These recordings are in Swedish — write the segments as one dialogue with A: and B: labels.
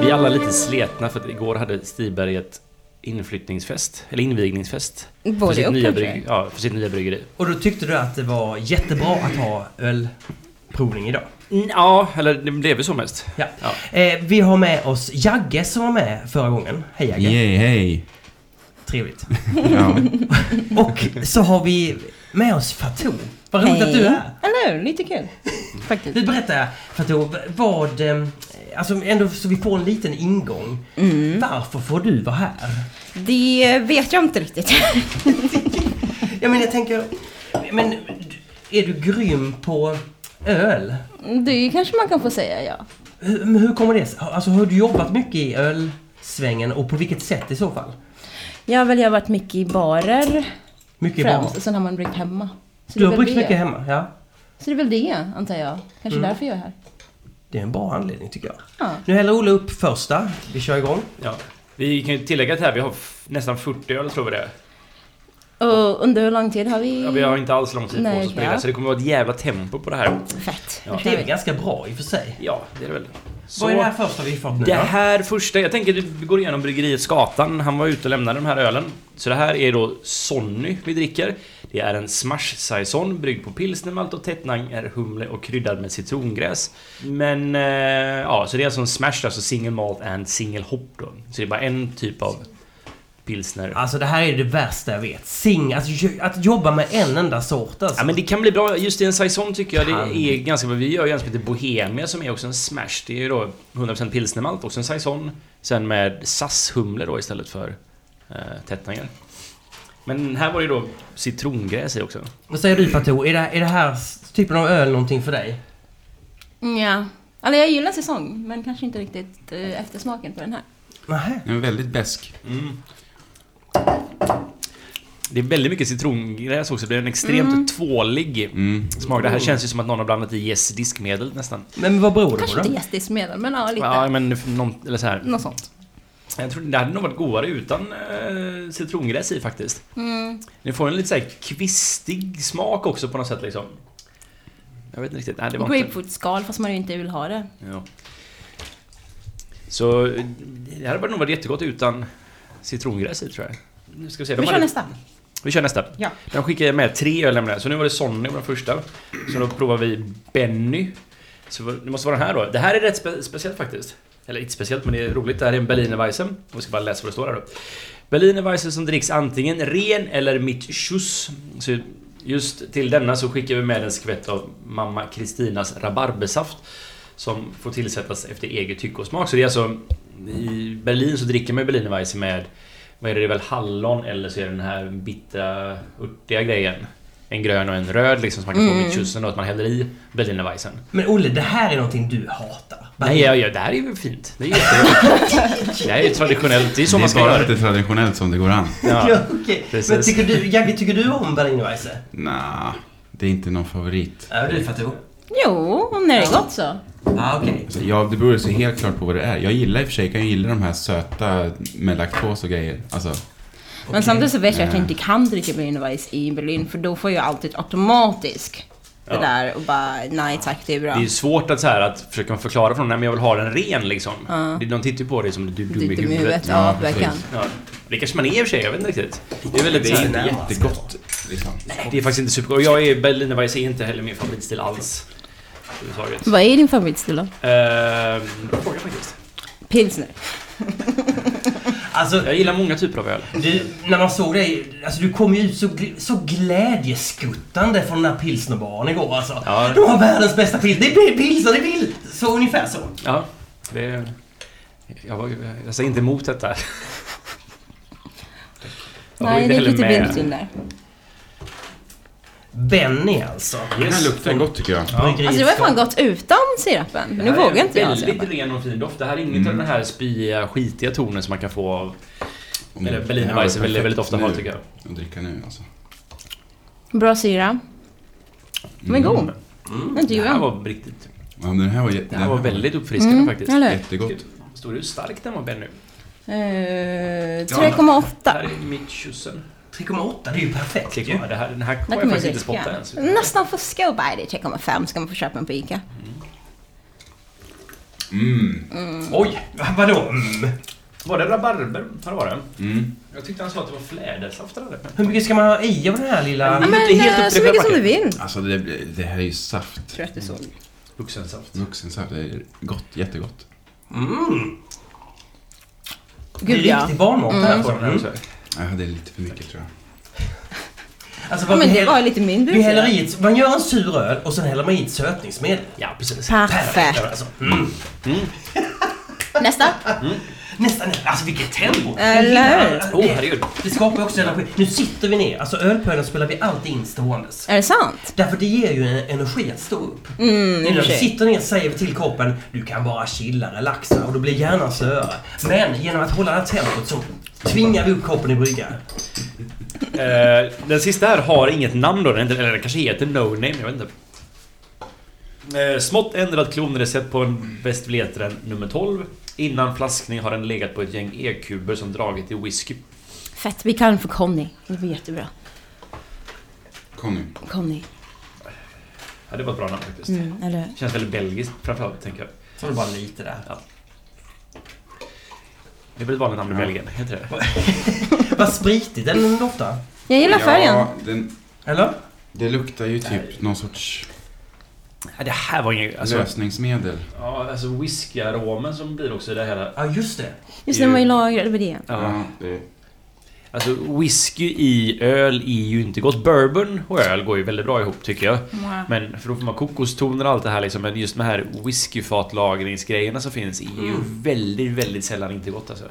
A: vi är alla lite sletna för att igår hade Stiberg ett inflyttningsfest, eller invigningsfest. för,
B: Både
A: sitt
B: och
A: nya
B: kanske.
A: brygg, ja, för sitt nya bryggeri.
C: Och då tyckte du att det var jättebra att ha ölprovning idag.
A: Ja, eller det blev ju så mest.
C: Ja.
A: Ja.
C: Eh, vi har med oss Jagge som var med förra gången. Hej Jagge!
D: Yay, hej!
C: Trevligt.
D: Ja.
C: Och så har vi med oss Fatou. Vad roligt att du är här!
B: Eller hur? Lite kul. Faktiskt.
C: Du berättar Fatou, v- vad... eh, Alltså ändå så vi får en liten ingång. Varför får du vara här?
B: Det vet jag inte riktigt.
C: Ja men jag tänker... Men är du grym på öl?
B: Det kanske man kan få säga, ja.
C: Hur, men hur kommer det sig? Alltså har du jobbat mycket i ölsvängen och på vilket sätt i så fall?
B: Jag har väl jag har varit mycket i barer
C: Mycket bra.
B: främst och sen har man bryggt hemma. Så
C: Du
B: det är
C: har
B: väl
C: bryggt
B: det.
C: mycket hemma, ja.
B: Så det är väl det, antar jag. Kanske därför jag är här.
C: Det är en bra anledning tycker jag.
B: Ja.
C: Nu häller Olle upp första. Vi kör igång.
A: Ja. Vi kan ju tillägga att här vi har f- nästan 40 öl tror vi det är.
B: Och under hur lång tid har vi?
A: ja, Vi har inte alls lång tid på
B: Nej,
A: oss att spela,
B: ja.
A: så det kommer vara ett jävla tempo på det här.
B: Fett.
A: Ja.
B: Då
C: Det
B: kör
C: är väl
B: vi.
C: ganska bra i och för sig.
A: Ja, det är det väl. Så,
C: Vad är det här första vi fått nu
A: Det
C: då?
A: här första, jag tänker att vi går igenom bryggeriet Skatan. Han var ute och lämnade den här ölen. Så det här är då Sonny vi dricker. Det är en Smash Saison bryggd på pilsnermalt och tättnanger, humle och kryddad med citrongräs. Men eh, ja, så det är alltså en Smash, alltså single malt and single hop då. Så det är bara en typ av pilsner.
C: Alltså det här är det värsta jag vet. Sing, alltså, jo- att jobba med en enda sort alltså.
A: Ja men det kan bli bra, just i en saison tycker jag
C: Kan.
A: det är ganska bra. Vi gör ju en som heter Bohemia som är också en smash. Det är ju då 100% pilsnermalt, också en saison. Sen med SAS-humle då istället för eh, tättnanger. Men här var det ju då citrongräs i också.
C: Vad säger du Fatou? Är det, är det här s- typen av öl någonting för dig?
B: Ja. Eller jag gillar säsong, men kanske inte riktigt eh, eftersmaken på den här.
C: Nähä.
D: En väldigt besk.
A: Det är väldigt mycket citrongräs också, det är en extremt
B: Mm.
A: tvålig
D: Mm.
A: smak. Det här känns ju som att någon har blandat i jäst diskmedel nästan.
C: Men vad beror det på
B: Kanske inte
C: då?
B: gästismedel, men ja, lite.
A: Ja men någon, eller så här.
B: Något sånt.
A: Jag tror det hade nog varit godare utan eh, citrongräs i faktiskt.
B: Mm.
A: Den får en lite så här kvistig smak också på något sätt liksom. Jag vet inte riktigt. Nej, det var inte...
B: Grapefruitskal, fast man ju inte vill ha det.
A: Ja. Så eh, det här hade nog varit jättegott utan citrongräs i tror jag. Nu ska vi se. De
B: Vi kör
A: hade-
B: nästa.
A: Vi kör nästa.
B: Ja.
A: De skickade med tre öl nämligen. Så nu var det Sonny på den första. Så då provar vi Benny. Så det måste vara den här då. Det här är rätt spe- speciellt faktiskt. Eller inte speciellt, men det är roligt. Det här är en Berliner Weisse. Vi ska bara läsa vad det står här då. Berliner Weisse som dricks antingen ren eller mitt schuss. Så just till denna så skickar vi med en skvätt av mamma Kristinas rabarbersaft. Som får tillsättas efter eget tycke och smak. Så det är alltså... I Berlin så dricker man ju Berliner Weisse med vad är det, det är väl hallon eller så är det den här bittra, örtiga grejen. En grön och en röd liksom som man kan få med tjusen då, att man häller i berlinerweisen.
C: Men Olle, det här är någonting du hatar.
A: Nej, ja, ja, det här är ju fint. Det är jättebra. det här är ju traditionellt, det är så
D: det
A: man
D: är
A: ska
D: bara
A: göra.
D: lite traditionellt som det går an.
A: Ja.
C: Ja, okej. Men
A: precis.
C: tycker du, Jagge, tycker du om berlinerweisse?
D: Nja, det är inte någon favorit.
C: Ja, du Fatou.
B: Jo, om det är gott så.
C: Ja, okej.
D: Alltså, ja, det beror så helt klart på vad det är. Jag gillar i och för sig, kan jag gilla de här söta med laktos och grejer. Alltså,
B: Men samtidigt så vet jag att jag inte kan dricka Berlinerweiss i Berlin för då får jag alltid automatisk det
A: Ja.
B: där och bara nej tack det är bra.
A: Det är ju svårt att, så här, att försöka förklara för någon, nej men jag vill ha den ren liksom. Det, de tittar ju på dig som du är
B: Du
A: dum
B: är
A: i
B: dum i huvudet,
A: huvudet.
B: ja,
D: Ja,
B: verkligen.
D: precis.
A: Ja. Det kanske man är i och för sig, jag vet inte riktigt. Det är väldigt
D: det
A: så
D: är
A: här-
D: inte jättegott. Liksom.
A: Det är faktiskt inte supergott. Och Jag är berlinerweisse är inte heller min favoritstil alls. Överhuvudtaget.
B: Vad är din favoritstil då?
A: Eh, bra fråga faktiskt.
B: Pilsner.
C: Alltså,
A: Jag gillar många typer av öl.
C: Du, när man såg dig, alltså du kom ju ut så, gl- så glädjeskuttande från den här pilsnerbaren igår alltså.
A: Ja.
C: De har världens bästa pilsner, det blir pilsner, det blir... Så ungefär så.
A: Ja, det... Jag, var, jag säger inte emot detta. Jag var
B: Nej,
A: inte
B: det är
A: heller
B: lite
A: med.
B: vildsvin där.
C: Benny alltså.
D: Den här
A: Yes.
D: luktar gott tycker jag.
C: Bryggeriet
B: Alltså det var fan
C: Skåne.
B: gott utan sirapen.
A: Det
B: Nu
A: här
B: vågar
A: är
B: inte jag
A: Väldigt
B: sirapen.
A: ren och fin doft. Det här är inget av den här spyiga, skitiga tonen som man kan få av...
D: Mm.
A: Eller
D: Det här var
A: Berlinerweisse
D: ju
A: väldigt, väldigt ofta
D: perfekt
A: har
D: nu
A: tycker jag.
D: Att dricka nu alltså.
B: Bra syra. Men god. Men du
A: Mm. Det här
B: mm.
A: var riktigt...
D: Mm. Ja, men den här var, jä-
A: Det
D: den
A: här var väldigt uppfriskande faktiskt.
B: eller hur?
D: jättegott.
A: Står du hur stark den var
B: Eh,
A: Benny? Det här
B: 3,8.
A: är mitt tjusen.
C: 3,8, det är ju perfekt ju.
A: Ja, det här, den här
B: Där
A: kommer jag
B: kommer
A: faktiskt
B: jag
A: inte spotta ens. Mm,
B: dricka. Nästan för Scobide 3,5 ska man få köpa en på Ica.
D: Mm.
C: Oj, vadå? Mm.
A: Var det rabarber? Har det varit?
D: Mm.
A: Jag tyckte han sa att det var flädersaft eller?
C: Hur mycket ska man ha i av den här lilla...
A: Ja,
B: Men,
A: men det är helt
B: eh,
A: upp
B: så
A: till
B: mycket
A: själva
B: som du vill. Mm.
D: Alltså det, det här är ju saft.
B: Tror jag att det är så.
A: Vuxensaft.
D: Vuxensaft. Det är gott. Jättegott.
C: Mm. Det är
B: Gud ja.
C: riktig barnmat det här.
A: Får den
C: Mm.
A: här också.
D: Ja, det är lite för mycket tror jag.
C: Alltså,
B: Ja,
C: vad
B: men
C: vi
B: det var
C: häller,
B: lite mindre.
C: vi häller
B: tror jag.
C: i ett, man gör en sur öl och sen häller man i ett sötningsmedel.
A: Ja, precis.
B: Perfekt.
C: Alltså, mm.
B: Nästa.
C: Nästan, alltså vilket tempo!
B: Eller hur?
C: Alltså,
A: Åh,
C: det,
A: herregud.
C: det skapar ju också energi. Nu sitter vi ner, alltså ölpölen spelar vi alltid in ståendes.
B: Är det sant?
C: Därför det ger ju en energi att stå upp.
B: Mm, i
C: Nu
B: och
C: när
B: för
C: du
B: sig.
C: sitter ner säger vi till kroppen du kan bara chilla, relaxa och du blir hjärnan slöare. Men genom att hålla det här tempot så tvingar vi upp kroppen i brygga.
A: Eh, den sista här har inget namn då, den heter- eller den kanske heter No Name, jag vet inte. Eh, smått ändrat klonrecept på en Västvleteren nummer 12. Innan flaskning har den legat på ett gäng e-kuber som dragit i whisky.
B: Fett, vi kallar den för Conny. Det blir jättebra.
D: Kom nu.
B: Conny.
A: Ja, det var ett bra namn faktiskt.
B: Mm, eller hur?
A: Känns väldigt belgiskt framförallt, tänker jag.
C: Så var det bara lite där.
A: Det är väl ett vanligt namn i Belgien, heter det?
C: Vad spritigt den låter.
B: Jag gillar färgen.
D: Ja, den,
C: Eller?
D: det luktar ju typ någon sorts
A: Ja, det här var ingen...
D: Mm.
A: Alltså,
D: lösningsmedel.
A: ja, alltså whiskyaromen som blir också i det hela...
C: Ja, just det.
B: Just när man lagrar över det.
A: Ja.
D: det,
A: Alltså whisky i öl är ju inte gott. Bourbon och öl går ju väldigt bra ihop tycker jag. Men för då får man kokostoner och allt det här liksom. Men just de här whiskyfatlagringsgrejerna som finns är ju väldigt, väldigt sällan inte gott alltså.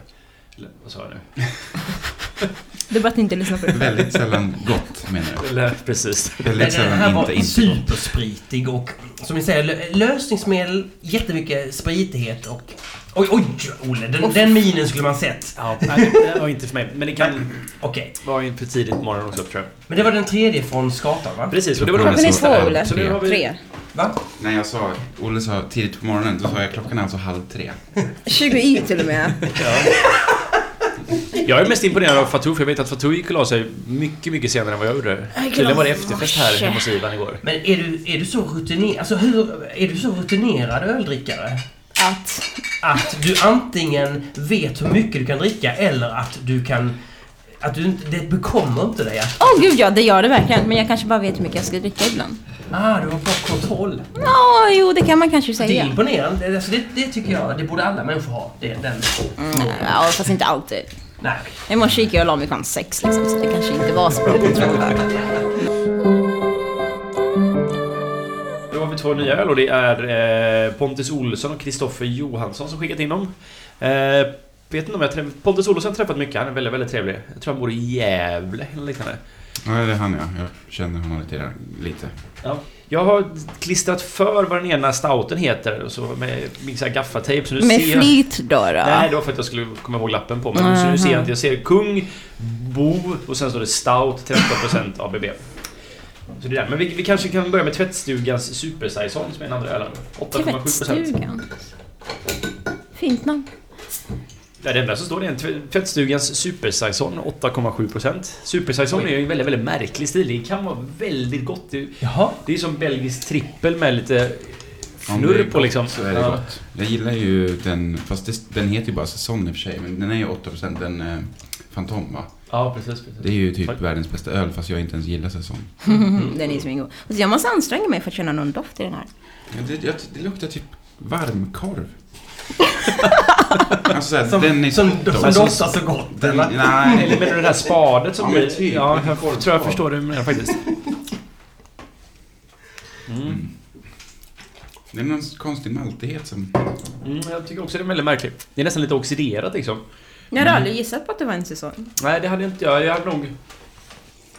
A: Eller vad sa jag nu?
B: Det är bara att inte lyssna på det.
D: väldigt sällan gott menar jag.
A: Eller precis.
D: Väldigt
C: den här
D: sällan
C: var
D: inte, inte gott.
C: superspritig och som ni säger, lö- lösningsmedel, jättemycket spritighet och... Oj, oj, Olle! Den, den minen skulle man sett.
A: Ja, nej, det var inte för mig. Men det kan
C: Okej.
A: vara en för tidigt på morgonen också tror jag.
C: Men det var den tredje från skatan, va?
A: Precis, och det var
D: Klockan
A: nog
B: Klockan är
A: den
D: så-
A: sista.
B: två, Olle.
A: Så nu har vi-
B: Tre.
C: va?
D: Nej, jag sa, Olle sa tidigt på morgonen, då sa jag klockan är alltså halv tre.
B: 20 i till och med.
A: Jag är mest imponerad av Fatou för jag vet att Fatou gick och la sig mycket, mycket senare än vad jag gjorde.
B: gick och
A: Tydligen var
B: la mig
A: det
B: i
A: efterfest här
B: morse.
A: hemma hos Ivan igår.
C: Men är du, är du så rutinerad, alltså hur, är du så rutinerad öldrickare?
B: Att...
C: Att du antingen vet hur mycket du kan dricka eller att du kan, att du inte, det bekommer inte dig att,
B: Åh gud ja, det gör det verkligen. Men jag kanske bara vet hur mycket jag ska dricka ibland.
C: ah du har fått kontroll.
B: Ja, jo det kan man kanske
C: Det är
B: säga.
C: imponerande, alltså det, det tycker jag, det borde alla människor ha. Det, den,
B: Mm, ja, fast inte alltid.
C: nej.
B: I morse gick jag och la mig klockan sex liksom, så det kanske inte var så bra kontroll.
A: Då har vi två nya öl och det är eh, Pontus Olsson och Kristoffer Johansson som skickat in dem. Eh, vet inte om jag träffat... Pontus Olsson har träffat mycket, han är väldigt, väldigt trevlig. Jag tror han bor i Gävle eller liknande.
D: Ja, det är han ja. Jag känner honom lite. grann- lite.
A: Jag har klistrat för vad den ena stouten heter och så med, med så här gaffatejp så nu
B: Med
A: ser jag...
B: flit då då?
A: Nej, det var för att jag skulle komma ihåg lappen på mig. Så nu ser jag inte. Jag ser Kung, Bo och sen står det Stout 13% ABB. Så det är där. Men vi, vi kanske kan börja med tvättstugans supersaison som är den andra ölen. 8,7%.
B: Tvättstugan. Fint namn.
A: Ja, det enda som står det är en tv- tvättstugans supersaison 8,7%. Supersaison är ju en väldigt, väldigt märklig stil. Det kan vara väldigt gott. Det,
C: Jaha,
A: det är som belgisk trippel med lite
D: Om det är
A: fnurr på
D: gott
A: liksom.
D: Så är det
A: Ja.
D: gott. Jag gillar ju den, fast det, den heter ju bara säsong i och för sig, men den är ju 8% den eh, Fantom va?
A: Ja, precis. precis.
D: Det är ju typ
A: Tack.
D: världens bästa öl fast jag inte ens gillar säsong.
B: Den är svingod. Och så jag måste anstränga mig för att känna någon doft i den här.
D: Ja, det, jag, det luktar typ varmkorv. alltså såhär,
C: som,
D: den är...
C: som, som
D: alltså,
C: doftar så gott
D: den,
C: eller?
D: nej,
A: Eller menar du det här spadet som
D: Ja, men
A: blir...
D: typ.
A: ja, jag
D: Korvspad.
A: tror jag förstår det du menar faktiskt. Mm.
D: det är någon konstig maltighet som...
A: Mm, jag tycker också det är väldigt märkligt. Det är nästan lite oxiderat liksom.
B: Jag hade aldrig gissat på att det var en säsong.
A: Nej, det hade inte jag. Jag hade nog...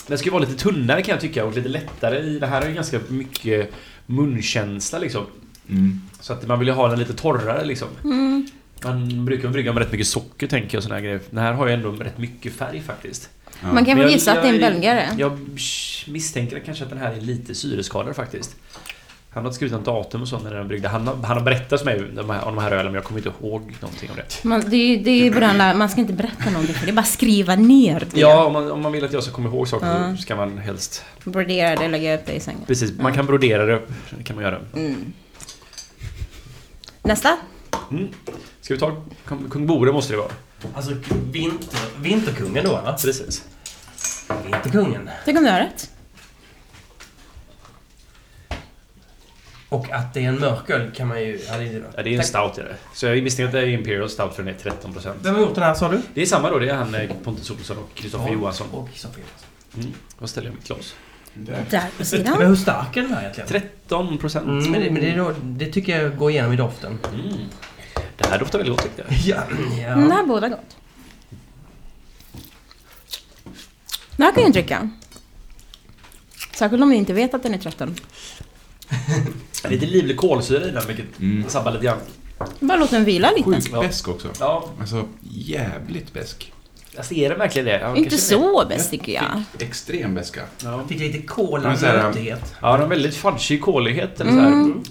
A: Den ska ju vara lite tunnare kan jag tycka och lite lättare i. Det här är ju ganska mycket munkänsla liksom.
D: Mm.
A: Så att man vill ju ha den lite torrare liksom.
B: Mm.
A: Man brukar brygga med rätt mycket socker tänker jag såna här grejer. Den här har ju ändå rätt mycket färg faktiskt.
D: Ja.
B: Man kan
A: Men
B: väl
A: jag-
B: gissa att det är en
A: jag-
B: belgare?
A: Jag misstänker kanske att den här är lite syreskadad faktiskt. Han har inte skrivit något datum och så när den bryggde. Han har, han har berättat för mig om de här, om de här ölen men jag kommer inte ihåg någonting om det.
B: Man, det, är ju- det är ju bara alla- man ska inte berätta någonting för det är bara att skriva ner det.
A: Ja, om man, om man vill att jag ska komma ihåg saker
B: Ja.
A: så ska man helst...
B: Brodera det och lägga upp det i sängen.
A: Precis, man kan brodera det. Det kan man göra.
B: Mm. Nästa.
A: Mm. Ska vi ta Kung- Kung Bore måste det vara.
C: Alltså vinter, vinterkungen då va?
A: Precis.
C: Vinterkungen.
B: Tänk om du har rätt?
C: Och att det är en mörk öl kan man ju... Ja, det är,
A: Ja, det är en stout är det. Så jag misstänker att det är Imperial Stout för den är 13%.
C: Vem har gjort den här sa du?
A: Det är samma då, det är han eh, Pontus Olsson och Kristoffer
C: Ja,
A: Johansson.
C: Och Kristoffer Johansson.
A: Vad ställer jag mitt glas?
B: Där på
C: Men
B: sidan.
C: hur stark är den här egentligen?
A: 13%.
C: Mm, men det, men det, är då, det tycker jag går igenom i doften.
A: Mm. Det här doftar väldigt gott tyckte jag.
C: Ja, ja.
B: Den Mm, här båda gott. Den här kan jag ju dricka. Särskilt om ni inte vet att den är 13.
A: Det är Lite livlig kolsyra i den vilket
D: Mm.
A: sabbar lite grann.
B: Bara låt den vila lite.
D: Sjukt
A: Ja.
D: besk också.
A: Ja,
D: Alltså jävligt besk.
A: alltså är den verkligen det? Ja,
B: Inte
A: kanske
B: så bäst tycker jag.
D: Fick extrem beska.
A: det. Ja.
C: Fick lite kola
D: Men så här-
C: nötighet.
A: Ja, den har väldigt fudgig kolighet eller så här.
B: Mm.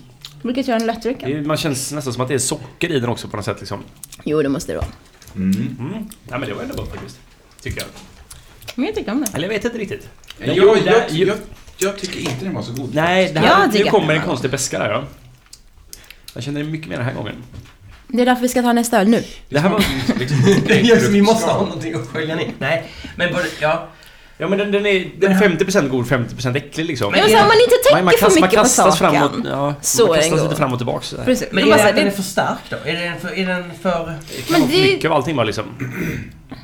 B: Brukar göra en
A: Det
B: lättdricka.
A: är, man känns nästan som att det är socker i den också på något sätt liksom.
B: Jo, det måste det vara.
D: Mm.
A: Mm. Nej men det var ändå gott faktiskt. Tycker jag.
B: Men jag tycker om den.
A: Eller jag vet inte riktigt.
D: Jag,
A: Jo,
D: jag,
A: där-
D: jag, jag, tycker inte den var så god.
A: Nej, det
B: Ja,
A: här,
B: det
A: nu
B: kan
A: kommer
B: man.
A: en konstig beska där ja. Jag känner det mycket mer den här gången.
B: Det är därför vi ska ta nästa öl nu.
A: Det här var,
D: Liksom,
C: Det gör så vi måste ha någonting att skölja ner. Nej, men både, ja.
A: ja men den, den är den är 50% god, 50% äcklig liksom.
B: Men så om man inte
A: Man- man
B: tänker
A: kast-
B: för
A: man
B: mycket på
A: kastas
B: saken.
A: framåt, ja,
B: Så
A: man
B: är
A: kastas
B: den
A: lite
B: god.
A: fram och tillbaka sådär.
B: Precis.
C: Men
B: det
C: är
B: är
C: det att den är
B: alltså, det,
C: för stark då? Är den för... Är den för
A: Det kan
B: Men
A: vara för
B: det-
A: mycket av allting bara liksom.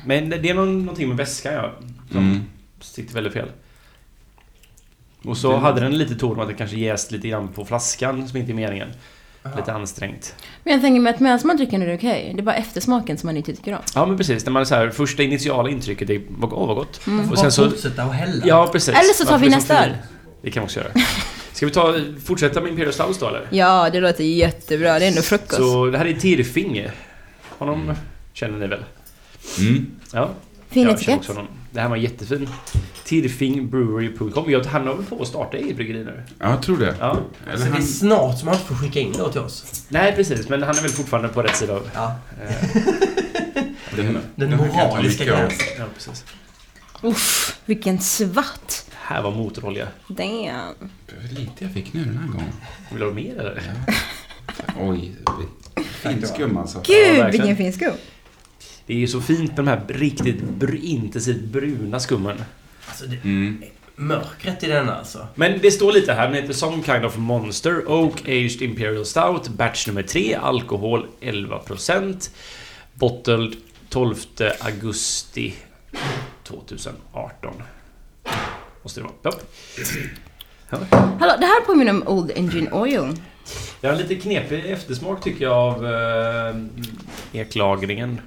A: Men det det är någon, någonting med väskan ja, som
D: Mm.
A: sitter väldigt fel. Och så
D: Det-
A: hade den lite tur med att den kanske jäst lite grann på flaskan som inte är meningen. Lite ansträngt.
B: men jag tänker mig att medan man dricker den är det okej. Det är bara eftersmaken som man inte tycker om.
A: Ja men precis, när man är så här, första initiala intrycket är vad åh vad gott.
B: Mm.
A: Och sen så...
C: fortsätta och hälla.
A: Ja precis.
B: Eller så tar
A: Varför
B: vi
A: liksom
B: nästa
A: fri?
B: öl.
A: Det kan vi också göra. Ska vi ta, fortsätta med Imperial Stout då eller?
B: Ja, det låter jättebra. Det är ändå frukost.
A: Så det här är Tirfinge. Honom känner ni väl?
D: Mm.
A: Ja.
B: fin
A: jag känner
B: etikett.
A: också honom. Det här var jättefin. Tirfingbrewery.com. Jag, han håller på att starta eget bryggeri nu.
D: Ja, jag tror det.
A: Ja.
C: Så
D: Eller
C: Alltså, det är
D: han,
C: snart som han får skicka in då till oss.
A: Nej precis, men han är väl fortfarande på rätt sida av...
C: Ja.
A: Eh,
D: den,
C: Den
D: den brukar jag ta
C: moraliska
D: mycket av.
C: gränsen.
A: ja, precis.
B: Uff, vilken svart.
A: Det här var motorolja.
B: Damn.
D: Vad lite jag fick nu den här gången.
A: Vill du ha mer eller?
D: Oj. Finskum alltså.
B: Gud,
A: verkligen.
B: vilken fin skum.
A: Det är ju så fint med de här riktigt br- intensivt bruna skummen.
C: Alltså, det,
D: Mm.
C: mörkret i den alltså.
A: Men det står lite här, den heter Some Kind of Monster Oak Aged Imperial Stout Batch nummer 3, alkohol 11% Bottled 12 augusti 2018 Måste det vara. Ja.
B: Hallå, det här påminner om Old Engine Oil.
A: Jag har en lite knepig eftersmak tycker jag av eh, eklagringen.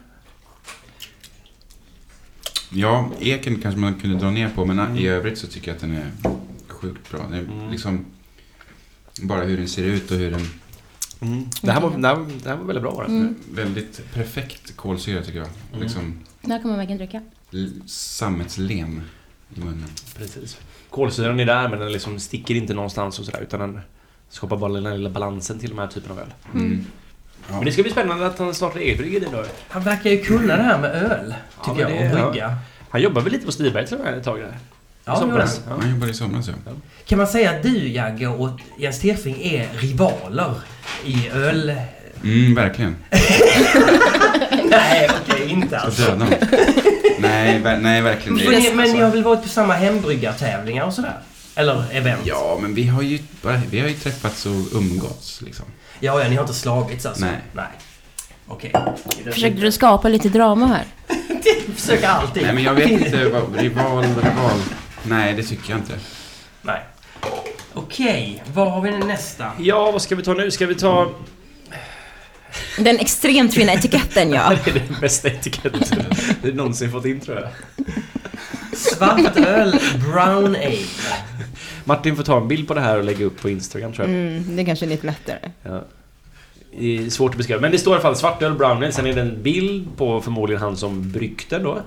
D: Ja, eken kanske man kunde dra ner på, men i övrigt så tycker jag att den är sjukt bra. Den är
A: Mm.
D: liksom bara hur den ser ut och hur den...
A: Mm. Det, här var, det, här, var- det här var väldigt bra var det.
B: Mm.
D: Väldigt perfekt kolsyra tycker jag.
A: Mm.
D: Liksom
B: Den här kan man verkligen dricka.
D: l- sammetslen i munnen.
A: Precis. Kolsyran är där men den liksom sticker inte någonstans och sådär utan den skapar bara den här lilla balansen till de här typen av öl.
D: Mm.
A: Men det ska bli spännande att han startar eget bryggeri då.
C: Han verkar ju kunna det här med öl.
A: Ja,
C: Tycker
A: men
C: jag.
A: det-
C: Och brygga.
A: Han jobbar väl lite på Stiberg tror jag ett tag där.
C: Ja,
A: I
C: det gör han.
A: somras. ja.
D: Han jobbar i somras ja.
C: Kan man säga att du Jagge och Jens Tefring är rivaler i öl...
D: Mm, verkligen.
C: Nej, okej, inte
D: Jag
C: alls.
D: dödar honom. nej, ver- nej, verkligen.
C: Men,
D: Det
C: ni-
D: är-
C: men ni har väl varit på samma hembryggartävlingar och sådär? Eller event?
D: Ja, men vi har ju, bara, vi har ju träffats och umgåtts liksom.
C: Ja, ja, ni har inte slagits alltså?
D: Nej.
C: Nej. Okej.
B: Försökte du skapa lite drama här?
C: Försöka alltid.
D: Nej, men jag vet inte vad rival, rival. Nej, det tycker jag inte.
C: Nej. Okej, vad har vi nästa?
A: ja, vad ska vi ta nu? Ska vi ta...
B: Den extremt fina etiketten ja.
A: Det är den bästa etiketten vi någonsin fått in tror jag.
C: Svart öl, brown ale.
A: Martin får ta en bild på det här och lägga upp på Instagram tror jag.
B: Mm, det kanske är lite lättare.
A: Ja. Det är svårt att beskriva. Men det står i alla fall svartöl brownie. Sen är det en bild på förmodligen han som bryggt den då.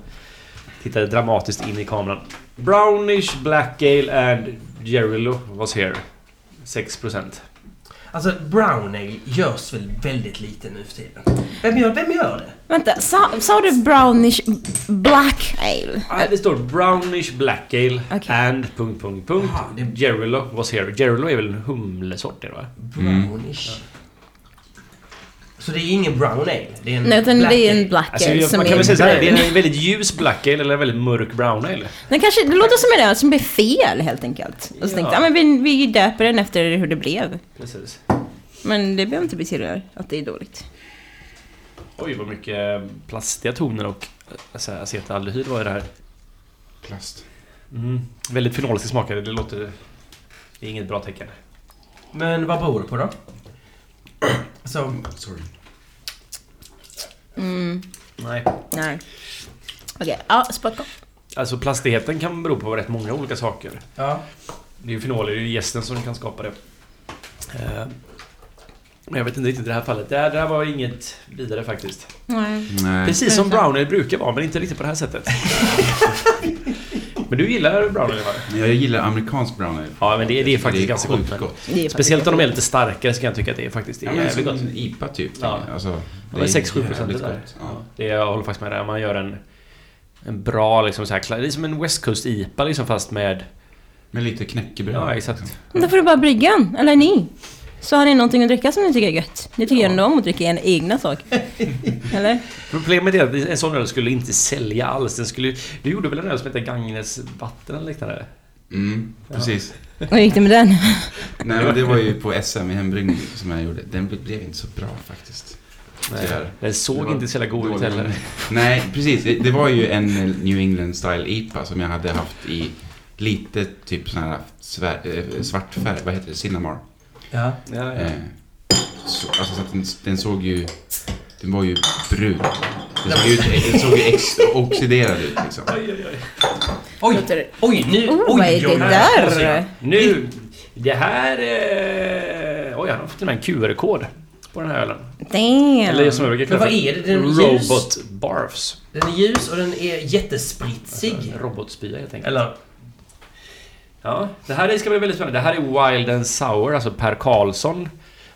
A: Tittar dramatiskt in i kameran. Brownish Black Ale and Gerillo was here. 6%.
C: Alltså, brown ale görs väl väldigt lite nu för tiden? Vem gör, vem gör det?
B: Vänta, sa, sa du brownish black ale?
A: Ja, Det står Brownish Black Ale
B: Okej.
A: and... Punkt, punkt, punkt.
C: Aha, det är-
A: Gerillo was here. Gerillo är väl en humlesort det va?
C: Brownish. Så det är ingen brown ale? Det är en
B: Nej, utan
C: black
B: det är en
C: ale.
B: black
A: Mm, Alltså,
B: ale
A: jag,
B: som
A: man
B: är...
A: kan väl säga såhär, det
B: brun.
A: är en väldigt ljus black ale eller en väldigt mörk brown ale.
B: Den kanske, det låter som en öl som blev fel helt enkelt. Och så
A: Ja.
B: tänkte jag, men vi, vi döper den efter hur det blev.
A: Precis.
B: Men det behöver inte betyda att det är dåligt.
A: Oj, vad mycket eh, plastiga toner och alltså, acetaldehyd var i det här.
D: Plast.
A: Mm. Väldigt fenoliska smaker, det låter... Det är inget bra tecken.
C: Men vad beror det på då? Så,
D: Sorry.
B: Mm,
A: Nej.
B: nej. Okej, ja, spottkopp.
A: Alltså plastigheten kan bero på rätt många olika saker.
C: ja.
A: Det är ju fenoler, det är ju gästen som kan skapa det. Eh, Men jag vet inte riktigt i det här fallet. Det här, det här var inget vidare faktiskt.
B: Nej.
D: Nej.
A: Precis som brown ale brukar vara, men inte riktigt på det här sättet. men du gillar brown ale, va?
D: Men Jag gillar amerikansk brown ale.
A: Ja, men det, det är faktiskt
D: Det är
A: ganska gott.
D: sjukt
A: men-
D: gott.
B: Det är
A: Speciellt om
B: faktiskt-
A: de är lite starkare så kan jag tycka att det är faktiskt det
D: Ja,
A: är
D: men
A: jävligt
D: som
A: gott.
D: en IPA typ.
A: Ja.
D: tänker jag. Alltså,
A: Det är 6-7
D: jävligt
A: procent det där.
D: gott.
A: Ja.
D: Ja.
A: Det jag håller faktiskt med dig. Man gör en, en bra liksom så här, kla- det är som en West Coast IPA liksom fast med...
D: Med lite knäckebröd.
A: Ja, exakt.
B: Men Då får du bara brygga en, eller ni. Så har ni någonting att dricka som ni tycker är gött. Ni tycker ju ändå om att dricka en egna sak. Eller?
A: Problemet är att en sån öl skulle inte sälja alls. Den skulle, du gjorde väl en öl som hette Gagnes vatten eller liknande?
D: Mm, precis.
B: Vad gick det med den?
D: Nej, men det var ju på SM i hembryggning som jag gjorde. Den blev inte så bra faktiskt. Tyvärr.
A: Den såg
D: Det var
A: inte så jävla god ut
D: dålig
A: heller.
D: blandning. Nej, precis. Det, det var ju en New England Style IPA som jag hade haft i lite typ sån här svär, eh, svart färg. Vad heter det? Cinnamar.
C: ja.
A: Ja, ja.
D: Eh, så, alltså så att den, den såg ju... Den var ju brun. Den såg ju, den såg ju ex, oxiderad ut liksom.
C: Oj,
B: Låter-
C: oj, nu...
B: Oh,
C: oj,
B: vad är det
C: oj, oj.
B: där?
A: Nu! Det här... Eh, oj, han har fått till och med en QR-kod på den här ölen. Eller
B: Damn.
A: som jag brukar kalla
C: Men vad
A: för
C: är det? Den är ljus.
A: Robot Barfs.
C: Den är ljus och den är
A: Alltså,
C: jättespritsig.
A: Robotspya helt enkelt.
C: Eller?
A: Ja, det här ska bli väldigt spännande. Det här är Wild and Sour, alltså Per Karlsson.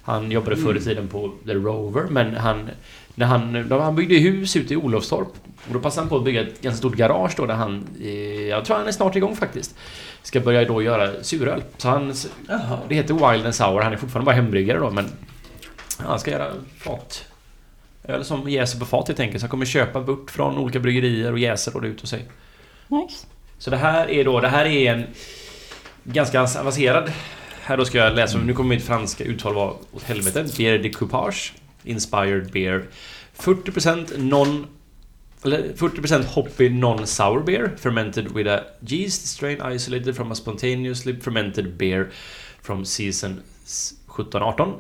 A: Han jobbade förr i tiden på The Rover, men han... När han, då han byggde hus ute i Olofstorp. Och då passade han på att bygga ett ganska stort garage då där han... Eh, jag tror han är snart igång faktiskt. Ska börja då göra suröl. Så han...
C: Jaha.
A: Det heter Wild and Sour, han är fortfarande bara hembryggare då, men... Han ska göra fat. Öl som jäser på fat helt enkelt. Så han kommer köpa bort från olika bryggerier och jäser då det ut och sig.
B: Nice.
A: Så det här är då, det här är en ganska avancerad... Här då ska jag läsa, nu kommer mitt franska uttal vara åt helvete. Bière de coupage, inspired beer. 40% non... Eller 40% hoppy non-sour beer, fermented with a yeast strain isolated from a spontaneously fermented beer from season 17-18.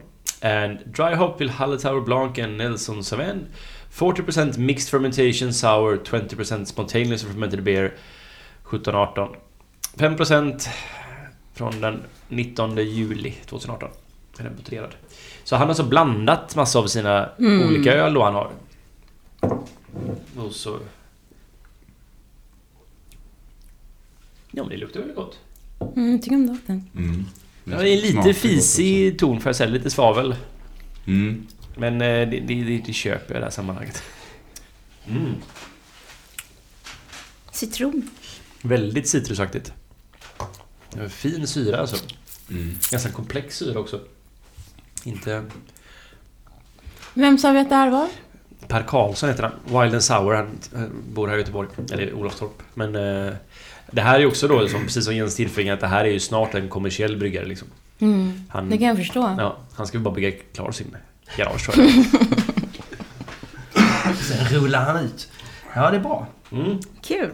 A: And dry hop will Hallertauer Blanc and Nelson Sauvin. 40% mixed fermentation sour, 20% spontaneous fermented beer, 17-18. 5% från den 19 juli 2018. är Den buteljerad. Så han har alltså blandat massa av sina
B: Mm.
A: olika öl då han har. Och så... Ja men det luktar väl gott.
B: Mm, jag tycker om doften.
D: Mm.
A: Ja, det är
D: Smakar
A: lite
D: gott
A: fisig ton för jag säga, lite svavel.
D: också. Mm.
A: Men eh, det, det, det, det köper jag i det här sammanhanget. Mm.
B: Citron.
A: Väldigt citrusaktigt. En Fin syra alltså.
D: Mm.
A: Ganska komplex syra också. Inte...
B: Vem sa vi att det här var?
A: Per Karlsson heter han. Wild and Sour. Han eh, bor här i Göteborg. Eller i Olofstorp. Men... Eh, det här är ju också då, som, precis som Jens Tillfingen, att det här är ju snart en kommersiell bryggare liksom.
B: Mm.
A: Han,
B: Det kan jag förstå.
A: ja, han ska ju bara bygga klar sin garage tror jag.
C: Sen rullar han ut. Ja, det är bra.
A: Mm.
B: Kul.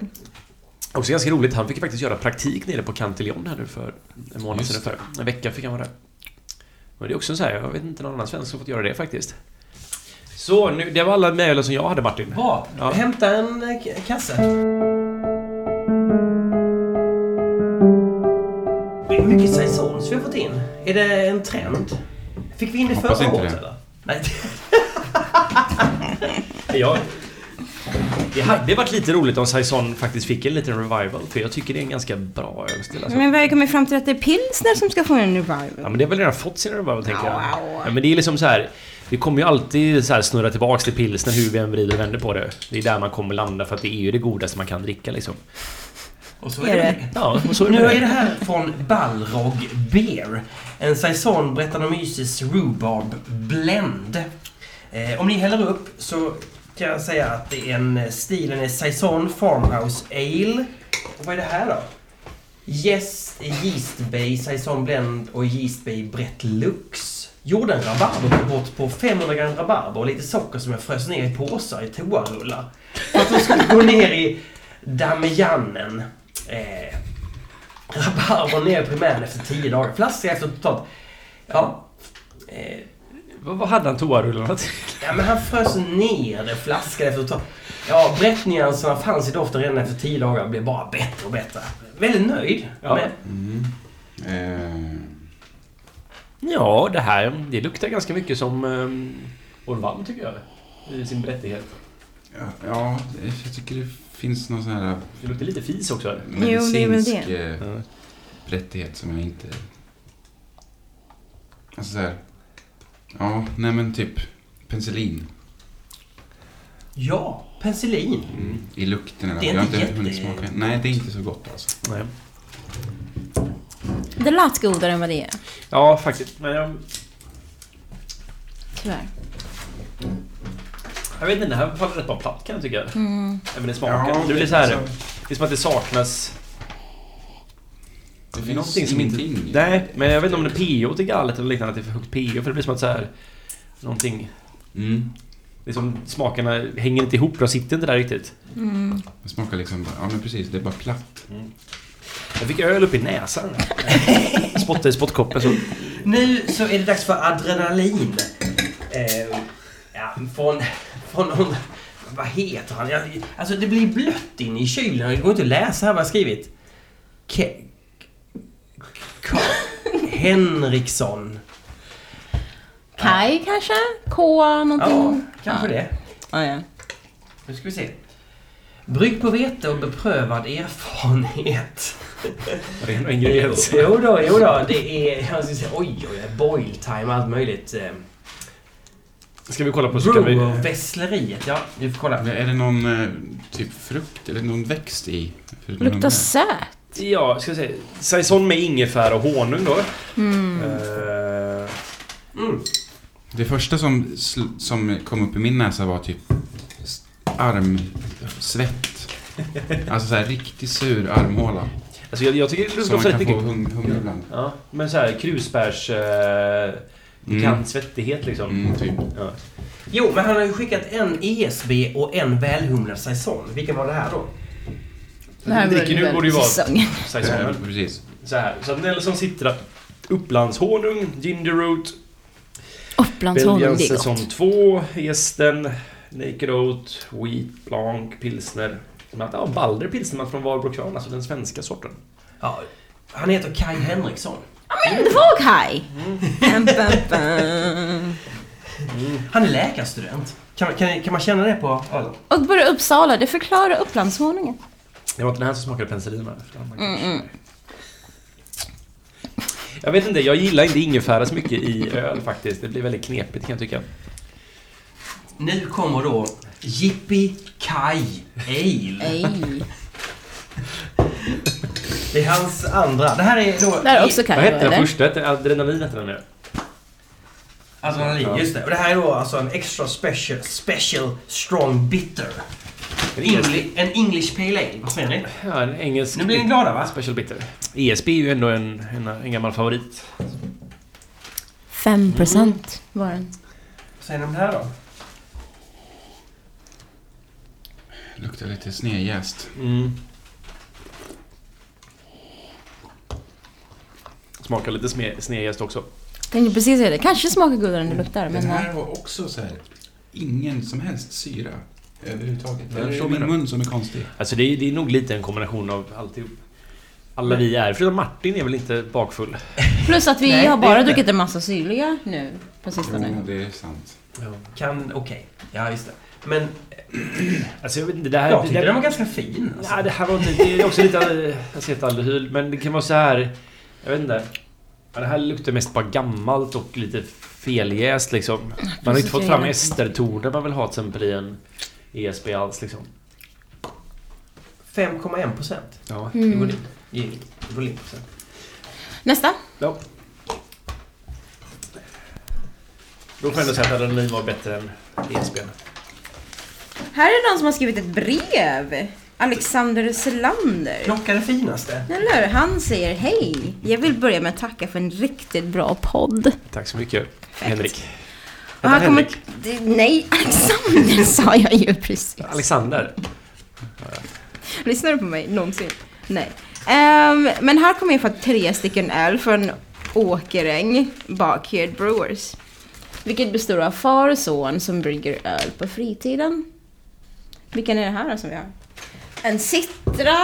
A: Också ganska roligt, han fick faktiskt göra praktik nere på Cantillon här nu för en månad
D: Just
A: sedan. För en vecka fick han vara där. Och det är också så här, jag vet inte någon annan svensk som fått göra det faktiskt. Så, nu, det var alla mejlen som jag hade Martin.
C: Bra.
A: Ja.
C: Hämta en eh, k- kasse. Hur mycket saisons vi har fått in? Är det en trend? Fick vi in det
D: Hoppas
C: förra
D: inte
C: året
D: det.
C: eller? Nej.
A: Ja. Det hade varit lite roligt om Saison faktiskt fick en liten revival, för jag tycker det är en ganska bra ölstil. Alltså.
B: Men vi har ju kommit fram till att det är pilsner som ska få en
A: Ja,
B: revival.
A: men det har väl redan fått sin revival, tänker jag.
B: Au, au.
A: Ja, men det är liksom så här. Vi kommer ju alltid så här snurra tillbaks till pilsner hur vi än vrider och vänder på det. Det är där man kommer landa för att det är ju det godaste man kan dricka liksom.
C: Och så
B: Är det?
A: Ja, och så är det
C: Nu
A: med
C: är
A: det.
C: det här från Balrog Beer. En saison Brettanomyces rhubarb blend. Eh, om ni häller upp så kan jag säga att det är en, eh, stilen är Saison Farmhouse Ale. Och vad är det här då? Yes, Yeast Bay Saison Blend och Yeast Bay Brett Lux. Gjorde en rabarber på bort på 500 gram rabarber och lite socker som jag frös ner i påsar i toarullar. För att de skulle gå ner i damianen. Eh, rabarber ner i primären efter 10 dagar. Flaska efter totalt... Ja. Eh,
A: Vad, vad hade han toarullarna till?
C: Ja, men han frös ner det flaskan efter ett tag. Ja, brettnyanserna fanns i doften redan efter tio dagar och blev bara bättre och bättre. Väldigt nöjd.
A: Ja.
C: Men,
D: Mm. Eh,
A: Ja, det här det luktar ganska mycket som um, Orvam tycker jag. I sin berättighet.
D: ja, ja, jag tycker det finns någon sån här
A: Det luktar lite fis också. Här.
D: medicinsk
B: det är väl
D: eh,
A: Ja.
D: rättighet som jag inte... Alltså så här. Ja, nej men typ penicillin.
C: ja, penicillin.
D: Mm. I lukten eller
C: Det är
D: Jag har
C: inte
D: inte hunnit
C: jätte-
D: smaka. Nej, det är inte så gott alltså.
A: Nej.
B: Det lät godare än vad det är.
A: Ja, faktiskt. Men jag,
B: Tyvärr.
A: jag vet inte, det här faller rätt bra platt kan jag tycka.
B: Mm.
A: Även i smaken. det är liksom- lite så här, det är som att det saknas
D: Det finns
A: någonting som inte...
D: ingenting.
A: Nej, men jag vet inte om det är PO till galet eller liknande, att det är för högt PO. För det blir som att så här, någonting...
D: Mm.
A: Liksom, smakerna hänger inte ihop, de sitter inte där riktigt.
B: Mm.
D: Det smakar liksom bara, ja men precis, det är bara platt.
A: Jag fick öl upp i näsan. Spottade i spottkoppen så...
C: Nu så är det dags för adrenalin. Eh, ja, från, från någon... Vad heter han? Jag, alltså det blir blött in i kylen. Det går inte att läsa här vad jag har skrivit. Ke, Ka, Henriksson.
B: Kai kanske? K
C: Ja,
B: någonting?
C: kanske det.
B: Ja, Ah, ja.
C: Nu ska vi se. Brygg på vete och beprövad erfarenhet.
A: Ren
D: alltså.
A: ingrediens.
C: Jo då, jo då. Det är... Jag ska säga, oj, oj, oj. Boil time, allt möjligt. Eh,
A: Ska vi kolla på så kan vi...
C: Brewer, Vessleriet. Ja, vi får kolla.
D: Men är det någon eh, typ frukt eller någon växt i? Förutom den
B: Luktar
D: där.
B: söt.
A: Ja, ska jag säga. Saison med ingefära och honung då.
B: Mm.
A: Eh,
C: Mm.
D: Det första som, sl- som kom upp i min näsa var typ s- armsvett. Alltså så här riktigt sur armhåla.
A: alltså jag, jag tycker det luktar
D: Som man
A: också
D: kan
A: lite...
D: få hung- humle ibland.
A: Ja, men så här krusbärs... Eh,
D: Mm.
A: pikant svettighet liksom.
D: Mm, typ.
A: Ja.
C: Jo, men han har ju skickat en ESB och en välhumlad saison. Vilken var det här då?
B: Det här
A: Dricker du
B: börjar
A: borde ju vara
B: säsongen.
D: Eh,
A: saisonen.
D: precis.
A: Mm. Så här. Så att Nelson sitter Upplandshonung, Gingerroot,
B: Upplandshonung,
A: Belgian
B: det är
A: säsong
B: gott.
A: 2, Gästen, Naked Oat, Wheat, Blanc, Pilsner. Men att, Ja, Balder pilsnerman från Valbrokran, alltså den svenska sorten.
C: Ja, han heter Kai Henriksson.
B: Men det var Kai! Bam, bam, bam.
C: Han är läkarstudent. Kan, kan, kan man känna det på ölen?
B: Och bara Uppsala, det förklarar Upplandshonungen.
A: Det var inte den här som smakade penicillin va?
B: Mm,
A: Jag vet inte, jag gillar inte ingefära så mycket i öl faktiskt. Det blir väldigt knepigt kan jag tycka.
C: Nu kommer då Jippi Kai Ale.
B: Ej.
C: Det är hans andra. Det här är då...
B: Det här är också Kai,
A: Vad hette den
B: eller?
A: första? Hette- Adrenalin hette den ju.
C: Adrenalin,
A: Ja.
C: just det. Och det här är då alltså en extra special, special strong bitter.
B: Mm.
C: En, Engli- en English Pale Ale. Vad säger ni?
A: Ja, en engelsk...
C: Nu blir ni glada va?
A: Special bitter. ESB E är ju ändå en, en, en gammal favorit.
B: 5% Mm. var den.
C: Vad säger ni om det här då?
D: Luktar lite snedjäst.
A: Mm. Smakar lite sme- snedjäst också.
B: Tänkte precis säga det. Kanske smakar godare än det luktar, men...
D: Den här var också så här, ingen som helst syra. Överhuvudtaget.
A: Jag
D: Det är
A: förstår
D: min
A: det.
D: mun som är konstig.
A: Alltså det är, det är nog lite en kombination av alltihop. Alla vi är, förutom Martin är väl inte bakfull?
B: eh, Plus att vi
C: Nej,
B: har
C: det är
B: bara
C: inte. Mm.
B: druckit en massa syrliga nu på
D: Jo,
B: sistone.
D: det är sant.
C: Kan... Okej. Ja, just det. Men
A: Alltså jag vet inte, det här...
C: jag tyckte
A: det,
C: den var ganska fin. Alltså.
A: Nej, det här var inte... Det är också lite eh, acetaldehyl, men det kan vara så här... Jag vet inte. Ja, Det här luktar mest bara gammalt och lite feljäst liksom. Man har inte fått fram estertoner man vill ha till exempel i en ESB alls liksom.
C: 5,1 procent.
A: Ja.
C: Det går
B: Mm.
C: in. Gin. Det går in. Så.
B: Nästa.
A: Ja. Då får jag ändå säga att adrenalin var bättre än E ESBn.
E: Här är någon som har skrivit ett brev. Alexander Selander.
C: Klocka Eh. är det finaste.
E: Eller Han säger hej. Jag vill börja med att tacka för en riktigt bra podd.
A: Tack så mycket, Henrik.
E: Och
A: Vänta,
E: här kommer...
A: Henrik.
E: Det- Nej, Alexander sa jag ju precis.
A: Alexander.
E: Lyssnar du på mig någonsin? Nej. Ehm, men här kommer jag få tre stycken öl från Åkeräng Backyard Brewers. Vilket består av far och son som brygger öl på fritiden. Vilken är det här då som vi har? En citra.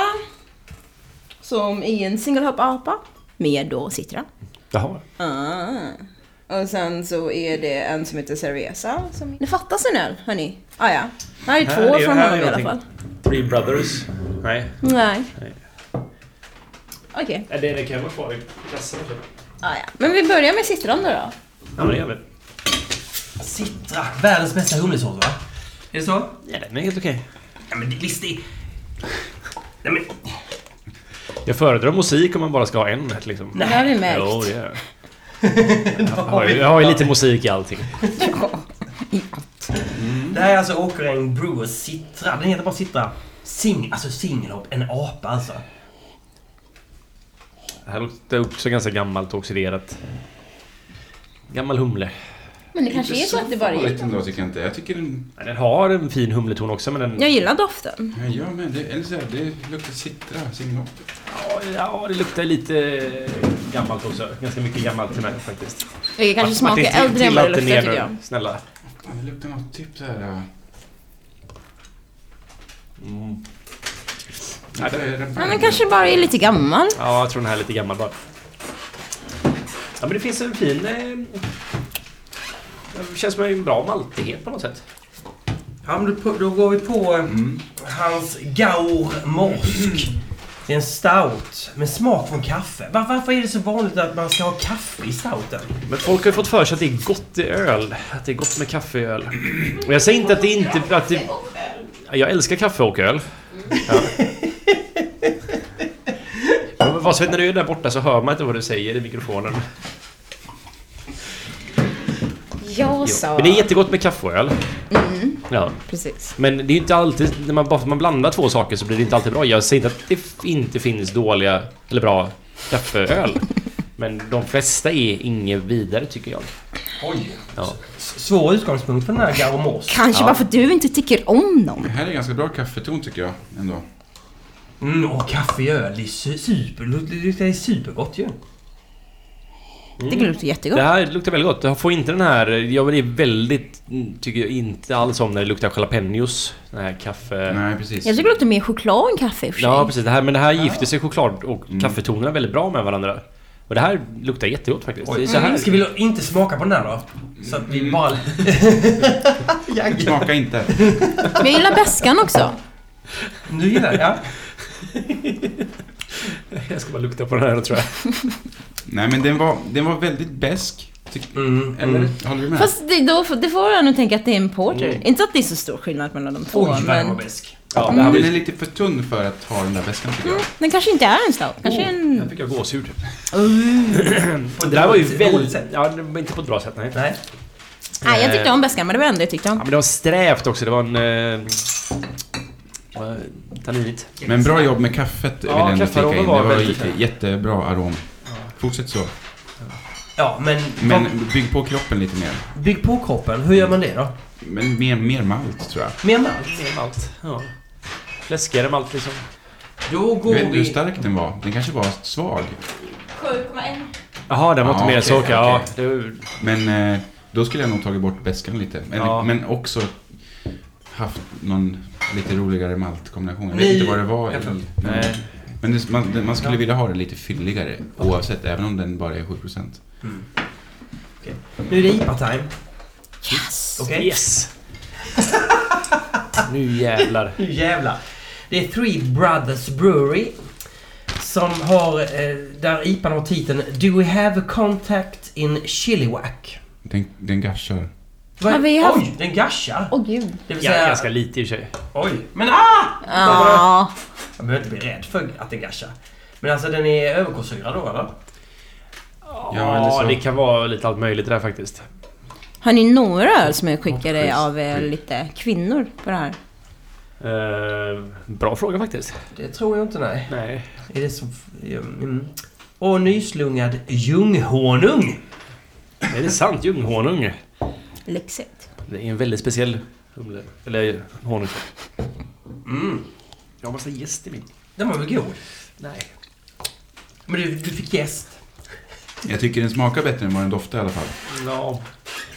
E: Som i en single hop apa. Med då citra.
A: Jaha.
E: Ah. Och sen så är det en som heter Cerveza. Som... Det fattas en öl, hörni. Ah, ja. Här är
A: Här
E: två
A: är-
E: från
A: här är
E: honom i alla
A: någonting.
E: fall.
A: Three Brothers. Nej.
E: Nej.
A: Nej.
E: Okej.
A: Nej, Det, det kan vara kvar i kassan. typ.
E: Ah, ja. Men vi börjar med citron då. då.
A: Ja, men det gör vi.
C: Citra, världens bästa humlesås va? Är det så?
A: Ja, den är helt okej.
C: Ja men det visst det... Nej men...
A: Jag föredrar musik om man bara ska ha en rätt liksom.
E: Det har vi märkt.
A: Jo, det gör jag. Jag har ju- Jag har ju lite musik i allting.
C: Det här är alltså Åkeräng Brewers Citra. Den heter bara Citra. Sing, alltså singelhopp. En apa alltså.
A: Det här låter också ganska gammalt och oxiderat. Gammal humle.
E: Men det kanske är så att det bara är...
D: farligt ändå tycker jag inte. Jag tycker den...
A: Ja, Den har en fin humleton också men den...
E: Jag gillar doften.
D: Ja, jag med. Det, eller så här, det luktar citra. Singelhopp.
A: Ja, ja, det luktar lite gammalt också. Ganska mycket gammalt till mig faktiskt.
E: Det kanske
A: Martin,
E: smakar
A: till-
E: äldre än vad det
A: tillåt
E: luktar
A: ner
E: tycker
A: nu,
E: jag.
A: Snälla.
D: Fan, Det luktar något typ så här... äh,
A: Mm.
D: luktar
E: Ja,
D: rabarber.
E: den kanske bara är lite gammal.
A: Ja, jag tror den här är lite gammal bara. Ja, men det finns en fin... Eh, det känns som en bra maltighet på något sätt.
C: Ja men då, då går vi på eh,
D: Mm.
C: hans Gaur Morsk. Det är en stout med smak från kaffe. Var, varför är det så vanligt att man ska ha kaffe i stouten?
A: Men folk har ju fått för sig att det är gott i öl. Att det är gott med kaffe i öl. Och jag säger inte att det inte... Att det, jag älskar kaffe och öl. Ja. Men Vad Sven, när du är där borta så hör man inte vad du säger i mikrofonen.
E: Jag
A: Jo.
E: sa... Mm.
A: Men det är jättegott med kaffe och öl. Ja.
E: Precis.
A: Men det är ju inte alltid, när man, bara för att man blandar två saker så blir det inte alltid bra. Jag säger inte att det f- inte finns dåliga, eller bra, kaffeöl. Men de flesta är inget vidare tycker jag.
D: Oj!
A: Ja.
C: S- Svår utgångspunkt för den här Gaur Morsk.
E: Kanske
A: Ja.
E: bara för att du inte tycker om dem.
D: Det här är ganska bra kaffeton tycker jag ändå.
C: Mm, och kaffe i öl. Det är su- super, det är supergott ju.
E: Det luktar
A: Det
E: jättegott.
A: här luktar väldigt gott. Jag får inte den här... Jag är väldigt... Tycker jag inte alls om när det luktar jalapenos. Den här kaffe...
D: Nej, precis.
E: Jag tycker det luktar mer choklad än kaffe i och för sig.
A: Ja, precis. Det här, men det här gifter sig choklad och kaffetonerna väldigt bra med varandra. Och det här luktar jättegott faktiskt. Det är
C: Oj,
A: så här.
C: Mm. Ska vi inte smaka på den här då? Så att vi bara...
D: Smaka inte.
E: Men jag gillar beskan också.
C: Nu gillar jag. Ja.
A: Jag ska bara lukta på den här tror jag.
D: Nej, men den var, den var väldigt besk. Tyck,
C: Mm,
D: eller?
C: mm.
D: Håller du med?
E: Fast det, då, får- det får jag nog tänka att det är en porter.
A: Mm.
E: Inte att det är så stor skillnad mellan de två,
C: Oj, vad den var
E: men...
C: besk.
A: Ja, det här
D: Den
A: var
D: är
A: ju...
D: lite för tunn för att ha den där väskan tycker jag.
E: Mm, den kanske inte är en stout. Kanske
A: Oh.
E: en...
A: Här fick jag gåshud.
C: Mm. På ett
A: Det där var ju
C: dåligt- dåligt
A: väldigt...
C: sätt.
A: Ja, det var inte på ett bra sätt nej.
C: Nej.
E: Nej, jag tyckte om beskan, men det var det enda jag tyckte
A: Ja,
E: om.
A: men det var strävt också. Det var en... Eh, eh, tanninigt.
C: Mm.
D: Men bra jobb med kaffet vill
A: Ja,
D: jag ändå
A: kafferomen
D: sticka in. Det
A: var
D: var
A: väldigt
D: jätte, jättebra arom. Fortsätt så.
C: Ja, men,
D: Men bygg på kroppen lite mer.
C: vad- bygg på kroppen. Hur gör man det då?
D: Men mer, mer malt tror jag.
C: Mer malt.
A: Mer malt. Ja. Fläskigare malt liksom.
C: Då
D: Jag
C: går
D: vet inte hur
C: vi...
D: stark den var. Den kanske var svag.
E: 7,1.
A: Jaha, den var inte
D: Ja,
A: mer än så.
D: okej,
A: okej. Ja,
D: okej.
A: det var-
D: Men eh, då skulle jag nog tagit bort beskan lite. Men,
A: Ja.
D: men också haft någon lite roligare maltkombination. Jag vet
C: Nej,
D: inte vad det var
C: jag
D: i.
C: tror-
D: Men,
A: Nej.
D: men det, man, man skulle vilja ha det lite fylligare oavsett, även om den bara är 7%.
C: Nu är det IPA-time.
E: Yes!
C: Okej?
A: Yes! nu jävlar.
C: Nu jävlar. Det är Three Brothers Brewery. Som har... Eh, där IPAn har titeln Do we have a contact in Chilliwack?
D: Den, den gashar.
C: Vad-
E: Har vi haft-
C: Oj, den gashar!
E: Åh gud.
C: Det vill
A: Ja,
C: säga...
A: ganska lite i och för sig.
C: Oj, men ah!
E: Ja.
C: Man behöver inte bli rädd för att den gashar. Men alltså den är överkorsyrad då eller?
A: Ja,
D: eller så.
A: det kan vara lite allt möjligt där faktiskt.
B: Har ni några öl som är skickade
A: schysst,
B: av eh,
A: schysst.
B: lite kvinnor på det här?
A: Eh, bra fråga faktiskt.
C: Det tror jag inte, nej.
A: Nej.
C: Är det som... Mm. Och nyslungad ljunghonung.
A: Är det sant? Ljunghonung.
B: Lyxigt.
A: Det är en väldigt speciell humle. Eller honung.
C: Mm.
A: Jag har massa gäst i min.
C: Den var väl god?
A: Nej.
C: Men du, du fick gäst.
D: Jag tycker den smakar bättre än vad den doftar i alla fall.
A: Ja.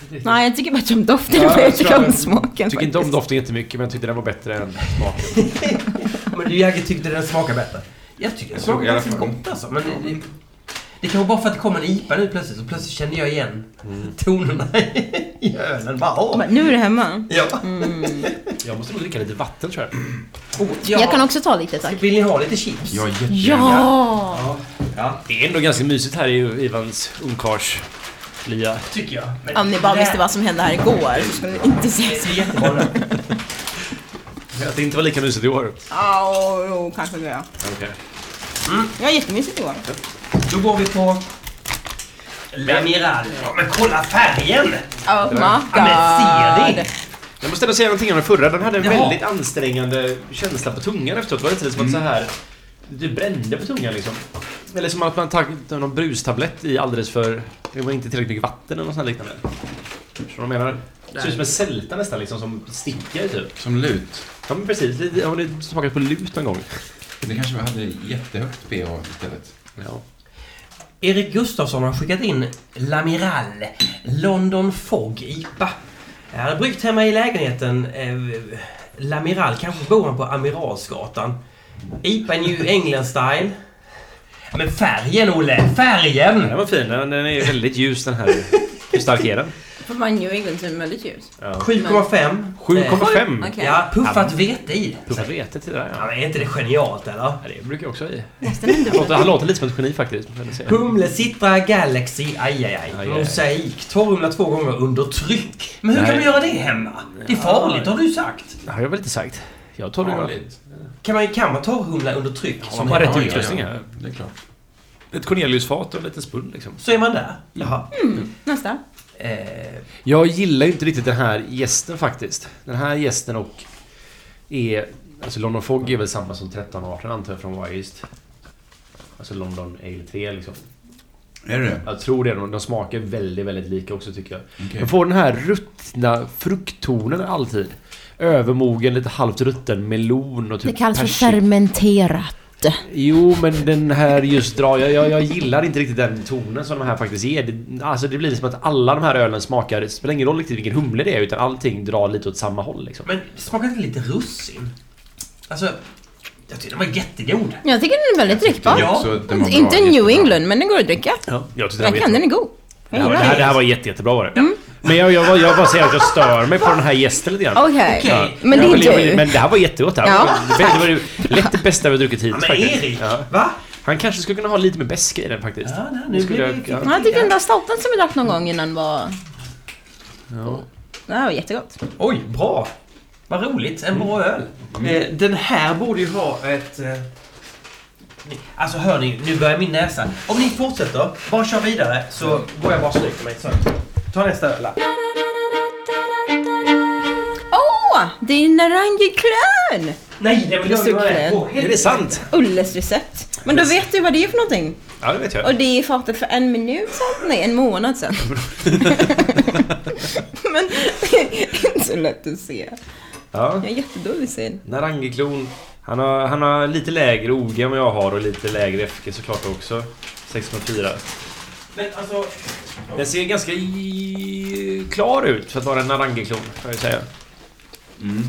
B: Nej, jag tycker bättre om doften
A: Ja,
B: än vad
A: jag
B: jag
A: tror
B: tycker om
A: jag-
B: smaken.
A: Jag tycker inte om
B: faktiskt.
A: doften jättemycket men jag tyckte den var bättre än smaken.
C: Men du, jag tyckte den smakade bättre. Jag tycker den
D: Jag tror
C: smakade
D: i alla
C: ganska
D: fall.
C: gott alltså. Men det, det, det kanske bara för att det kom en IPA nu plötsligt, så plötsligt kände jag igen
D: Mm.
C: tonerna i ölen. Bara, åh.
B: Men nu är det hemma.
C: Ja.
A: Jag måste nog dricka lite vatten tror jag.
C: Oh, ja.
E: Jag kan också ta lite tack.
C: Vill ni ha lite chips?
D: Jag är jättegärna.
E: Ja!
C: Ja,
A: Det är ändå ganska mysigt här i Ivans ungkarlslia.
C: tycker jag. Men
E: Om ni bara visste vad som hände här igår så skulle ni inte
C: Det
E: säga så.
C: är jättebra nu.
A: Att det inte var lika mysigt i år.
E: Ja, oh, kanske det. Ja,
A: Okej.
E: Det var jättemysigt igår.
C: Då går vi på... L'Amiral. Ja, men kolla färgen!
E: Oh my
C: Ja, men ser
E: god.
C: ni?
A: Jag måste ändå säga någonting om den förra. Den hade en
C: Jaha.
A: väldigt ansträngande känsla på tungan efteråt. Var det inte det som att så här... Du brände på tungan liksom. Eller som att man tagit någon brustablett i alldeles för... Det var inte tillräckligt mycket vatten eller något sånt här liknande. Förstår du vad jag menar? Det ser ut som en sälta nästan liksom som sticker typ.
D: Som lut.
A: Ja men precis. Det- Har ni smakat på lut någon gång?
D: Det kanske hade jättehögt pH istället.
A: Ja.
C: Erik Gustafsson har skickat in L'Amiral London Fog IPA. Jag hade bryggt hemma i lägenheten. Eh, L'Amiral, kanske bor han på Amiralsgatan. IPA New England Style. Ja, Men färgen, Olle!
A: Den
C: Färgen!
A: här var fin. Den den är väldigt ljus den här. Hur stark är den?
E: För man New England som är väldigt ljus.
A: Ja.
C: 7,5. Eh,
A: 7,5.
E: Okej.
C: Ja, puffat vete i.
A: Puffa vete till det där
C: Ja,
A: ja.
C: men är inte det genialt, eller?
A: Ja, Det brukar jag också ha i.
E: Nästan en
A: Han låter,
E: dubbel.
A: han låter lite som ett geni faktiskt. får jag säga.
C: Humle, Citra, Galaxy, aj, aj, aj.
A: aj.
C: Mosaik, torrumla två gånger under tryck. Men hur kan
A: Nej.
C: man göra det hemma? Det är farligt, har du sagt.
A: Det har jag väl inte sagt. Jag tar det
D: Farligt.
C: Kan man, kan man torrhumla under tryck?
A: Som har rätt
D: Ja, ja,
A: utrustning
D: ja.
A: här.
D: Det är klart.
A: Ett Corneliusfat och en liten spund liksom.
C: Så är man där. Jaha.
E: Nästa.
C: Eh,
A: Jag gillar ju inte riktigt den här gästen faktiskt. Den här gästen och är... Alltså London Fog är väl samma som 13 och 18 antar jag från Wireist. Alltså London Ale 3 liksom.
D: Är det det?
A: Jag tror det. De, de smakar väldigt, väldigt lika också tycker jag.
D: Okej.
A: Jag får den här ruttna frukttonen alltid. Övermogen, lite halvt rutten melon och typ persika.
B: fermenterat.
A: Jo, men den här just drar... Jag, jag, jag gillar inte riktigt den tonen som de här faktiskt ger. Det, alltså det blir som att alla de här ölen smakar... Det spelar ingen roll riktigt vilken humle det är, utan allting drar lite åt samma håll liksom.
C: men smakar inte lite russin? Alltså, jag tyckte den var jättegod.
E: Jag tycker den är väldigt drickbar.
D: Det är
C: Ja.
D: också- den var
E: Inte
D: bra,
E: New
D: jättebra.
E: England, men den går att dricka.
A: Ja, jag tyckte
E: Den
A: det var
E: kan, den
A: jättebra.
E: är god.
A: Det här, var- det här, det här var jätte, jättebra var det.
E: Mm.
A: Men jag, jag, jag, jag bara säger att jag stör mig på den här gästen lite grann.
E: Okej.
C: Okej.
E: Men det
A: Jag
E: är
A: vill- jag vill-
E: du.
A: Men det här var jättegott. Det, här.
E: Ja.
A: det var ju lätt det bästa vi har druckit
C: Ja,
A: hittills
C: men
A: faktiskt.
C: Erik!
A: Ja.
C: Va?
A: Han kanske skulle kunna ha lite mer bäska i den faktiskt.
C: Ja, nej,
A: Det
C: nu
A: skulle
C: blir
A: jag-
C: vi...
A: ja.
E: Ja, jag tyckte den där stouten som vi drack någon gång innan var...
A: Ja.
E: Den här var jättegott.
C: Oj, bra! Vad roligt, en bra öl. Eh, Den här borde ju ha ett... eh, ni- Alltså hör ni, nu börjar min näsa. Om ni fortsätter, bara kör vidare så går jag bara och stryker mig. Så. Ta nästa öl. här.
E: Åh! det är Narangi Klön!
C: Nej, det vill jag
E: Det
C: inte vara
E: stod det.
C: med på.
A: Är det sant?
E: Ulles recept. Men då vet du vad det är för någonting.
A: Ja, det vet jag.
E: Och det är fatet för en minut sedan. Nej, en månad sedan. Men det är inte så lätt att se.
A: Ja.
E: Jag är jättedålig syn.
A: Narangiklon. Han har, han har lite lägre OG än vad jag har och lite lägre FG såklart också. 6,4.
C: Men alltså,
A: Den ser ganska i- klar ut för att vara en Narangiklon, får jag ju säga.
D: Mm.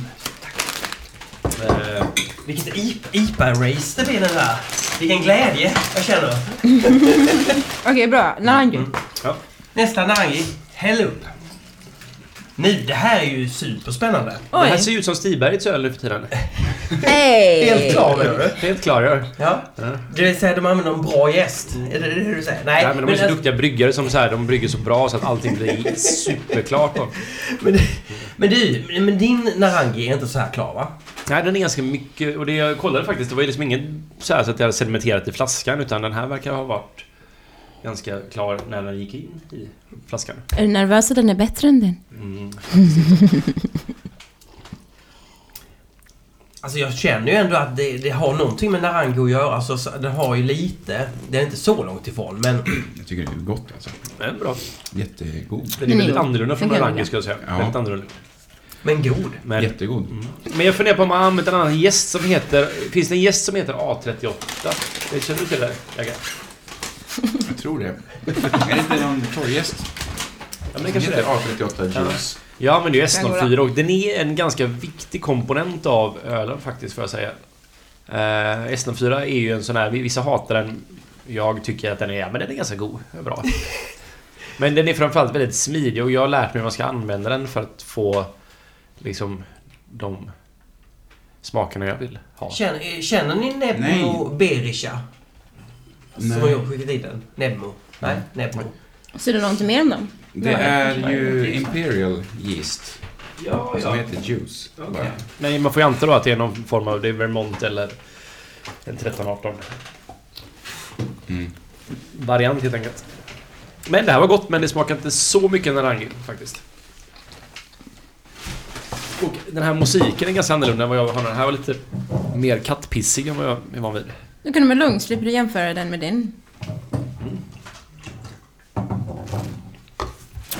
A: Eh,
C: vilket Ipa- IPA-race det blir den här. Vilken glädje jag känner.
E: Okej, bra. Narangi.
A: Mm. ja.
C: Nästa Nangi, häll upp. Nu, det här är ju superspännande.
A: Det här
E: Oj.
A: ser ju ut som Stibergets öl nu för tiden.
E: Hej!
C: Helt klar med det.
A: Helt klar, ja.
C: Ja.
A: Ja.
C: Det vill säga, de använder en bra gäst. Är det det du säger? Nej,
A: Nej, men de är så
C: alltså-
A: duktiga bryggare som så här, de brygger så bra så att allting blir superklart. Och,
C: Men, men du, men din Narangi är inte så här klar va?
A: nej, den är ganska mycket... Och det jag kollade faktiskt, det var ju liksom ingen så här så att jag hade sedimenterat i flaskan utan den här verkar ha varit ganska klar när den gick in i flaskan.
B: Är du nervös att den är bättre än din?
A: Mm.
C: Alltså jag känner ju ändå att det, det har någonting med Narango att göra. Så så- den har ju lite. Den är inte så långt ifrån men...
D: Jag tycker det är gott alltså.
A: Men bra.
D: Jättegod.
A: Den är
B: Mm.
A: väldigt annorlunda från
B: Den kan jag
A: Narangi ska jag säga.
D: Ja.
A: Väldigt annorlunda.
C: Men god.
A: Men, Mm.
D: Jättegod.
A: men jag funderar på om man har använt en annan gäst som heter... Finns det en gäst som heter A38? Det känner du till det? Jagge?
D: Jag tror det. är det inte någon torrjäst?
A: Ja, men det
D: Den
A: kanske det
D: heter
A: är.
D: A38 Juice.
A: Jag använder ju
E: Kan jag
A: S04 och den är en ganska viktig komponent av ölen faktiskt, får jag säga. Eh, S04 är ju en sån här, vissa hatar den. Jag tycker att den är, ja, men den är ganska god. Den är Bra. men den är framförallt väldigt smidig och jag har lärt mig hur man ska använda den för att få liksom de smakerna jag vill ha.
C: Känner, känner ni Nebmo
D: Nej.
C: Berisha?
D: Nej.
C: Som jag har skickat in den. Nebmo. Nej, Nebmo.
B: Så du något mer om dem?
D: Det är ju Imperial Yeast.
A: Ja,
D: Som heter Juice. bara.
A: Nej, man får ju anta då att det är någon form av, det är Vermont eller en 13-18
D: Mm.
A: variant helt enkelt. Men det här var gott, men det smakar inte så mycket narangi faktiskt. Och den här musiken är ganska annorlunda än vad jag har. Den här var lite mer kattpissig än vad jag är van vid.
B: Du kan du med lugn, slipper du jämföra den med din.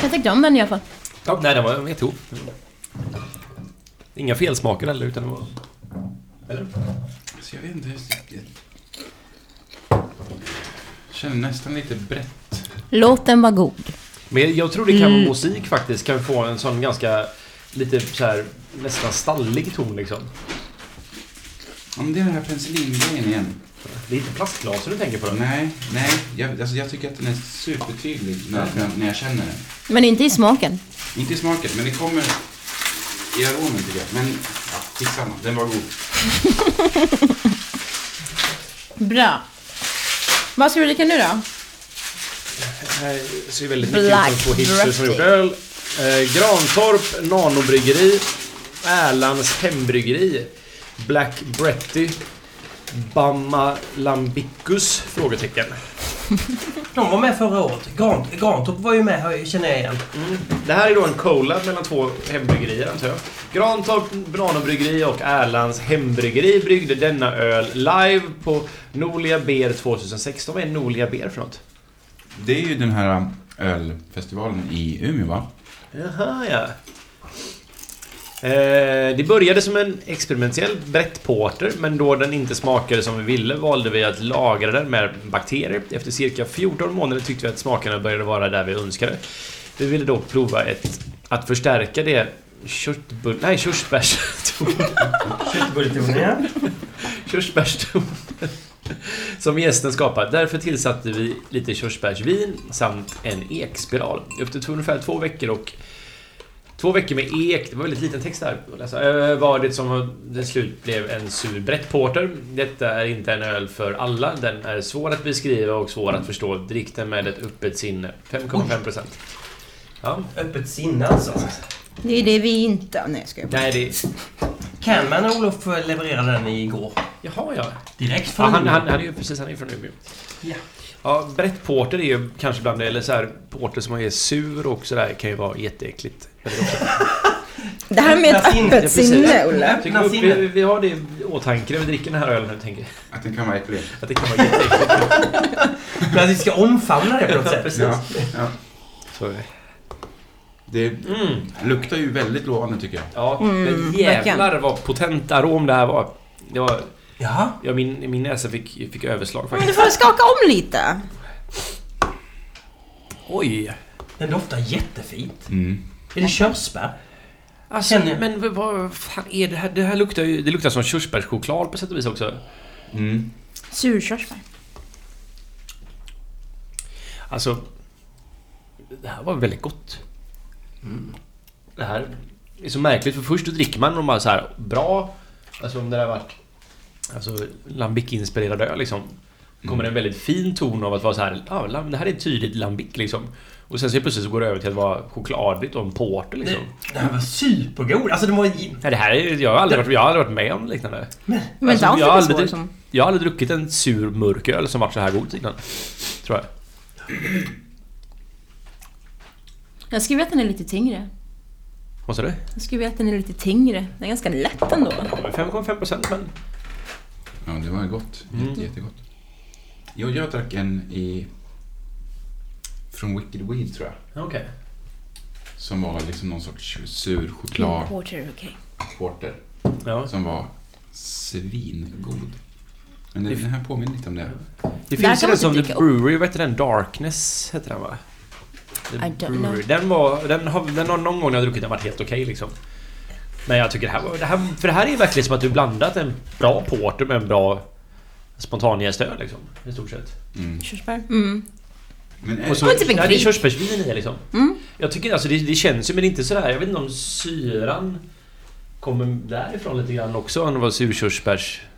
B: Jag tyckte om den i alla fall.
A: Ja, nej, den var jättegod. Inga felsmaker heller, utan det var... Eller?
D: Så jag vet inte. jag- Jag känner nästan lite brett.
B: Låt den vara god.
A: Men jag tror det kan vara musik faktiskt. Kan få en sån ganska, lite så här nästan stallig ton liksom.
D: Om det är den här penicillingrejen igen.
A: Det är inte plastglasen du tänker på då?
D: Nej, nej. Jag, alltså jag tycker att den är supertydlig när, när, när jag känner den.
B: Men inte i smaken.
D: Inte i smaken, men det kommer i aromen tycker jag. Men ja, skitsamma, den var god.
B: Bra. Vad ska vi dricka nu då?
A: Det här ser ju väldigt mycket ut
B: Black
A: som två hipsters som gjort öl. Eh, Grantorp Nanobryggeri. Erlands Hembryggeri. Black Bretty. Bamma Lambicus? Frågetecken.
C: De var med förra året. Grant, Grantorp var ju med här, känner jag igen.
A: Det här är då en collab mellan två hembryggerier antar jag. Grantorp Nanobryggeri och Erlands Hembryggeri bryggde denna öl live på Nolia Beer 2016. Vad är Nolia Beer för något?
D: Det är ju den här um, ölfestivalen i Umeå va?
A: Jaha, ja. Eh, det började som en experimentell brett porter, men då den inte smakade som vi ville valde vi att lagra den med bakterier. Efter cirka 14 månader tyckte vi att smakerna började vara där vi önskade. Vi ville då prova ett, att förstärka det köttbull... Nej, körsbärs...
C: Köttbulletonen ja.
A: körsbärstonen som gästen skapat. Därför tillsatte vi lite körsbärsvin samt en ekspiral. Efter två- ungefär två veckor och Två veckor med ek, det var väldigt liten text där att läsa, eh, var det som till slut blev en sur brett porter. Detta är inte en öl för alla, den är svår att beskriva och svår att förstå. Drick den med ett öppet sinne. 5,5%. Ja,
C: Öppet sinne alltså.
B: Det är det vi inte... Nej, jag skojar.
A: nej det...
C: Canman och Olof levererade den igår.
A: Jaha ja.
C: Direkt
A: Ja,
C: från
A: han,
C: Umeå.
A: han, han är ju precis, han är ju från Umeå.
C: Ja.
A: Ja, brett porter är ju kanske bland det, eller så här, porter som är sur och sådär kan ju vara jätteäckligt. Eller också-
B: Det här med ett
C: Öppna sinnet,
B: öppet
A: precis. Mm,
B: sinne, Olle.
A: Jag tycker
C: Öppna
A: upp, vi,
C: sinnet.
A: vi har det i åtanke när vi dricker den här ölen nu, tänker jag.
D: Att den kan vara äcklig.
A: Att det kan vara jätteäckligt.
C: Men att vi ska omfamna det på något sätt.
D: Ja, ja.
A: Så,
D: Det
A: mm,
D: luktar ju väldigt lovande tycker jag.
A: ja,
B: Mm,
A: men
B: verkligen.
A: jävlar vad potent arom det här var. Det var
C: Jaha.
A: ja, min, min näsa fick, fick överslag
B: Men du
A: faktiskt.
B: får skaka om lite.
A: Oj!
C: Den doftar jättefint.
D: Mm.
C: Är det körsbär?
A: Alltså,
C: Känner jag.
A: men vad- vad fan är det här? Det här luktar ju... Det luktar som körsbärschoklad på sätt och vis också.
D: Mm.
B: Surkörsbär.
A: Alltså, det här var väldigt gott. Mm. Det här är så märkligt, för först då dricker man och bara så här bra, alltså om det där varit alltså Lambic-inspirerad öl liksom. Kommer en väldigt fin ton av att vara så här, ja, lam- det här är tydligt Lambic liksom. Och sen så plötsligt så går det över till att vara chokladigt och en porter liksom.
C: Den, den här var supergod. Alltså den var... i-
A: Nej, det här är, jag, har aldrig varit, jag har aldrig varit med om liknande.
B: Men
A: Alltså,
B: inte alls
A: jag
B: lika
E: liksom?
A: har aldrig-
B: svår som...
A: Jag har aldrig druckit en sur mörk öl som varit så här god innan. Tror jag.
E: Jag skriver att den är lite tyngre.
A: Vad sa du?
E: Jag skriver att den är lite tyngre. Den är ganska lätt ändå.
A: Ja, men 5,5 procent men...
D: Ja, det var gott. Jätte,
A: Mm.
D: Jättegott. Jo, jag drack en i... Från Wicked Weed, tror jag.
A: Okej.
D: Som var liksom någon sorts sur chokladporter.
E: Porter, okej.
A: Ja.
D: Som var svingod. Men den den här påminner lite om det.
E: Där
A: Det finns
E: kan
A: ju den
E: man typ
A: som
E: inte
A: The
E: dricka
A: Brewery, vad heter den? Darkness heter den va? The
E: I don't
A: Brewery. Den var, den har, den har någon gång när jag druckit den varit helt okej liksom. Men jag tycker det här var, det här, för det här är ju verkligen som att du blandat en bra porter med en bra spontanjästöl liksom. I stort sett.
D: Mm.
E: Körsbär. Mm.
D: Men är,
A: Och så,
E: Och typ en Mm.
A: ja, det är
E: kvik.
A: körsbärsvin i det, liksom. Jag tycker alltså det, det känns ju men inte sådär, jag vet inte om syran kommer därifrån lite grann också än vad surkörsbärsvin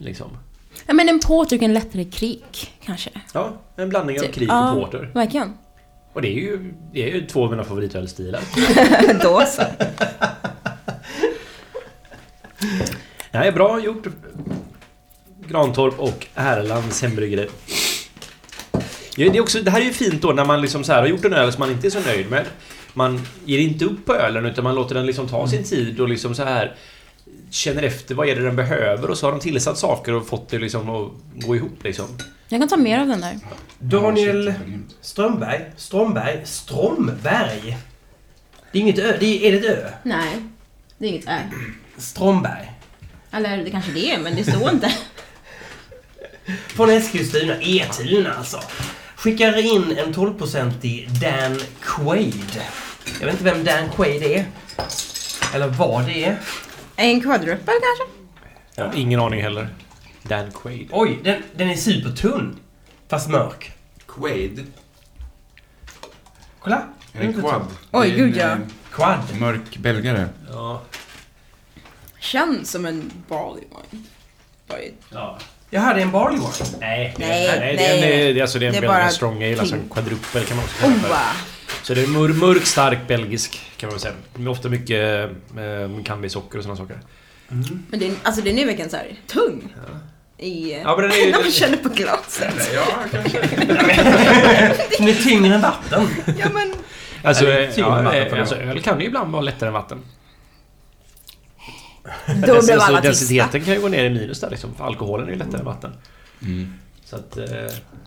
A: liksom.
E: Ja, men en porter och en lättare krik, kanske.
A: Ja, en blandning av
E: Typ.
A: krig
E: Ja,
A: och porter.
E: Verkligen.
A: Och det är ju, det är ju två av mina favoritölstilar.
E: Då så.
A: Nej, bra gjort. Grantorp och Erlands hembryggeri. Ja, Det, är också, det här är ju fint då när man liksom så här har gjort en öl som man inte är så nöjd med. Man ger inte upp på ölen utan man låter den liksom ta sin tid och liksom så här känner efter vad är det den behöver och så har de tillsatt saker och fått det liksom att gå ihop liksom.
E: Jag kan ta mer av den där.
C: Daniel
D: Ja, shit, vad grymt.
C: Strömberg, Strömberg, Strömberg. Det är inget ö, det är, är det ett ö?
E: Nej, det är inget äh.
C: Strömberg.
E: Eller det kanske det är, men det står inte.
C: Från Eskilstuna, Etuna alltså. Skickar in en 12-procentig Dan Quaid. Jag vet inte vem Dan Quaid är. Eller vad det är.
E: En quadruple kanske?
A: Jag har ingen aning heller. Dan Quaid.
C: Oj, den, den är supertunn. Fast mörk.
D: Quaid.
C: Kolla!
D: Är det en quad?
E: Oj,
D: Det är en,
E: gud, ja.
C: Quad.
D: eh, Mörk belgare.
A: Ja,
E: Känns som en barley wine. Oj.
A: ja.
C: Jag hade en barley wine.
A: Nej,
E: Nej,
A: nej,
E: nej.
A: Det, är, en- det, är- alltså det är en
E: Det är
A: belgisk
E: bara
A: strong ale, alltså en
E: ting.
A: quadrupel kan man också kalla det för.
E: Oa!
A: Så det är mör, mörk, stark belgisk kan man väl säga. Med ofta mycket eh, cannabissocker och sådana saker.
E: Men den, alltså den är verkligen såhär tung. I...
A: Ja, men den är ju-
E: när man känner på glaset.
D: Ja, kanske.
C: Den är tyngre än vatten.
E: Ja men...
A: Alltså,
C: Ja, det är
A: eh,
C: tyngre än
A: ja,
C: vatten
A: eh,
C: för
A: alltså
C: dem.
A: öl kan ju ibland vara lättare än vatten.
E: Då blev alla tysta.
A: Alltså, densiteten kan ju gå ner i minus där liksom, för alkoholen är ju lättare än vatten.
D: Mm.
A: Så att... Eh,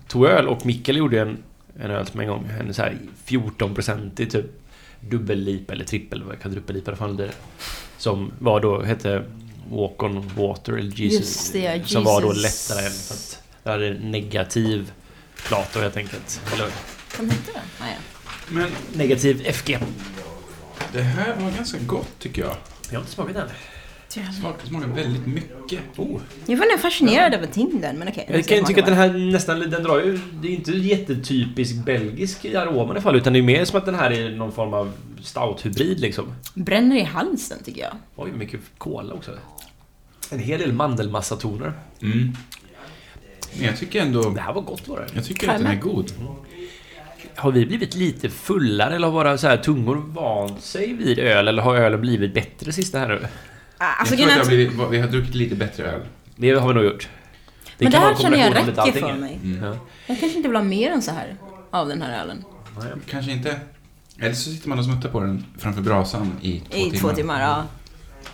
A: tog öl och Mikkel gjorde en, en öl som en gång, en så här 14-procentig typ dubbellip eller trippel, vad- kvadruppellip i alla fall det. Som var då, hette Walk on Water eller Jesus.
E: Just det, ja,
A: Som var då
E: Jesus.
A: lättare än, för att det hade negativ plato helt enkelt. Eller
E: Vad hette den? Ah, ja.
D: Men
A: negativ FG.
D: det här var ganska gott tycker jag.
A: Jag har inte smakat den.
D: Smak, smakar väldigt mycket.
A: Oh.
E: Jag var nästan fascinerad över tyngden, men okej.
A: Jag kan ju tycka att den här nästan, den drar ju, det är inte jättetypisk belgisk i aromen i alla fall utan det är mer som att den här är någon form av stout-hybrid liksom.
E: Bränner i halsen tycker jag.
A: Oj, mycket kola också. En hel del mandelmassatoner.
D: Mm. Men jag tycker ändå...
A: Det här var gott var det.
D: Jag tycker att den är god.
A: Har vi blivit lite fullare eller har våra så här tungor vant sig vid öl eller har ölen blivit bättre sista här nu?
E: Ah, Alltså,
D: jag tror att det
E: jag
D: har blivit, vi har druckit lite bättre öl.
A: Det har vi nog gjort.
E: men det
A: kan vara
E: här
A: en
E: känner jag
A: kombination av lite
E: räcker
A: allting.
E: för mig.
A: Ja.
E: Jag kanske inte vill ha mer än så här av den här ölen.
D: Kanske inte. Eller så sitter man och smuttar på den framför brasan i två
E: I
D: timmar.
E: två timmar, ja.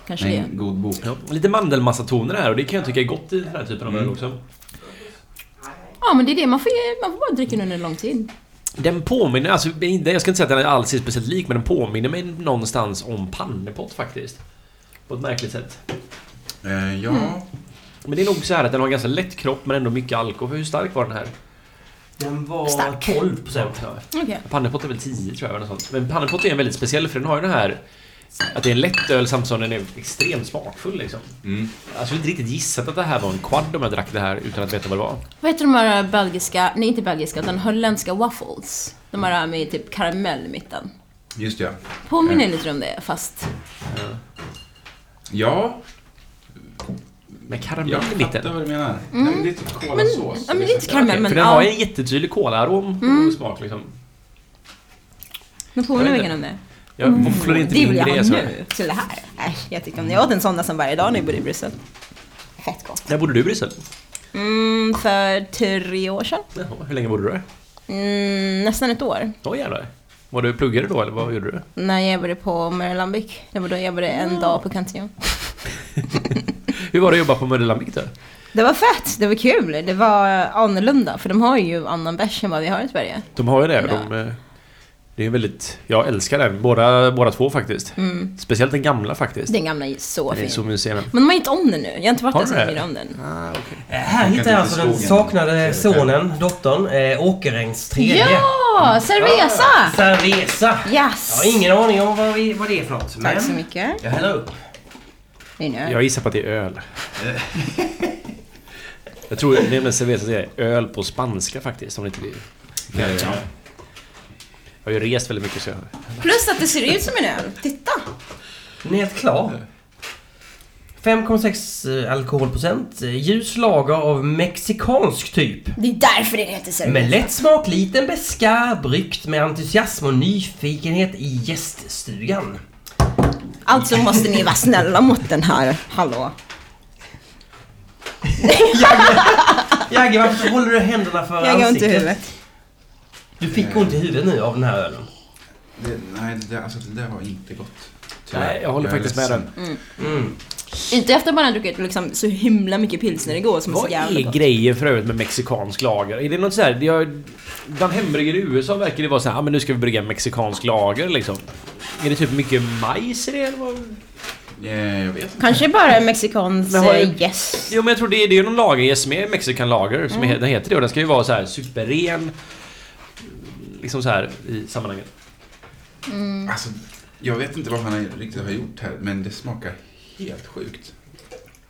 E: Kanske
D: Med
E: det.
D: en god bok.
A: Ja, lite mandelmassatoner här och det kan jag tycka är gott i den här typen av öl också.
E: Ja, men det är det. Man får, ge- man får bara dricka den under lång tid.
A: Den påminner, alltså inte- jag ska inte säga att den alls är speciellt lik men den påminner mig någonstans om pannepott faktiskt. På ett märkligt sätt.
D: Eh, ja,
E: Mm.
A: Men det är nog så här att den har en ganska lätt kropp men ändå mycket alkohol. Hur stark var den här?
C: Den var
E: Stark.
C: 12 procent.
A: Ja.
E: Okej.
A: Pannepott är väl 10 tror jag eller något sånt. Men pannepott är en väldigt speciell för den har ju den här att det är en lätt öl samtidigt som den är extremt smakfull liksom.
D: Mm.
A: Alltså jag hade inte riktigt gissat att det här var en quad om jag drack det här utan att veta vad det var.
E: Vad heter de här äh, belgiska, nej inte belgiska, utan holländska waffles? De här med typ karamell i mitten.
D: just det, ja.
E: Påminner lite om det, fast...
D: Ja,
A: Med karamell
D: jag
A: i
D: fattar
A: mitten.
D: vad du menar. Nej, men det är typ kolasås.
E: Ja, Mm. men det är inte
A: Ja,
E: karamell,
A: okej,
E: men
A: för den
E: ja.
A: har
E: Mm.
A: ju en jättetydlig kolarom och smak liksom.
E: Men påminner
A: Jag vet
E: verkligen om det.
A: Jag våfflor är inte
E: Mm. Det
A: min
E: vill jag
A: grej
E: ha
A: alltså.
E: nu, till det här. Nej, jag tyckte om det. Jag åt en sån nästan varje dag när jag bodde i Bryssel. Fett gott.
A: När bodde du i Bryssel?
E: Mm, för tre år sedan.
A: Jaha, hur länge bodde du där?
E: Mm, nästan ett år.
A: Åh jävlar. Var du pluggade då eller vad gjorde du?
E: När jag jobbade på Mörlanbyck. Det var då jag jobbade en dag på Cantillon.
A: Hur var det att jobba på Mödelamik då?
E: Det var fett, det var kul, det var annorlunda. För de har ju annan bärs än vad vi har i Sverige.
A: De har ju det.
E: Ja.
A: De, eh, det är väldigt... Jag älskar den. Båda, båda två faktiskt.
E: Mm.
A: Speciellt den gamla faktiskt.
E: Den gamla är så
A: Den är
E: fin.
A: så mysig den.
E: Men de har inte om den nu. Jag har inte varit
A: Har
E: där så
A: du det?
E: mycket om den.
A: Ah, okej.
C: Eh, Här hittar jag alltså den saknade sonen, dottern, eh, Åkerängs tredje.
E: Ja!
A: Ah.
E: Cerveza!
C: Cerveza! Jag
E: Yes!
C: har ingen aning om vad, vi, vad det är för något.
E: Tack så
C: Men
E: mycket.
C: jag häller upp.
E: Det är en öl.
A: Jag gissar på att det är öl. Jag tror nämligen Cerveza säger öl på spanska faktiskt. Om det inte blir.
D: Ja.
A: Jag har ju rest väldigt mycket så jag...
E: Plus att det ser ut som en öl. Titta!
C: Den är helt klar. 5,6 alkoholprocent. eh, Ljus lager av mexikansk typ.
E: Det är därför den heter Cerveza.
C: Med lätt smak, liten beska, bryggt med entusiasm och nyfikenhet i gäststugan.
E: Alltså måste ni vara snälla mot den här. Hallå.
C: Jagge, varför håller du händerna för
E: Jag går inte i
C: ansiktet?
E: huvudet.
C: Du fick ont i huvudet nu av den här ölen.
D: Det, nej, det, alltså, det där var inte gott.
A: Nej, jag håller
D: är
A: faktiskt med
D: ledsen.
A: den.
C: Mm.
E: Inte efter att man har druckit liksom så himla mycket pilsner igår som är så
A: Vad
E: jävla
A: är
E: gott.
A: grejen för övrigt med mexikansk lager? Är det något såhär... Jag, bland hamburgare i USA verkar det vara såhär, ah, men nu ska vi brygga mexikansk lager liksom. Är det typ mycket majs i det eller vad?
D: Eh, jag vet inte.
E: Kanske bara en mexikansk
A: Men har du-
E: eh, gäst.
A: Jo men jag tror det är, det är ju någon lagerjäst med mexican lager som
E: Mm.
A: är, den heter det och den ska ju vara så här superren. Liksom så här i sammanhanget.
E: Mm.
D: Alltså, jag vet inte vad han har- riktigt har gjort här, men det smakar helt sjukt.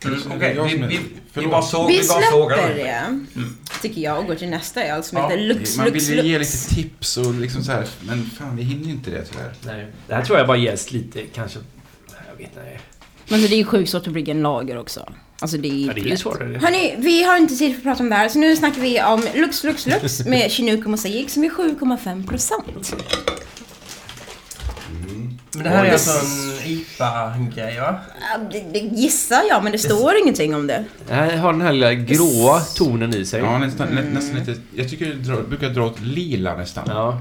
C: Mm,
D: Så det är
C: Okej,
D: jag
C: vi,
D: som är-
C: vi, vi
D: förlåt.
C: bara såg
E: Vi
C: bara sågar
E: släpper
C: den.
E: det, tycker jag, och går till nästa öl som
D: Ja,
E: heter Lux
D: Man vill
E: Lux
D: ju ge
E: Lux.
D: lite tips och liksom så här, men fan vi hinner ju inte det tyvärr.
A: Nej. Det här tror jag bara jäst lite kanske... Jag vet inte.
B: Men
E: alltså,
B: det är ju sjukt svårt att brygga en lager också. Alltså det är
A: Ja, det är ju svårare.
E: Hörni, vi har inte tid för att prata om det här, så nu snackar vi om Lux Lux Lux med Chinook och Mosaic som är 7,5%.
C: Men det här är alltså en IPA-grej va?
E: Ja, Det, det gissar jag, men det står ingenting om det.
A: Det här har den här lilla gråa tonen i sig.
D: Ja, nästan, nä, nästan lite, jag tycker det drar, brukar dra åt lila nästan.
A: Ja,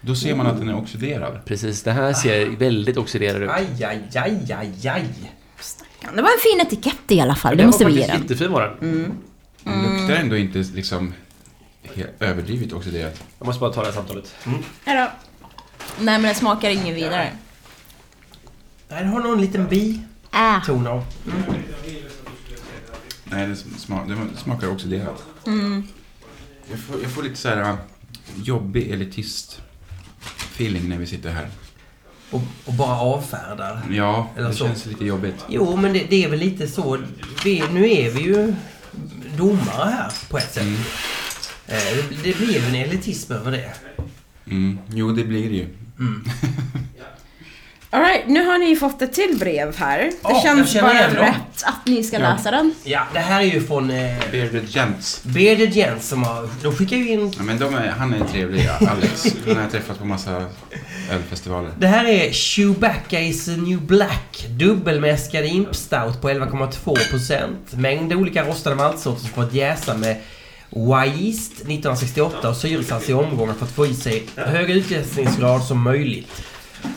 D: Då ser man att den är oxiderad.
A: precis. Det här ser väldigt oxiderad ut.
C: Aj, aj, aj, aj, aj.
E: Ja, Det var en fin etikett i alla fall, det
A: Den
E: måste
A: var
E: vi Mm. ge
A: faktiskt
E: den.
A: jättefin var den.
D: Den luktar ändå inte liksom he- överdrivet oxiderat.
A: Jag måste bara ta det här samtalet.
E: Hejdå. Nej, men den smakar ingen vidare.
C: Nej, det har någon liten biton
E: Äh.
C: av.
D: Nej, den, sma, den smakar oxiderat.
E: Mm.
D: Jag, får, jag får lite så här äh, jobbig elitist feeling när vi sitter här.
C: Och, och bara avfärdar.
D: Ja,
C: Eller
D: det
C: så.
D: känns lite jobbigt.
C: Jo, men det, det är väl lite så. Vi, nu är vi ju domare här på ett sätt. Eh, det- Det blir ju en elitism över det.
D: Mm. Jo, det blir det ju.
E: Alright, nu har ni fått ett till brev här. Det
C: Ja, jag
E: känns
C: känner
E: bara
C: igen dem.
E: rätt att ni ska läsa den.
C: Ja, det här är ju från eh,
D: Bearded Gents.
C: Bearded Jens som har... De skickar ju in...
D: Ja, men de är, han är trevlig, Alex. Han har jag träffat på massa ölfestivaler.
C: Det här är Chewbacca is the new black. Dubbelmäskad impstout på 11,2%. Mängd olika rostade maltsorter som fått jäsa med Yeast 1968 och syresats i omgångar för att få i sig hög utjäsningsgrad som möjligt.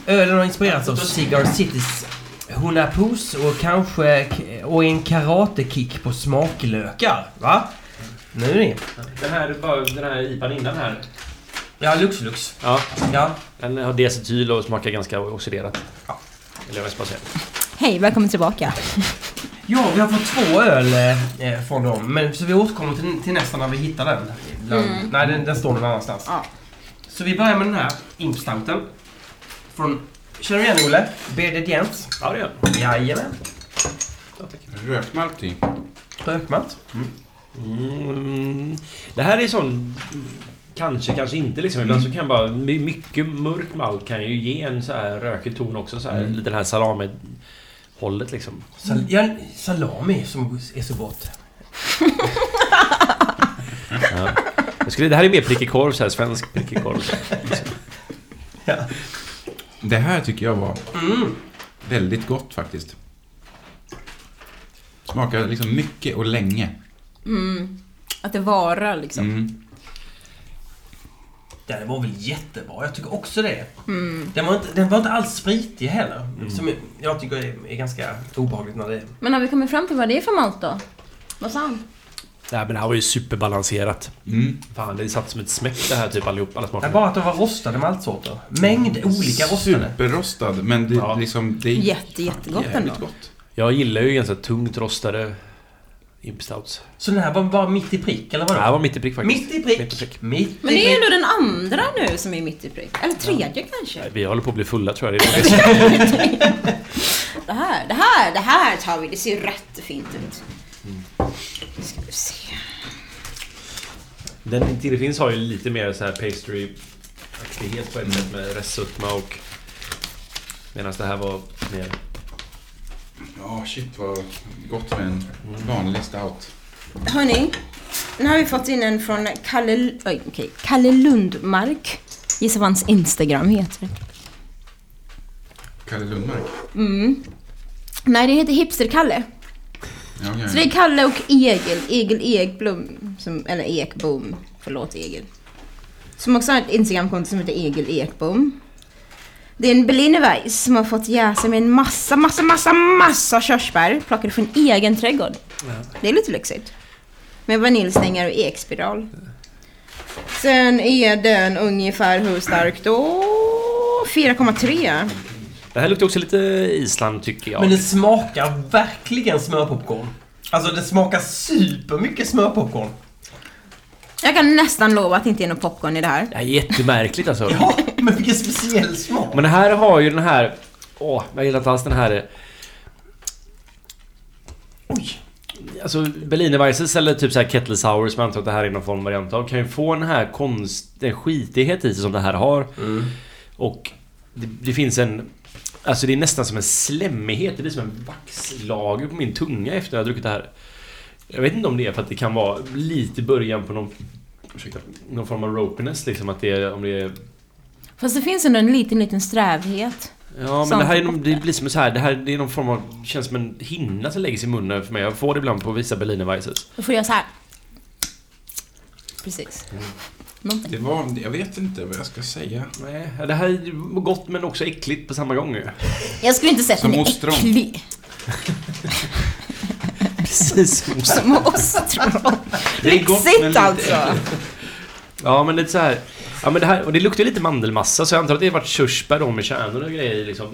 C: Ölen har inspirerats av Cigar Citys Hunapus och kanske och en karatekick på smaklökar. Va? Nu ni.
A: Den här, bara den här IPan innan här.
C: Ja, Lux Lux.
A: Ja,
C: Ja.
A: den har diacetyl och smakar ganska oxiderat. Eller vad ska man säga?
E: Hej, välkommen tillbaka.
C: Ja, vi har fått två öl eh, från dem. Men, så vi återkommer till, till nästa när vi hittar den. Bland- Nej, den, den står någon annanstans.
E: Ja.
C: Så vi börjar med den här impstouten. Från... Känner du igen Olle? Bearded Jens.
A: Ja, det gör den.
C: Jajamän.
D: Rökmalt i.
C: Rökmalt.
A: Mm, det här är sån... Kanske, kanske inte liksom. Ibland så kan bara... my- Mycket mörk malt kan ju ge en så här rökig ton också. Så här, Lite den här salami-hållet liksom.
C: Sal ja, salami som är så gott.
A: Jag skulle, det här är mer prickig korv så här, svensk prickig korv.
D: Det här tycker jag var väldigt gott faktiskt. Smakar liksom mycket och länge.
E: Att det varar liksom.
D: Mm.
C: Den var väl jättebra, jag tycker också det. Den, var inte, den var inte alls spritig heller. Som jag tycker är, är ganska obehagligt när det är...
E: Men har vi kommit fram till vad det är för malt då? Vad sa han?
A: Nej men det här var ju superbalanserat.
D: Mm.
A: Fan, det satt som ett smäck det här typ allihop, alla
C: Nej,
A: smaker.
C: bara att det var rostade maltsorter. Mängd olika rostade.
D: Superrostad, men det,
A: Ja.
D: liksom, det är
E: Jätte, jättegott
D: jävligt
E: ändå.
D: gott.
A: Jag gillar ju ganska tungt rostade imp stouts.
C: Så den här var bara mitt i prick, eller
A: Det här
C: vadå?
A: var mitt i prick faktiskt.
C: Mitt i prick! Mitt i prick.
E: Men det är ändå den andra nu som är mitt i prick. Eller tredje kanske.
A: Nej, Vi håller på att bli fulla tror jag. Det är det.
E: Det här, det här, det här tar vi. Det ser ju rätt fint ut. Nu ska vi se.
A: Den till det finns har ju lite mer så här pastry aktighet på ett sätt med restsutma och... Medan det här var mer...
D: Ja, shit vad gott med en vanlig stout.
E: Hörni, nu har vi fått in en från Kalle, oj, okej, Kalle Lundmark. Gissa vad hans Instagram heter.
D: Kalle Lundmark.
E: Mm. Nej, det heter Hipster-Kalle.
D: Ja, ja,
E: Så det
D: ja.
E: är Kalle och Egil, Egil Ekblom, som, eller Ekbom, förlåt Egil. Som också har ett Instagramkonto som heter Egil Ekbom. Det är en Berlinerweiss som har fått jäsa med en massa, massa, massa, massa körsbär plockade från egen trädgård. Det är lite lyxigt. Med vaniljstängar och ekspiral. Sen är den ungefär hur stark då? 4,3.
A: Det här luktar också lite Island tycker jag.
C: Men det smakar verkligen smörpopcorn. Alltså det smakar supermycket smörpopcorn.
E: Jag kan nästan lova att det inte är någon popcorn i det här.
A: Det här är jättemärkligt alltså.
C: Ja, men vilken speciell smak.
A: Men det här har ju den här... Åh, jag gillar inte alls den här...
C: Oj!
A: Alltså Berlinerweisses eller typ så här Kettle Sour som jag antar att det här är någon form av variant av kan ju få den här konst... Den skitighet i sig som det här har. Och det, det finns en... Alltså det är nästan som en slemmighet. Det blir som en vaxlager på min tunga efter att jag har druckit det här. Jag vet inte om det är för att det kan vara lite början på någon... Ursäkta. Någon form av ropiness liksom att det är... Om det är
E: Fast det finns ändå en liten, liten strävhet.
A: Ja men
E: Sånt.
A: det här är någon, det blir som så här, det här det är någon form av, känns som en hinna som lägger sig i munnen för mig. Jag får det ibland på vissa Berlinerweises.
E: Då får jag så här. Precis.
A: Mm.
E: Någonting.
D: Det var, jag vet inte vad jag ska säga.
A: Nej, det här är gott men också äckligt på samma gång ju.
E: Jag skulle inte säga att
D: Som
E: den är
D: ostron.
E: äcklig.
A: Precis.
E: Som ostron.
D: Det är gott men
E: Lyxigt
D: lite
E: alltså.
A: Ja men lite så här. Ja men det här, och det luktar ju lite mandelmassa så jag antar att det har varit körsbär då med kärnor och grejer i, liksom.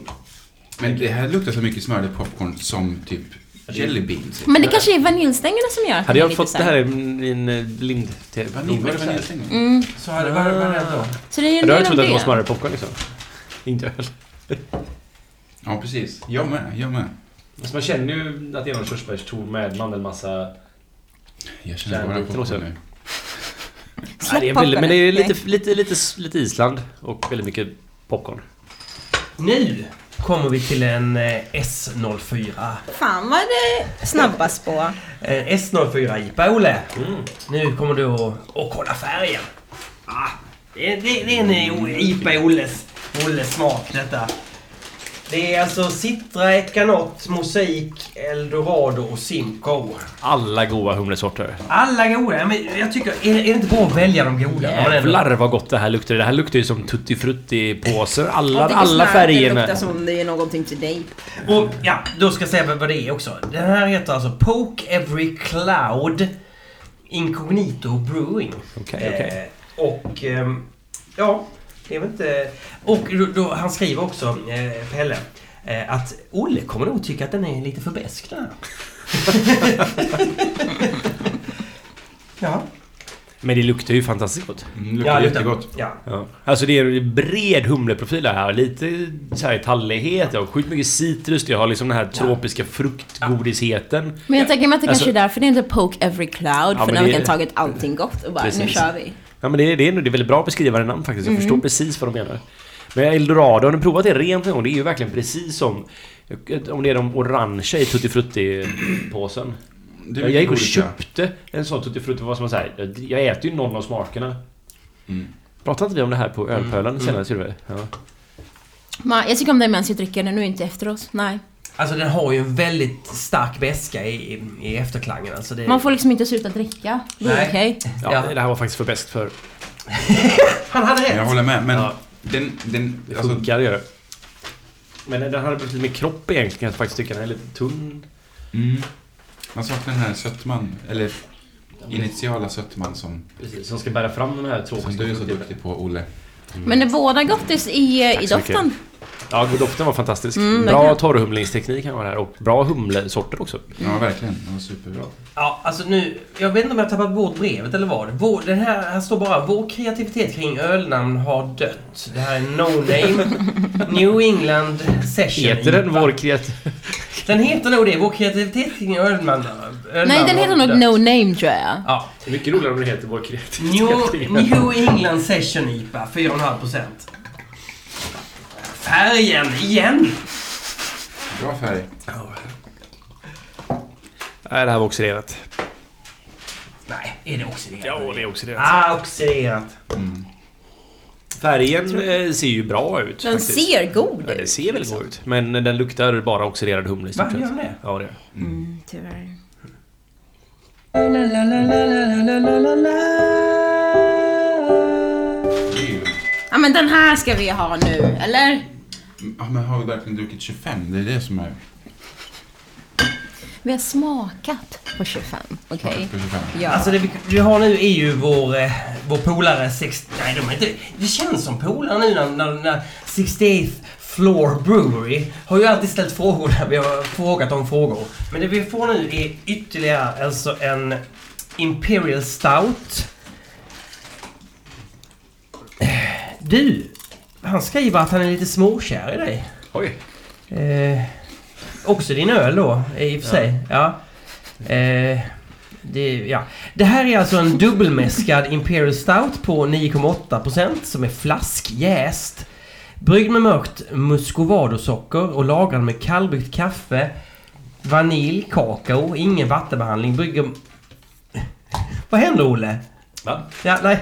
D: Men det här luktar så mycket smörlig popcorn som typ jelly beans.
E: Men det kanske är vaniljstängerna som gör att
A: Hade
E: den är
A: jag
E: lite
A: fått
E: så
A: det här i min min blind... te-
D: Vanilj, var det
A: blindväxt här.
D: vaniljstänger?
E: Mm.
C: Så här, vad vad är det då?
E: Så det är
A: Ja,
E: en
A: Då har jag
E: del av
A: trott att det var
E: det.
A: smörre popcorn liksom. Inte öl.
D: Ja, precis. Jag med, jag med.
A: Alltså man känner ju att det är någon körsbärston med mandelmassa.
D: Jag känner bara
A: Kärnbiten också.
D: popcorn nu.
A: Nej, det är väldigt, men det är
E: popcornen.
A: lite, lite, lite, lite Island och väldigt mycket popcorn.
C: Nu kommer vi till en eh, S04.
E: Fan vad det snabbas på.
C: En Eh, S04 IPA, Olle. Nu kommer du att, att kolla färgen. Ah, det, det, det är en IPA i Olles, Olles smak detta. Det är alltså Citra, Ekanot, Mosaik, Eldorado och Simcoe.
A: Alla goda humlesorter.
C: Alla goda. Ja, Men jag tycker, är, är det inte bra att välja de goda? när man ändå-
A: Jävlar vad gott det här luktar. Det här luktar ju som Tutti Frutti-påsar. Alla,
E: Jag tycker snarare
A: alla
E: att Det
A: färgerna.
E: luktar som det är någonting till dig.
C: Och ja, då ska jag säga vad- vad det är också. Den här heter alltså Poke Every Cloud Incognito Brewing.
A: Okej, okej.
C: Eh, och ehm, ja, det är väl inte... Och då, då, han skriver också, eh, Pelle, eh, att Olle kommer nog tycka att den är lite för besk den här. ja.
A: Men det luktar ju fantastiskt gott.
D: Mm, det luktar
C: det-
D: jättegott.
C: Ja.
A: Ja. Alltså det är en bred humleprofil här. Lite så här tallighet. Jag har sjukt mycket citrus. Jag har liksom den här tropiska fruktgodisheten.
E: Men jag tänker mig att det
A: Alltså-
E: kanske är därför det är inte poke every cloud.
A: Ja,
E: för
A: men
E: nu har
A: det-
E: vi kan tagit allting gott och bara nu
A: Precis.
E: kör vi.
A: Ja men det är, det är, nog- det är väldigt bra beskrivande namn faktiskt.
E: Mm.
A: Jag förstår precis vad de menar. Men Eldorado, har ni provat det rent någon gång? Det är ju verkligen precis som... Om det är de orangea i Tutti Frutti-påsen.
D: Det är
A: jag gick och
D: mycket olika.
A: köpte en sån Tutti Frutti. Vad ska man säga? Jag- Jag äter ju någon av smakerna. Mm.
D: Mm.
A: Pratade inte vi om det här på ölpölen senast gjorde vi? Ja.
E: Ma, jag tycker om det medan jag dricker den nu inte efter oss. Nej.
C: Alltså den har ju en väldigt stark väska i, i, i efterklangen. Alltså det,
E: Man får liksom inte sluta dricka. Det är
C: Nej.
E: okej.
A: Ja,
C: Ja.
A: Det här var faktiskt för bäst för
C: Han hade
D: Jag
C: rätt.
D: håller med, men alltså-
A: Ja.
D: den... den
A: Det
D: alltså,
A: funkar, det gör det. Men den hade lite mer kropp egentligen, kan jag faktiskt tycka. Den är lite tunn.
D: mm, man saknar den här sötman, eller initiala sötman som,
A: Precis, som ska bära fram den här tropiska
D: som du är så
A: frukten.
D: duktig på, Olle.
B: Men är båda gottis i, i
A: så mycket.
B: doften?
A: Ja, doften var fantastisk.
B: Mm,
A: bra
B: verkligen.
A: torrhumlingsteknik här var det här och bra humlesorter också.
D: Ja, verkligen. Den var superbra.
C: Ja, alltså nu, jag vet inte om jag har tappat bort brevet eller vad. Vår, den här, här står bara Vår kreativitet kring ölnamn har dött. Det här är No Name. New England Session.
A: Heter den
C: IPA.
A: vår kreativ...
C: Den heter nog det. Vår kreativitet kring ölnamn. ölnamn
B: Nej, den
C: har
B: heter nog
C: dött.
B: No Name tror jag.
C: Ja.
A: Mycket roligare om den heter vår kreativ.
C: New, New England Session IPA, 4,5%. Färgen, igen!
D: Bra färg.
A: Nej, det här var oxiderat.
C: Nej, är det oxiderat?
A: Ja, det är oxiderat.
C: Ah, oxiderat.
A: Färgen eh, ser ju bra ut
B: Den
A: faktiskt.
B: ser god
A: Ja, den
B: ut.
A: ser väl god ut. Men den luktar bara oxiderad humle i
C: Va,
A: stort sett.
C: gör den det?
A: Ja, det gör
E: Mm, tyvärr.
B: Ja men den här ska vi ha nu, eller?
D: Ja, men har vi verkligen druckit 25? Det är det som är...
B: Vi har smakat på 25, okej?
D: På 25.
B: Ja.
C: Alltså det vi, vi har nu är ju vår, eh, vår polare... Sex, nej, de är inte... Det känns som polare nu när, när, när 68th Floor Brewery har ju alltid ställt frågor där vi har frågat om frågor. Men det vi får nu är ytterligare alltså en Imperial Stout. Du, han skriver att han är lite småkär i dig.
A: Oj.
C: Eh, också din öl då, i och för sig. Ja. Eh, det, ja. det här är alltså en dubbelmäskad Imperial Stout på 9,8% som är flaskjäst. Bryggd med mörkt muscovadosocker och lagrad med kallbryggt kaffe, vanilj, kakao, ingen vattenbehandling. Brygger... Vad händer Olle?
A: Va?
C: Ja, nej.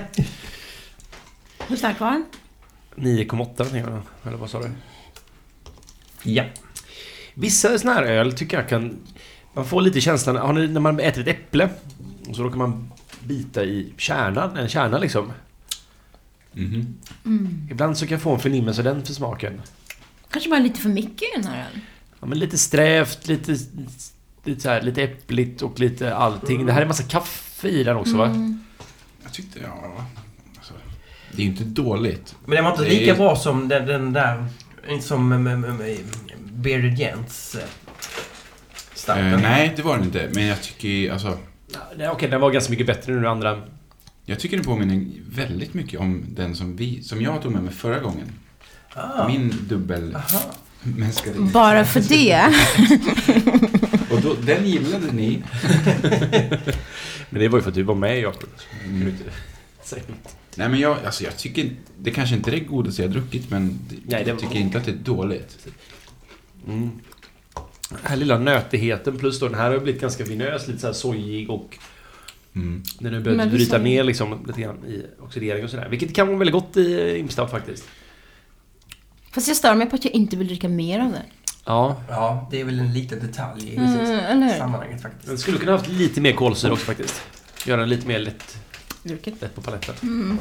B: Hur stark var den?
A: 9,8 tänker jag. Eller vad sa du?
C: Ja.
A: Vissa såna här öl tycker jag kan... Man får lite känslan, har ni, när man äter ett äpple och så råkar man bita i kärnan, en kärna liksom.
D: Mhm.
A: Ibland så kan jag få en förnimmelse av den för smaken.
B: Kanske bara lite för mycket i den här ölen.
A: Ja, men lite strävt, lite, lite, så här, lite äppligt och lite allting. Det här är massa kaffe i den också va?
D: Jag tyckte... Ja... Alltså, det är ju inte dåligt.
C: Men den var inte
D: Det är
C: lika
D: ju-
C: bra som den, den där... Som mm, mm, mm, Bearded Gents... eh, Starten.
D: Eh, nej, det var den inte. Men jag tycker ju, alltså...
A: Nej, okej, den var ganska mycket bättre nu än den andra.
D: Jag tycker den påminner väldigt mycket om den som, vi, som jag tog med mig förra gången.
C: Ah.
D: Min dubbel...
C: Aha.
D: Mänskade.
B: Bara för det.
D: Och då, den gillade ni.
A: Men det var ju för att du var med Jakob. Kan du
D: Mm.
A: inte säga något?
D: Nej men jag, alltså jag tycker inte- det kanske inte är det godaste jag har druckit men det,
A: Nej, det
D: jag
A: var-
D: tycker inte att det är dåligt.
A: Mm. Den här lilla nötigheten plus då den här har blivit ganska vinös, lite så här sojig och
D: Mm.
A: den har börjat
B: Men vi
A: bryta
B: säger-
A: ner liksom lite grann i oxidering och sådär. Vilket kan vara väldigt gott i Impstout faktiskt.
B: Fast jag stör mig på att jag inte vill dricka mer av den.
A: Ja.
C: Ja, det är väl en liten detalj i
B: Mm, eller hur?
C: sammanhanget
A: Den
C: faktiskt.
A: skulle kunna haft lite mer kolsyra också faktiskt. Göra den lite mer lätt,
B: Druckit.
A: lätt på paletten.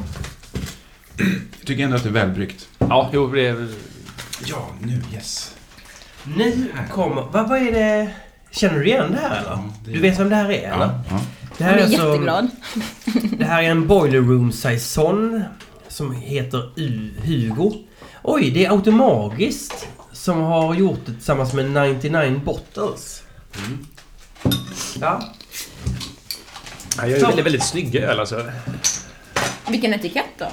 D: Jag tycker ändå att det är välbryggt.
A: Ja, jo det är...
D: Ja, nu yes.
C: Nu kommer... Vad, vad är det... Känner du igen det här eller?
D: Ja, Mm, det-
C: Du vet vem det här är eller?
D: Ja, ja.
C: Det
B: Jag
C: här
B: blir
C: är alltså-
B: jätteglad.
C: Det här är en Boiler Room Saison som heter U- Hugo. Oj, det är Automagiskt som har gjort det tillsammans med 99 Bottles.
D: Mm.
C: Ja,
A: Han gör ju väldigt, väldigt snygga öl alltså.
B: Vilken etikett då?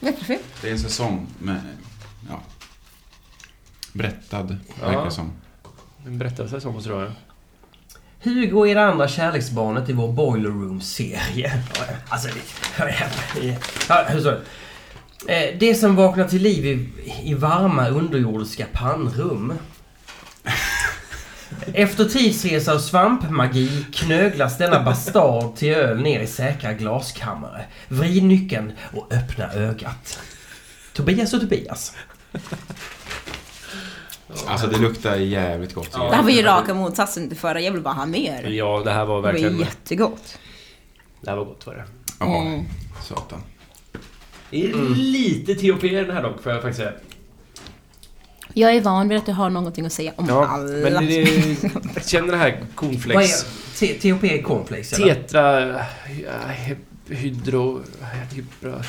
B: Jättefin.
D: Det är en säsong med, ja. Berättad,
A: Ja.
D: verkar det som.
A: Den berättar sig som tror jag.
C: Hugo är det andra kärleksbarnet i vår Boiler Room-serie. Alltså, det- Ja, hur så? Eh, Det som vaknar till liv i, i varma underjordiska pannrum. Efter tidsresa och svampmagi knöglas denna bastard till öl ner i säkra glaskammare. Vrid nyckeln och öppna ögat. Tobias och Tobias.
D: Alltså det luktar jävligt gott. tycker
B: Det här
D: jag.
B: var ju raka motsatsen till förra. Jag vill bara ha mer.
A: Ja, det här var
B: Det var
A: verkligen...
B: jättegott. Mm.
A: Det här var gott var det.
D: Jaha, satan.
A: Det är Mm.
C: Mm.
A: lite THP i den här dock, får jag faktiskt säga.
E: Jag är van vid att du har någonting att säga om alla.
A: men det, känner det här
C: Vad
A: cornflakes...
C: är T- THP är cornflakes eller?
A: Tetra... ja, hy- Hydro... hydro-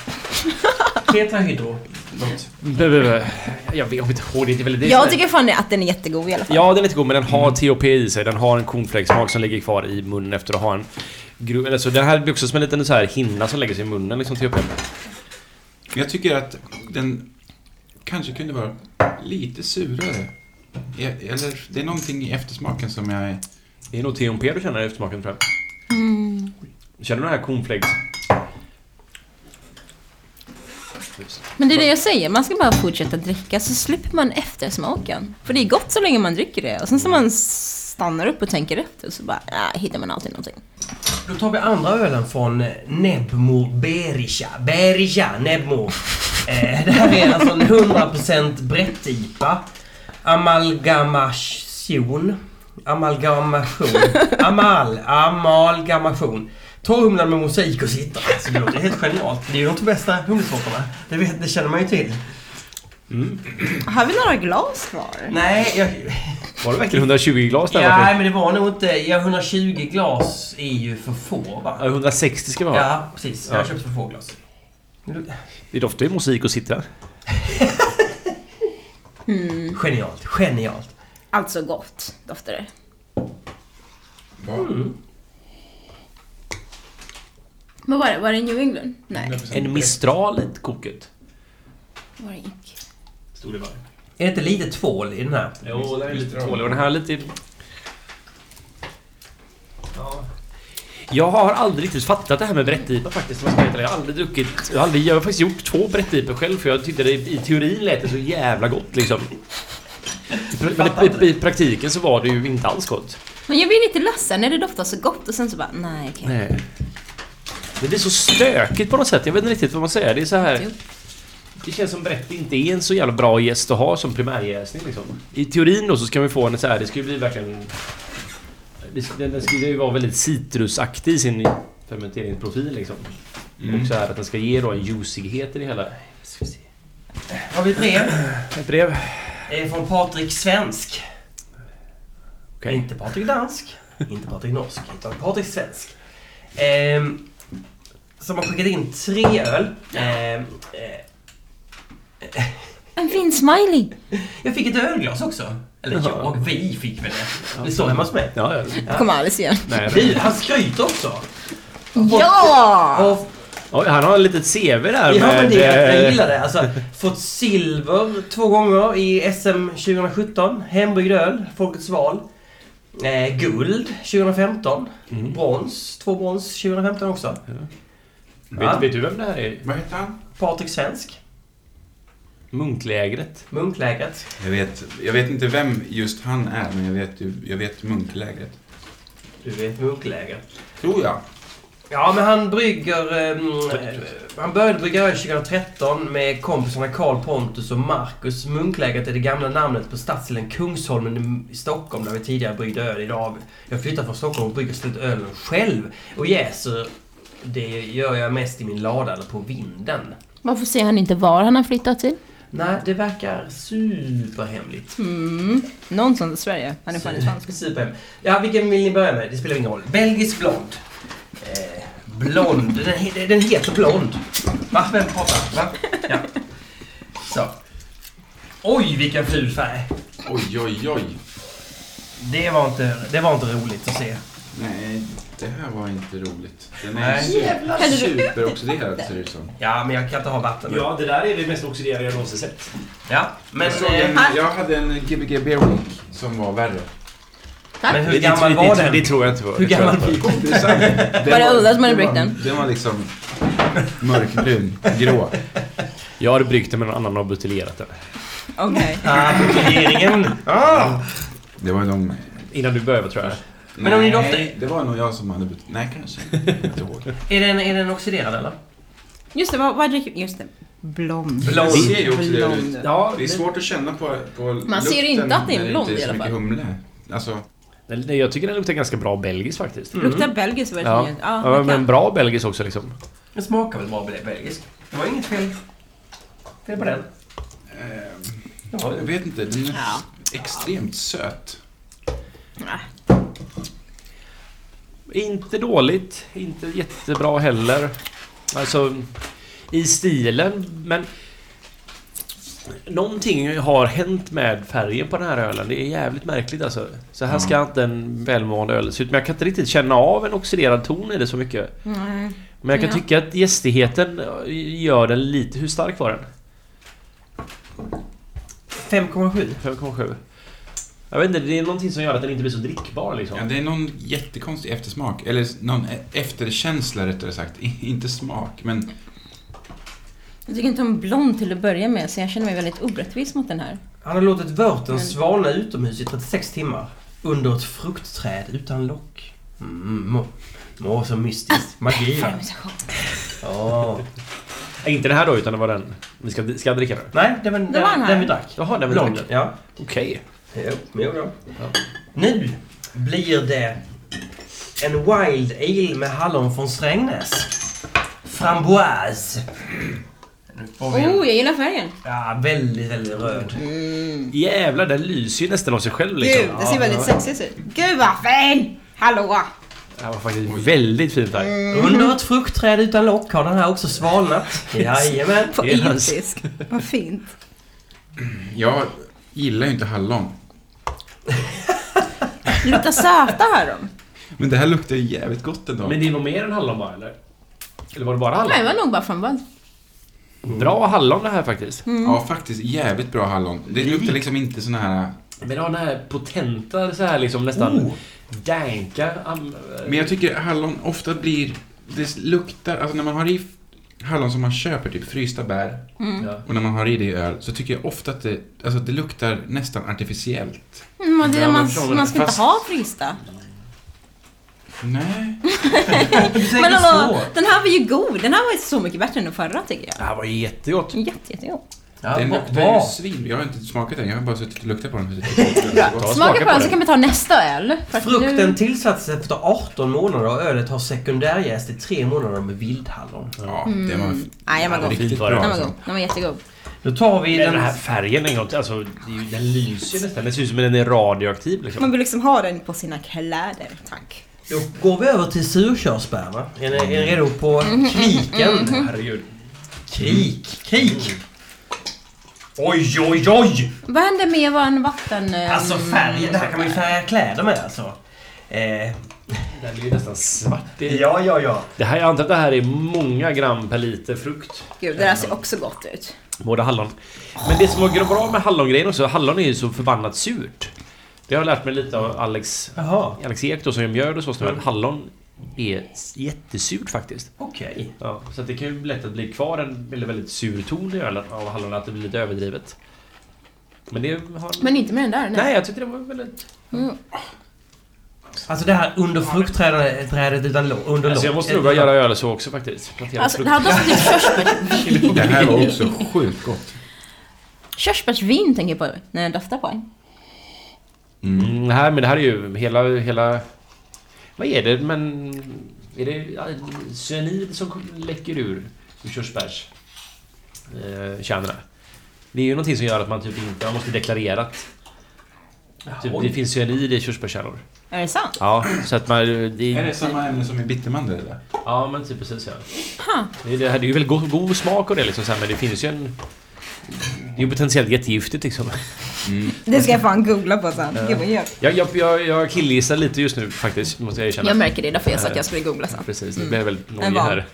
C: Tetrahydro. Något.
A: blö, blö, blö. Jag vet inte ihåg, det är väl det som är-
E: Jag tycker fan att den är jättegod i alla fall.
A: Ja, den är lite god men den har THP i sig. Den har en cornflakesmak som ligger kvar i munnen efter att ha en... gro- Eller så den här blir också som en liten så här hinna som lägger sig i munnen liksom THP.
D: Jag tycker att den kanske kunde vara lite surare. E- Eller det är någonting i eftersmaken som jag är...
A: Det är nog THP du känner i eftersmaken tror jag. Känner du den här cornflakes?
E: Men det är det jag säger, man ska bara fortsätta dricka så slipper man eftersmaken. För det är gott så länge man dricker det och sen så man stannar upp och tänker efter så bara ah, hittar man alltid någonting.
C: Då tar vi andra ölen från Nebmo Berisha. Berisha Nebmo. Eh, det här är alltså en 100% Brett-IPA. Amalgamation. Amalgamation. Amal. Amalgamation. Ta humlan med mosaik och sitta. Alltså, det låter helt genialt. Det är ju de bästa humlesorterna. Det, vet- det känner man ju till.
E: Har vi några glas kvar?
C: Nej, jag...
A: Var det verkligen 120 glas där?
C: Ja,
A: verkligen?
C: men det var nog inte... Ja, 120 glas är ju för få va?
A: Ja, 160 ska vi ha.
C: Ja, precis. Jag har
A: Ja.
C: köpt för få glas.
A: Det doftar ju musik och sitta.
C: Genialt, genialt.
E: Alltså gott doftar det.
A: Mm.
E: Men var det, var det New England? Nej,
A: En mistral i koket.
E: var det inte.
A: Stod det bara.
C: Är det inte lite tvål i den här?
A: Jo, den är lite tålig. Och den här är lite... Ja. Jag har aldrig riktigt fattat det här med brättipa faktiskt. om jag ska vara helt ärlig. Jag har aldrig druckit... Jag har, aldrig, jag har faktiskt gjort två brättipor själv för jag tyckte det i teorin lät det så jävla gott liksom. Men i, i, i praktiken så var det ju inte alls gott.
E: Men jag blir lite ledsen när det doftar så gott och sen så bara nej okej.
A: Nej. Det blir så stökigt på något sätt. Jag vet inte riktigt vad man säger. Det är så här...
E: Jo.
A: Det känns som Bretti inte är en så jävla bra gäst att ha som primärjäsning liksom. I teorin då så ska vi få en så här, det ska ju bli verkligen... det ska- Den den ska ju vara väldigt citrusaktig i sin fermenteringsprofil liksom. Och så här att den ska ge då en juicighet i det hela. Ska vi se.
C: Har vi ett brev?
A: Ett brev.
C: Det är från Patrik Svensk.
A: Okej.
C: Inte Patrik Dansk, inte Patrik Norsk, utan Patrik Svensk. Ehm, som har skickat in tre öl. Ehm, eh,
E: En fin smiley!
C: jag fick ett ölglas också. Eller jag och vi fick väl det. Det står hemma hos mig.
A: Ja, ja.
E: Kommer Alice igen.
A: Nej,
C: Du, han skryter också!
E: Ja!
C: Och
A: Oj, han har ett litet CV där
C: Ja men det,
A: eh,
C: jag gillar det. Alltså, fått silver två gånger i SM 2017. Hembryggd öl, Folkets val. Eh, guld 2015. Brons, två brons 2015 också. Ja.
A: Vet, vet du vem det här är?
D: Vad heter han?
C: Patrik Svensk,
A: Munklägret.
C: Munklägret.
D: Jag vet, jag vet inte vem just han är, men jag vet, ju- jag vet munklägret.
C: Du vet Munklägret.
D: Tror jag.
C: Ja men han brygger... ehm, Eh, han började brygga öl 2013 med kompisarna Karl Pontus och Marcus. Munklägret är det gamla namnet på stadsdelen Kungsholmen i Stockholm där vi tidigare bryggde öl. Idag jag flyttar från Stockholm och brygger slut ölen själv. Och jäser, det gör jag mest i min lada eller på vinden.
E: Varför säger han inte var han har flyttat till?
C: Nej, det verkar superhemligt.
E: Mm. Någonstans i Sverige. Han är fan i svensk.
C: Superhem. Ja, vilken vill ni börja med? Det spelar ingen roll. Belgisk blond. Eh, blond. Den, he- den heter blond. Va? Vem pratar? Va? Ja. Så. Oj, vilken ful färg.
D: Oj, oj, oj.
C: Det var inte, det var inte roligt att se.
D: Nej, det här var inte roligt. Den är
C: Nej.
D: super, superoxiderad ser det ut som.
C: Ja, men jag kan inte ha vatten.
A: Ja, det där är det mest oxiderade jag någonsin sett.
C: ja men,
D: Jag, såg
C: eh,
D: en, jag hade en Gbg Beer Week som var värre.
C: men hur
A: Det- det-
C: gammal
A: det-
C: var
A: det-
C: den?
A: Det tror jag inte var.
C: Hur
A: Det tror jag
C: gammal
A: inte
C: var
D: Det är sant. Den
E: Var det Ulla som hade
D: den
E: bryggt
D: var-
E: den?
D: Den var liksom mörkbrun, grå.
A: Jag hade bryggt den men någon annan har buteljerat den.
E: Okej.
C: Ah, regeringen. Ah.
D: Det var de...
A: Innan du började tror jag.
C: Men om ni
D: Nej,
C: doftar-
D: det var nog jag som hade bytt. Nej, kanske. Jag kommer inte ihåg.
C: Är den, är den oxiderad eller?
E: Just det, vad, vad dricker... Just det. Blond.
D: Det
C: Blond.
D: ser ju oxiderat ut.
A: Ja,
D: Det är svårt att känna på, på
E: Man ser ju inte
D: lukten
E: att det är en
D: när
E: blond
D: inte
E: i
D: är
E: alla
D: så mycket
E: fall.
D: humle. Alltså,
A: Den, den- jag tycker den luktar ganska bra belgisk
D: Mm.
A: faktiskt.
E: Luktar belgisk version.
A: Mm. Ja.
E: Ja,
A: Ja,
E: man kan.
A: men bra belgisk också liksom.
C: Den smakar väl bra belgisk? Det var inget fel. Fel på den. Det var
D: Jag
C: det.
D: vet inte, den är
E: Ja.
D: extremt söt.
A: Inte dåligt, inte jättebra heller. Alltså, i stilen, men... Någonting har hänt med färgen på den här ölen. Det är jävligt märkligt alltså. Så här
D: Mm.
A: ska inte en välmående öl se ut. Men jag kan inte riktigt känna av en oxiderad ton i det så mycket.
B: Nej.
A: Men jag kan
B: Ja.
A: tycka att gästigheten gör den lite... Hur stark var den?
C: 5,7.
A: 5,7? Jag vet inte, det är någonting som gör att den inte blir så drickbar liksom.
D: Ja, det är någon jättekonstig eftersmak, eller någon e- efterkänsla rättare sagt. Inte smak, men
B: Jag tycker inte om blond till att börja med så jag känner mig väldigt orättvis mot den här.
C: Han har låtit vörten
B: Men-
C: svalna utomhus i 36 timmar. Under ett fruktträd utan lock. Mm, må, må så mystiskt. Magi. Ja.
A: Nej, Inte den här då, utan det var den vi ska, ska dricka nu.
C: Nej, det var den,
B: Det var den
C: den,
B: här.
C: vi drack.
A: Jaha, den vi drack.
C: Blonden, ja.
A: Okej.
C: Jo, jo, jo.
A: Ja.
C: Nu blir det en Wild Ale med hallon från Strängnäs. Framboise. Nu får vi en
B: Oh, jag gillar färgen!
C: ja, väldigt, väldigt röd.
A: Jävlar, den lyser ju nästan av sig själv liksom.
E: Gud, det ser väldigt sexigt ut. Gud vad fin! Hallå!
A: Det här var faktiskt väldigt fint här.
E: Mm.
C: Under ett fruktträd utan lock har den här också svalnat. Jajamän.
E: På
A: Yes.
E: irländsk. Vad fint.
D: jag gillar ju inte hallon.
E: Luktar söta hör de.
D: Men det här luktar ju jävligt gott ändå.
A: Men det var mer än hallon bara, eller? Eller var det bara hallon?
E: Nej, det var nog bara framboll.
A: Bra hallon det här faktiskt.
E: Mm.
D: Ja, faktiskt jävligt bra hallon. Det luktar liksom inte sån här...
A: Men det har den här potenta, så här liksom nästan
C: Oh.
A: danka... am-
D: Men jag tycker hallon ofta blir... Det luktar... Alltså när man har i hallon som man köper, typ frysta bär,
E: Mm.
A: ja.
D: och när man har i det i öl, så tycker jag ofta att det, alltså det luktar nästan artificiellt.
E: Mm, och det
A: Ja,
E: är
A: men
E: man,
A: förstår
E: man ska
D: fast-
E: inte ha frysta.
D: Nej.
C: Du säger
E: Men
C: så.
E: hallå, den här var ju god. Den här var ju så mycket bättre än den förra tycker jag.
A: Det här var jättegott.
E: Jätte, jättegod.
C: Ja,
D: den
C: bra,
D: luktar ju
C: bra.
D: svin. Jag har inte smakat den, jag har bara suttit och luktat på den. för att jag tycker det är så gott.
A: Ja, smaka
E: Smaka
A: på
E: på den
A: den.
E: så kan vi ta nästa öl. För att
C: Frukten
E: nu-
C: tillsattes efter 18 månader och ölet har sekundärjäst i 3 månader med vildhallon.
D: Ja, den var
E: Mm. Nej, den var
D: den var
E: god.
D: riktigt
A: Fint var Mm. det.
D: bra.
E: Den var
D: Alltså.
E: god. Den var jättegod.
C: Då tar vi
A: Den
C: den...
A: här färgen en gång till, alltså det är ju- den lyser ju nästan. Det ser ut som att den är radioaktiv liksom.
E: Man vill liksom ha den på sina kläder, tack.
C: Då går vi över till surkörsbär va? Är ni, är ni redo på kriken?
A: Herregud.
C: Krik, krik! Oj, oj, oj!
E: Vad hände med våran vatten... eh,
C: Alltså färgen, det här kan man ju färga kläder med alltså. Eh,
A: Den är ju nästan svart. i-
C: ja, ja, ja.
A: Det här, jag antar att det här är många gram per liter frukt.
E: Gud, det där ser också gott ut.
A: Både hallon. Men det som var bra med hallongrejen också, hallon är ju så förbannat surt. Det har jag lärt mig lite av Alex,
C: Jaha,
A: Alex Ek då som gör mjöl och så. Mm. Hallon är s- jättesurt faktiskt.
C: okej.
A: Ja, så att det kan ju lätt att bli kvar en väldigt, väldigt sur ton i ölen av hallon, att det blir lite överdrivet. Men det har...
E: Men inte med den där, nej.
A: Nej, jag tyckte det var väldigt...
C: Alltså det här under fruktträdet trädet utan lo, under
A: Alltså jag
C: lock.
A: måste nog börja göra öl så också faktiskt. Plantera
E: Alltså, det
A: frukt.
E: här doftar typ körsbär.
D: Det här var också sjukt gott.
E: körsbärsvin tänker jag på när den doftar på en.
A: Mm, det här, men det här är ju hela, hela... Vad är det? Men... Är det ja, cyanid som kom- läcker ur, ur körsbärs... Eh, kärnorna? Det är ju någonting som gör att man typ inte... Man måste deklarera att typ, det finns cyanid i körsbärskärnor.
E: Är det sant?
A: Ja, så att man...
D: Är
A: Det,
D: det samma ämne som i bittermandel eller?
A: ja, men typ precis ja. Det, är- det, här, det är ju väldigt god, god smak och det liksom så här, men det finns ju en... Det är ju potentiellt jättegiftigt liksom.
E: Det ska jag fan googla på sen. Gud vad gött.
A: Jag, jag, jag, jag killgissar lite just nu faktiskt, måste jag erkänna.
E: Jag märker det, därför jag sa att jag skulle googla sen.
A: Precis, det blev väldigt nojig
E: Mm. En van.
A: här.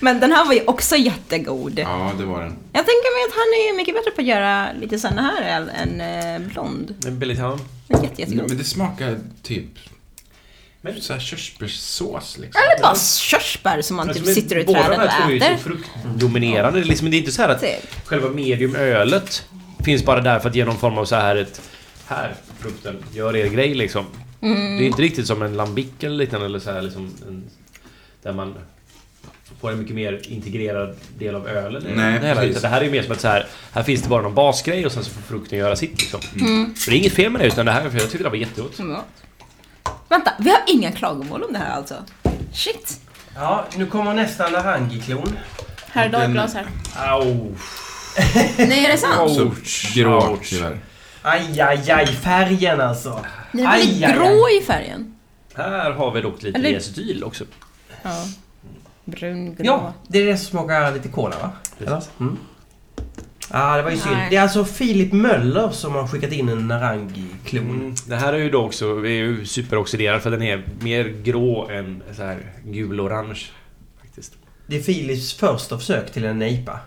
E: Men den här var ju också jättegod.
D: Ja, det var den.
E: Jag tänker mig att han är mycket bättre på att göra lite sådana här öl än eh, blond.
A: En billig hand.
E: Jätte, jättegod.
D: Men det smakar typ...
A: Men-
D: Så här körsbärssås liksom.
E: Eller bara körsbär som man typ sitter i
A: båda
E: trädet
A: de här
E: och
A: två är ju så
E: äter.
A: fruktdominerande. Det är Liksom, det är inte så här att
E: Typ.
A: själva mediumölet finns bara där för att ge någon form av så här ett... Här, frukten, gör er grej liksom.
E: Mm.
A: Det är inte riktigt som en lambic eller liknande eller så här liksom en, Där man får en mycket mer integrerad del av ölen. i
D: Nej,
A: det hela.
D: precis.
A: Utan det här är mer som att så här, här finns det bara någon basgrej och sen så får frukten göra sitt liksom. Så det är inget fel med det utan det här, för jag tyckte det var jättegott.
E: Mm, ja. Vänta, vi har inga klagomål om det här alltså? Shit.
C: Ja, nu kommer nästa Narangi-klon.
E: Här har du ett glas här.
A: Au!
E: Nej, är det sant?
D: Så grå
A: Ouch.
D: tyvärr.
C: Aj, aj, aj, färgen alltså.
E: Den är väldigt
C: Aj, aj, aj.
E: grå i färgen.
A: Här har vi dock lite
E: Eller-
A: gästdyl också.
B: Ja. Brungrå.
C: Ja, det är det som smakar lite cola va? Eller? Mm. Ah, det var ju synd.
E: Nej.
C: Det är alltså Filip Möller som har skickat in en Narangi-klon.
A: Mm. Det här är ju då också, vi är ju superoxiderad för den är mer grå än så här gul-orange. Faktiskt.
C: Det är Filips första försök till en nejpa.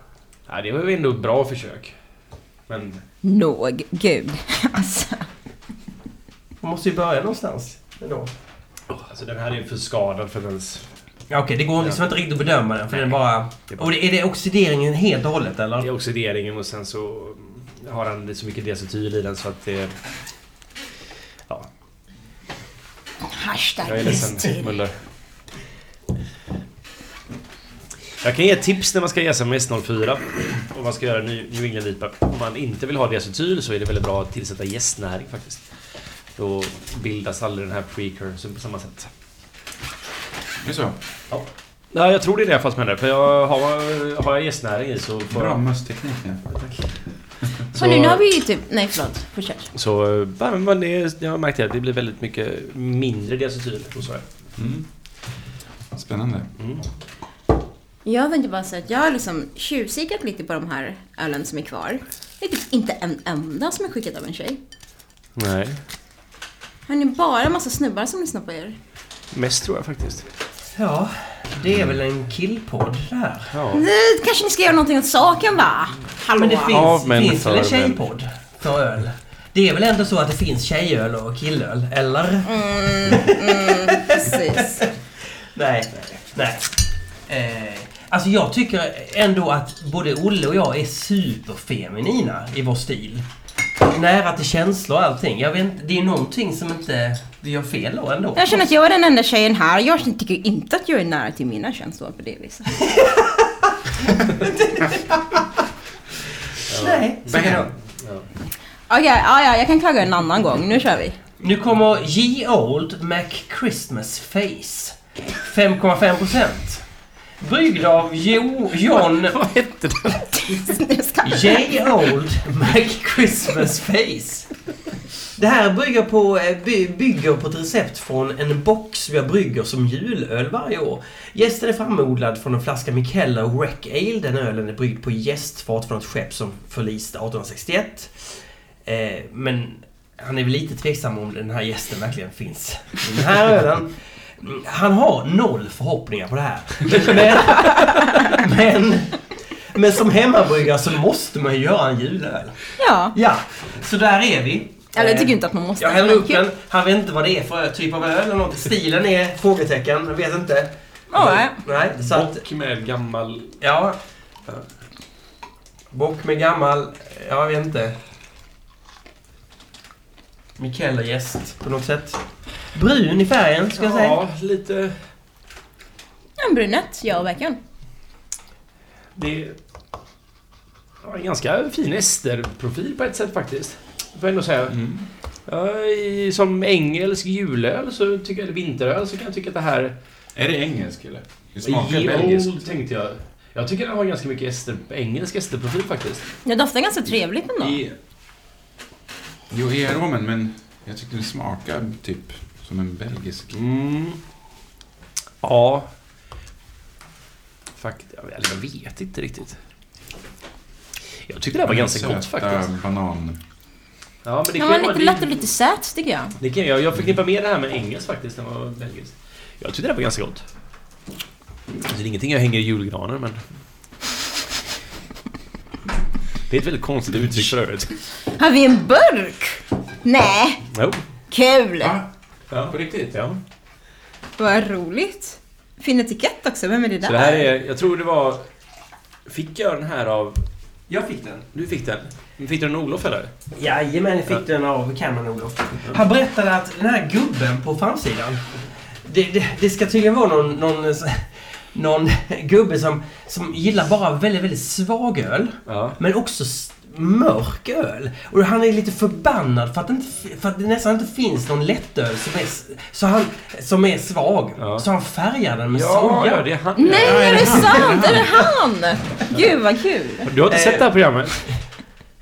A: Ja, det var ju ändå ett bra försök. Men
B: Någ. Gud. Alltså.
C: Man måste ju börja någonstans. Ändå.
A: alltså, den här är ju för skadad för att ens...
C: Ja, Okej, det går liksom inte riktigt att bedöma den för den bara...
A: Det är bara-
C: Och det, är det oxideringen helt och hållet eller?
A: Det är oxideringen och sen så har han det så mycket diacetyl i den så att det... Ja, jag är
B: Hashtag
A: ledsen
B: gästdyl.
A: Muller. Jag kan ge ett tips när man ska jäsa med S04 och man ska göra en ny New England IPA. Om man inte vill ha diacetyl så är det väldigt bra att tillsätta jästnäring faktiskt. Då bildas aldrig den här precursorn på samma sätt.
D: Det är så.
A: Nej, jag tror det är det fast med det. För jag har, har jag jästnäring i så får
D: Bra
A: jag...
D: mössteknik. ja.
E: Så nu, nu har vi ju typ... Nej, förlåt. Fortsätt.
A: Så eh, ja, men det, jag har märkt det, det blir väldigt mycket mindre diacetyl hos er.
D: Mm. Spännande.
A: Mm.
E: Jag tänkte bara säga att jag har liksom tjuvkikat lite på de här ölen som är kvar. Det är typ inte en enda som är skickad av en tjej.
A: Nej,
E: Har ni bara massa snubbar som lyssnar på er?
A: mest tror jag faktiskt.
C: Ja, det är väl en killpodd det här.
A: Ja.
E: Nej, kanske ni ska göra någonting åt saken va? Hallå?
C: Men det finns,
A: Av men
C: finns väl en
A: för män.
C: tjejpodd för öl? Det är väl ändå så att det finns tjejöl och killöl, eller?
E: Precis.
C: Nej, nej. Eh, alltså jag tycker ändå att både Olle och jag är superfeminina i vår stil. Nära till känslor och allting. Jag vet inte, det är någonting som inte vi gör fel då ändå.
B: Jag känner att jag är den enda tjejen här. Jag tycker inte att jag är nära till mina känslor på det viset.
C: Nej. så kan jag-
B: Okej, ja, ja, jag kan klaga en annan gång. Nu kör vi.
C: Nu kommer Ye Old Mac Christmas Face. 5,5%. Bryggd av jo, John
A: Vad hette den?
C: J. Old Mac Christmas Face. Det här bygger på, eh, by- bygger på ett recept från en box vi har brygger som julöl varje år. Gästen är framodlad från en flaska Michella Wreck Ale. Den ölen är bryggd på gästfat från ett skepp som förliste 1861. Eh, men han är väl lite tveksam om den här gästen verkligen finns. Den här ölen. mm, Han har noll förhoppningar på det här. Men, men, men som hemmabryggare så måste man ju göra en julöl.
B: Ja.
C: Ja, så där är vi.
B: Eller jag tycker
C: Eh,
B: inte att man måste.
C: jag häller
B: men
C: upp
B: kul.
C: den. Han vet inte vad det är för typ av öl eller något. Stilen är frågetecken. Jag vet inte.
B: Ja, nej.
C: Nej, så att...
A: Bock med gammal...
C: Ja. Bock med gammal... Jag vet inte. Mikael är gäst på något sätt. Brun i färgen ska jag säga.
A: Ja, lite...
E: En brunett, jag och verkligen.
A: Det är ja, en ganska fin esterprofil på ett sätt faktiskt. Får jag ändå säga.
D: Mm.
A: Ja, i, som engelsk julöl, så tycker jag, eller vinteröl, så kan jag tycka att det här...
D: Är det engelsk eller? Det smakar
A: Ye
D: belgiskt.
A: Old, tänkte jag. Jag tycker den har ganska mycket ester, engelsk esterprofil faktiskt.
E: Det doftar ganska trevligt ändå.
D: I... Jo, i aromen, men jag tyckte det smakar typ som en belgisk.
A: Mm. Ja. Faktiskt, eller jag vet inte riktigt. Jag tyckte det här var ganska
D: typ Söta
A: gott
D: ehm,
A: faktiskt.
D: banan.
A: Ja, men det
E: Den
A: kan
E: var
A: ju vara-
E: lite lätt och lite söt tycker jag.
A: Det kan jag. Jag förknippar mer det här med engelskt faktiskt än vad belgiskt. Jag tyckte det här var ganska gott. Alltså, det är ingenting jag hänger i julgranen, men... Det är ett väldigt konstigt uttryck för övrigt.
B: Har vi en burk? Nej.
A: Jo.
B: Kul.
D: Va?
A: Ja, på riktigt. Ja.
B: Vad roligt. Fin etikett också. Vem är det där?
A: Så det här är... Jag tror det var... Fick jag den här av...
C: Jag fick den.
A: Du fick den. Men Fick du den av Olof eller?
C: Jajamän, jag fick den av Cameron Olof. Han berättade att den här gubben på framsidan. Det, det, det ska tydligen vara någon, någon, eh, någon gubbe som, som gillar bara väldigt, väldigt svag öl.
A: Ja.
C: Men också s- mörk öl. Och han är lite förbannad för att, det inte, för att det nästan inte finns någon lättöl som är, s- så han, som är svag.
A: Ja.
C: Så han färgar den med
A: Ja,
C: soja.
A: ja, det är han.
E: Nej, är det sant? Är det han? Gud vad kul!
A: Du har inte sett det här programmet?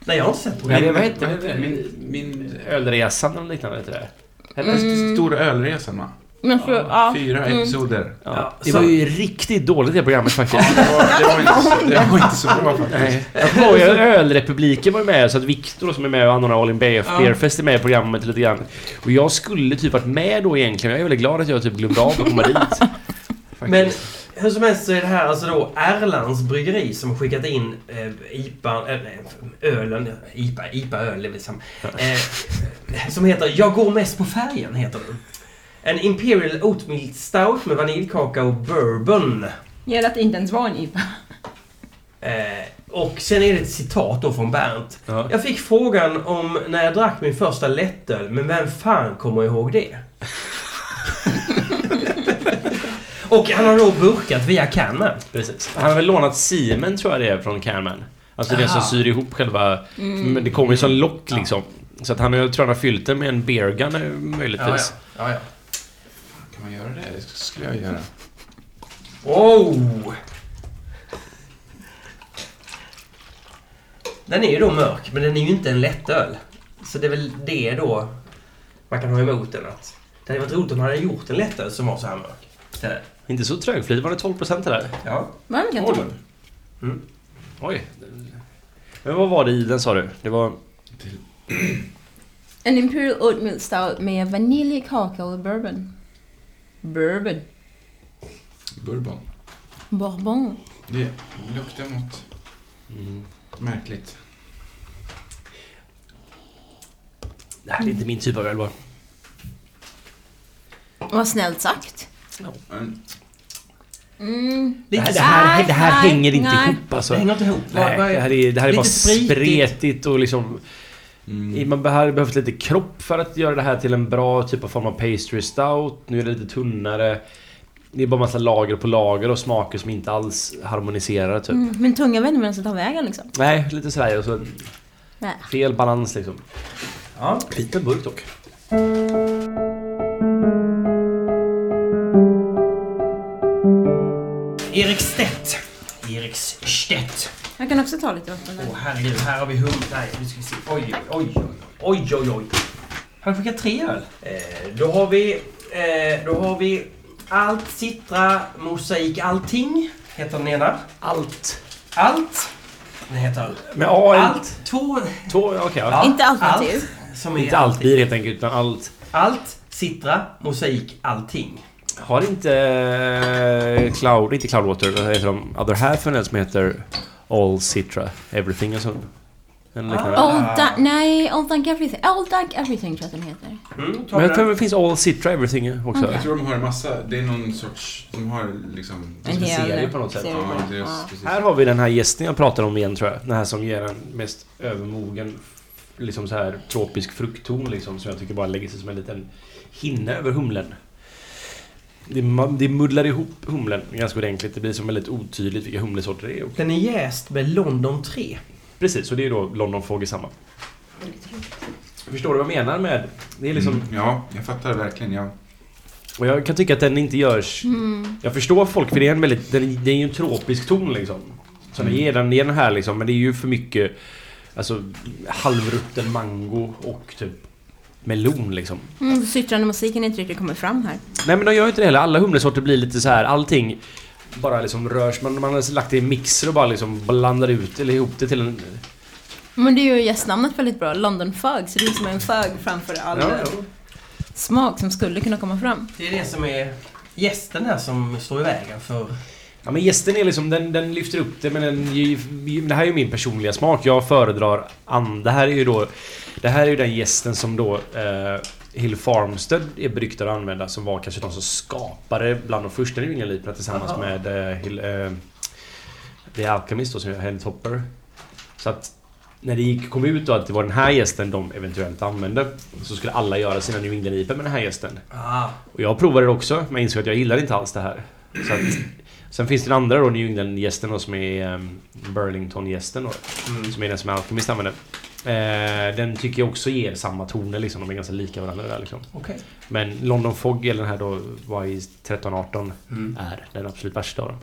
C: Nej, jag har inte sett det.
A: Nej,
D: Min-
A: Eh, vad heter det?
D: Min, min
A: Ölresan eller liknande heter det.
D: Den
A: Mm.
D: st- stora ölresan va?
B: Men för, ja.
D: Fyra episoder.
A: Ja,
C: Ja,
A: det
C: så-
A: var ju riktigt dåligt det programmet faktiskt.
D: Det var, det, var inte så, det var inte så bra faktiskt.
A: Nej. Jag skojar, ölrepubliken var ju med så att Viktor som är med och anordnar All In BF
C: Ja.
A: Beerfest är med i programmet lite grann. Och jag skulle typ varit med då egentligen, jag är väldigt glad att jag typ glömde av att komma dit. Faktiskt.
C: Men hur som helst så är det här alltså då Erlands bryggeri som skickat in eh, IPA, eh, ölen, IPA, IPA-öl, det är väl samma. Eh, som heter Jag går mest på färgen, heter den. En Imperial Oatmeal Stout med vaniljkaka och bourbon.
B: Gäller att det inte ens var en IPA.
C: Eh, och sen är det ett citat då från Bernt.
A: Ja.
C: Jag fick frågan om när jag drack min första lättöl, men vem fan kommer ihåg det? och han har då burkat via kannan.
A: Precis. Han har väl lånat Siemen tror jag det är från Canman. Alltså det som
C: Aha.
A: syr ihop själva... Men det kommer ju som lock liksom. Så att han har, jag tror han har fyllt den med en beer gun eh,
C: Ja, ja.
A: möjligtvis.
C: ja, ja.
D: Kan man göra det? Det skulle jag göra.
C: Oh! Den är ju då mörk, men den är ju inte en lättöl. Så det är väl det då man kan ha emot den. Att det hade varit roligt om man hade gjort en lättöl som var så här mörk. istället.
A: Inte så trögflitig, var det 12% det där?
C: Ja.
E: Man kan ta.
A: Oj. Men vad var det i den sa du? Det var...
E: En Imperial Oatmeal Stout med vaniljkaka och bourbon. Bourbon.
D: Bourbon.
E: Bourbon.
D: Det luktar något
A: Mm.
D: märkligt.
A: Det här är inte min typ av öl bara.
E: Vad snällt sagt.
D: Men
E: Mm.
A: Det här, det
C: Lite,
A: här, det här
E: Nej,
A: hänger inte
E: nej.
A: ihop alltså.
C: det hänger inte ihop. Vad-
A: Nej,
C: vad är-
A: det här är, det här är
C: lite
A: bara
C: spretigt.
A: spretigt och liksom... Man hade behövt lite kropp för att göra det här till en bra typ av form av pastry stout. Nu är det lite tunnare. Det är bara massa lager på lager och smaker som inte alls harmoniserar typ.
E: Mm. Min tunga vet inte vart den ska ta vägen liksom.
A: Nej, lite sådär. Och så
E: Nej.
A: fel balans liksom.
C: Ja.
A: Liten burk dock.
C: Erik Stedt. Erik Stedt.
E: Jag kan också ta lite vatten.
C: Åh
E: där.
C: herregud, här har vi hum... Nej, nu ska vi se. Oj, oj, oj, oj, oj, oj. Han skickar tre öl. Eh, då har vi... Eh, då har vi... Allt, Citra, Mosaik, Allting. Heter den ena.
A: Allt.
C: Allt. Den heter...
A: Med A allt.
C: Allt. Två...
A: Två, okej. ja.
C: Ja,
E: Inte alternativ.
C: Allt, som är
A: Inte allt blir helt enkelt, utan allt.
C: Allt, Citra, Mosaik, Allting.
A: Har inte eh, Cloud, inte Cloudwater, vad heter de? Other Half en öl som heter All Citra Everything och sånt. En liknande.
C: Ah.
E: Old Dunk, nej, Old Dunk Everything. Old Dunk Everything tror jag att den heter.
C: Mm,
A: Men
C: tar vi
A: jag
C: den.
A: tror det finns All Citra Everything också.
D: jag tror de har en massa, det är någon sorts, de har liksom...
E: En
A: som en
E: hel-
A: serie på något sätt.
E: serie på
D: Ja,
E: den.
D: det är,
E: Ja.
D: precis.
A: Här har vi den här gästen jag pratade om igen tror jag. Den här som ger en mest övermogen, liksom så här tropisk fruktton liksom. Som jag tycker bara lägger sig som en liten hinna över humlen. Det, ma- det muddlar ihop humlen ganska ordentligt. Det blir som väldigt otydligt vilka humlesorter det är. Och,
C: Den är jäst med London 3.
A: precis, och det är då London Fog i samma. Förstår du vad jag menar med... Det är liksom...
D: Mm, ja, jag fattar verkligen. Jag,
A: Och jag kan tycka att den inte görs...
E: Mm.
A: Jag förstår folk, för det är en väldigt... Den, det är ju en tropisk ton liksom. Så den ger den, ger den här liksom, men det är ju för mycket... Alltså halvrutten mango och typ melon liksom.
E: Mm, sytrande musiken inte riktigt kommer fram här.
A: Nej men de gör ju inte det heller. Alla humlesorter blir lite så här, allting bara liksom rörs. Man, man har lagt det i mixer och bara liksom blandar ut eller ihop det till en...
E: Men det är ju gästnamnet väldigt bra, London Fug, så det är som en fug framför all
A: Ja, ja.
E: smak som skulle kunna komma fram.
C: Det är det som är gästen här som står i vägen för...
A: Ja men gästen är liksom, den, den lyfter upp det men den, ger ju- det här är ju min personliga smak. Jag föredrar an, Det här är ju då... Det här är ju den gästen som då eh, Hill Farmstead är beryktad att använda som var kanske de som skapade bland de första New England tillsammans
C: Aha.
A: med eh, Hill, eh, The Alchemist då som är Helen Topper. Så att när det gick, kom ut då att det var den här gästen de eventuellt använde så skulle alla göra sina New England IPA med den här gästen.
C: Ah,
A: Och jag provade det också, men insåg att jag gillade inte alls det här. Så att Sen finns det den andra då, New England-gästen då, som är um, Burlington-gästen då.
C: Mm.
A: Som är den som Alchemist använder. Eh, den tycker jag också ger samma toner liksom. De är ganska lika varandra där liksom.
C: Okej.
A: Men London Fog, eller den här då, YI 1318,
C: Mm.
A: är den absolut värsta av dem.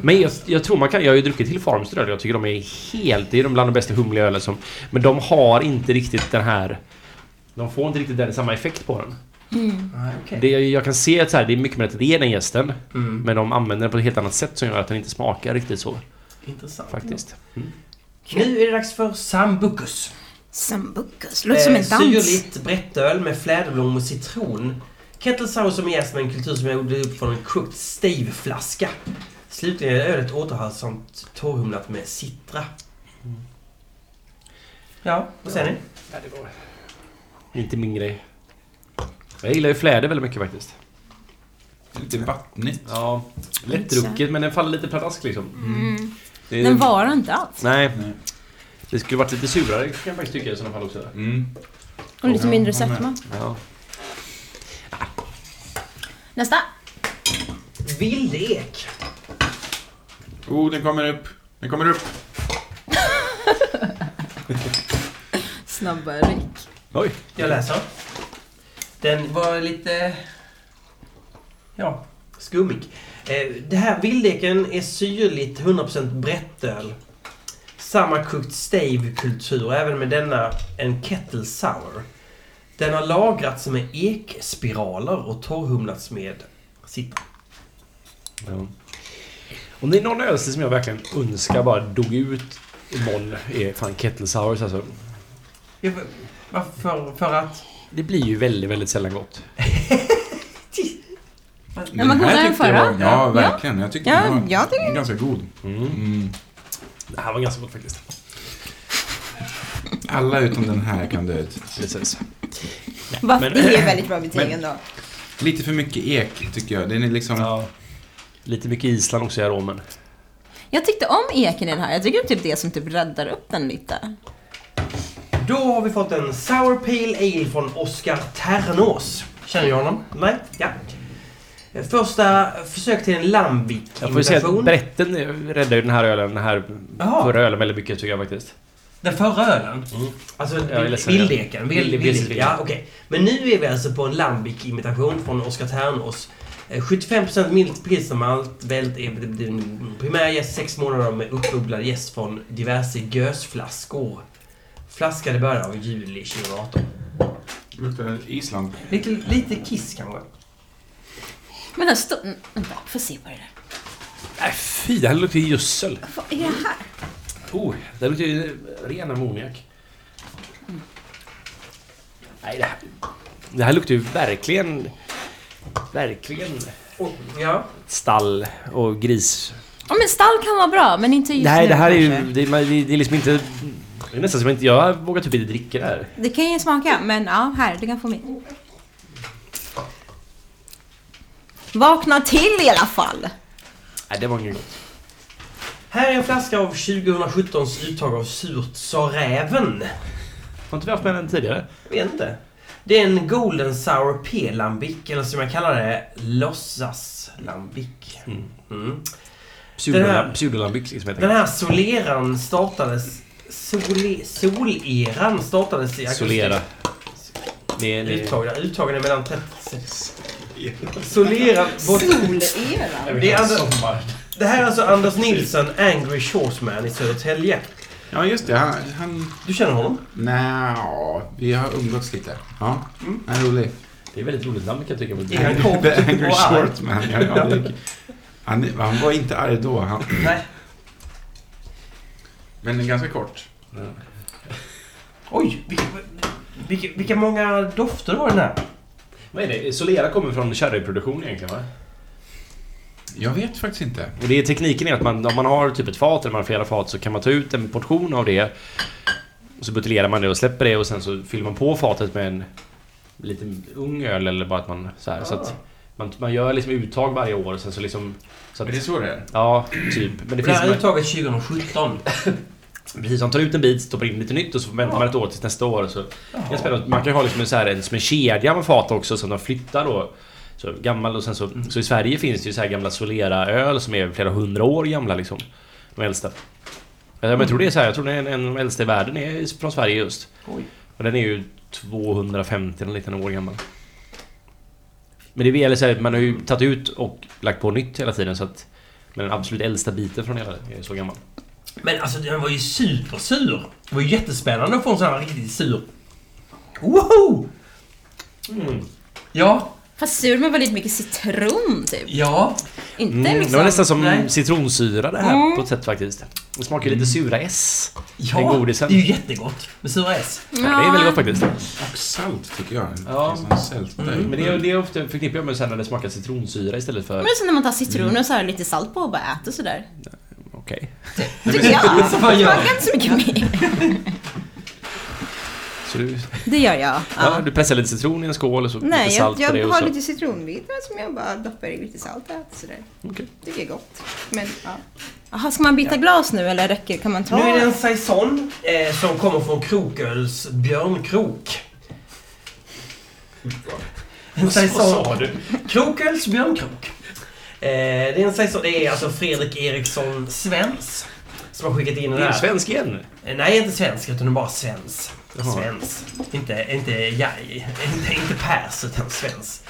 A: Men jag, jag tror man kan, jag har ju druckit till Farmsted öl, jag tycker de är helt, det är de bland de bästa humliga ölen som... Men de har inte riktigt den här... De får inte riktigt den samma effekt på den.
E: Mm.
C: Nej, Ah, okej.
A: Det, jag kan se att så här, det är mycket mer att det är den gästen,
C: Mm.
A: men de använder den på ett helt annat sätt som gör att den inte smakar riktigt så,
C: Intressant.
A: faktiskt.
C: Nu är det dags för Sambucus. Eh,
E: Sambucus. Låter som en
A: Eh,
E: dans.
C: syrligt brättöl med fläderblommor och citron. Kettle sour som är jäst med en kultur som jag odlade upp från en kokt staveflaska. Slutligen är ölet återhållsamt torrhumlat med citra.
A: Mm.
C: Ja, vad säger ni?
A: Inte min grej. Jag gillar ju fläder väldigt mycket faktiskt.
D: Lite vattnigt.
A: Ja, lättdrucket men den faller lite pladask liksom. Det är-
B: Den varar inte alls.
A: Nej.
D: Nej.
A: Det skulle varit lite surare kan jag faktiskt tycka i sådana fall också.
D: Mm.
B: Och lite
D: Ja,
B: mindre
D: jag med.
B: sötma.
A: Ja.
B: Nästa!
C: Vild ek.
D: Oh, den kommer upp. Den kommer upp.
E: Snabbare Rick.
A: Oj.
C: Jag läser. Den var lite... Ja, skummig. Eh, Det här vildeken är syrligt 100% brättöl. Samma kokt stavkultur, även med denna en kettle sour. Den har lagrats med ekspiraler och torrhumlats med citron.
A: Ja. Om det är någon ölstil som jag verkligen önskar bara dog ut imorgon är fan kettle sours alltså.
C: Ja, va- Varför? För att...
A: Det blir ju väldigt, väldigt sällan gott.
D: Den
B: man
D: här
B: godare än
D: tyckte jag
B: förra.
D: var- Ja, verkligen. Jag tyckte
E: Ja,
D: den var
E: jag tycker-
D: ganska god. Mm.
A: Det här var ganska gott faktiskt.
D: Alla utom den här kan dö ut.
A: Precis.
E: Va,
A: Men-
E: Det är väldigt bra betyg
D: Men-
E: ändå.
D: Lite för mycket ek, tycker jag. Den är liksom...
A: Ja. Lite mycket Island också i aromen.
E: Jag tyckte om eken i den här. Jag tycker typ det som typ räddar upp den lite.
C: Då har vi fått en Sour Pale Ale från Oskar Ternås. Känner du honom? Nej? Ja. Första försök till en
A: Jag får ju säga att
C: Lambic-imitation.
A: Bretten räddar ju den här ölen, den här
C: Jaha.
A: förra ölen väldigt mycket tycker jag faktiskt.
C: Den förra ölen?
A: Mm.
C: Alltså
A: Jag är ledsen,
C: vildeken?
A: ja.
C: Vild,
A: Vild-
C: vild,
A: precis,
C: ja, okej. Men nu är vi alltså på en Lambic-imitation från Oskar Ternås. Eh, 75% milt pilsnermalt, vält är primär jäst 6 månader med uppbubblad jäst från diverse gösflaskor. Flaskade i början av juli 2018.
D: Luktar Island.
C: Lite, lite kiss kanske?
E: Men den stod... mm, Vänta, får se vad det är.
A: Nej fy, det här luktar ju gödsel.
E: Vad är det här?
A: Oh, det luktar ju ren ammoniak. Nej, det här, det här luktar ju verkligen... Verkligen
C: Oh, ja.
A: stall och gris.
E: Ja, men stall kan vara bra, men inte just
A: Nej,
E: nu
A: det här är
E: kanske.
A: ju... Det, man- det, det är liksom inte... Det är nästan som inte... Jag vågar typ inte dricka det här.
E: Det kan ju smaka, men ja, här, du kan få min. Vakna till i alla fall!
A: Nej, det var inget gott.
C: Här är en flaska av 2017s uttag av surt sa räven.
A: Har inte vi haft med den tidigare?
C: Jag vet inte. Det är en Golden Sour P-lambic, eller som jag kallar det, låtsas-lambic.
A: Mm.
C: Mm. Den här-
A: Pseudolam- Pseudolambyx liksom heter
C: Den
A: det.
C: här soleran startades... Sole, soleran startades i augusti.
A: Solera. Det är... Det är
C: Uttagen, uttagen är mellan 36... Soleran...
E: Solera!
C: Det, är alltså, det här är alltså Anders Nilsson, Angry Shoresman i Södertälje.
D: Ja, just det. Han... han...
C: Du känner honom?
D: Nja, vi har umgåtts lite. Ja,
A: Mm.
D: han är rolig.
A: det är väldigt roligt namn kan jag tycka. men det-
C: Är han kort
D: The
C: och
D: Angry
C: arg?
D: Short Man. Ja, ja, det- han, han var inte arg då, han,
C: Nej.
D: men ganska kort.
C: Oj, vilka, vilka, vilka många dofter var den här?
A: Vad är det? Solera kommer från sherryproduktion egentligen va?
D: Jag vet faktiskt inte.
A: Och det är tekniken är att man, om man har typ ett fat eller man har flera fat så kan man ta ut en portion av det. Och så buteljerar man det och släpper det och sen så fyller man på fatet med en liten ung öl eller bara att man så här. Så att man, man gör liksom uttag varje år och sen så liksom... Så att,
D: Är det så det är?
A: ja, typ. Men det
C: Det här är
A: finns...
C: uttaget 2017.
A: Precis, man tar ut en bit, stoppar in lite nytt och så väntar man ett år liksom tills nästa år. och Så. Det är spännande. Man kan ha liksom en, så här, en, som en kedja med fat också som de flyttar då. Så gammal och sen så, så i Sverige finns det ju så här gamla Solera-öl som är flera hundra år gamla liksom. De äldsta. Ja, men Jag tror det är så här, jag tror den är en av de äldsta i världen är från Sverige just.
C: Oj.
A: Och den är ju 250 eller liten år gammal. Men det gäller så här, man har ju tagit ut och lagt på nytt hela tiden så att men den absolut äldsta biten från hela är så gammal.
C: Men alltså den var ju supersur. Det var ju jättespännande att få en sån här riktigt sur. Woho! Ja,
E: Fast sur med väldigt mycket citron typ.
C: ja.
E: Inte
A: Mm,
E: liksom...
A: det var nästan som
C: nej.
A: citronsyra det här
E: Mm.
A: på ett sätt faktiskt. Det smakar ju lite sura S.
C: Ja,
A: Den godisen.
C: det är ju jättegott med sura S.
A: Ja. Det är väldigt gott faktiskt.
D: Och salt tycker jag.
A: Ja.
D: Ja. Det är som sälta.
C: Mm.
A: Men det är, det är ofta förknippar jag med sen när det smakar citronsyra istället för...
E: Men det är som när man tar citron och så här lite salt på och bara äter sådär.
A: Okej.
E: Tycker jag.
C: Så vad gör
E: Smakar inte så mycket mer.
A: Så du,
E: Det gör jag.
A: ja,
E: Ja.
A: du pressar lite citron i en skål och så lite
E: Nej,
A: salt
E: jag,
A: på det
E: jag
A: och
E: har
A: så...
E: lite citronbitar som jag bara doppar i lite salt och äter sådär.
A: Okej.
E: Tycker jag är gott. Men ja. Jaha, ska man byta glas nu eller räcker Kan man ta?
C: Nu är det en saison eh, som kommer från Kroköls björnkrok. En saison.
A: du?
C: Kroköls björnkrok. Eh, det är en saison. Det är alltså Fredrik Eriksson Svens som har skickat in
A: Det
C: den
A: är
C: här.
A: ju svensk igen.
C: Eh, Nej, inte svensk utan den är bara svens.
A: Jaha.
C: Svens. Inte, inte, ja, inte, inte pers utan svens.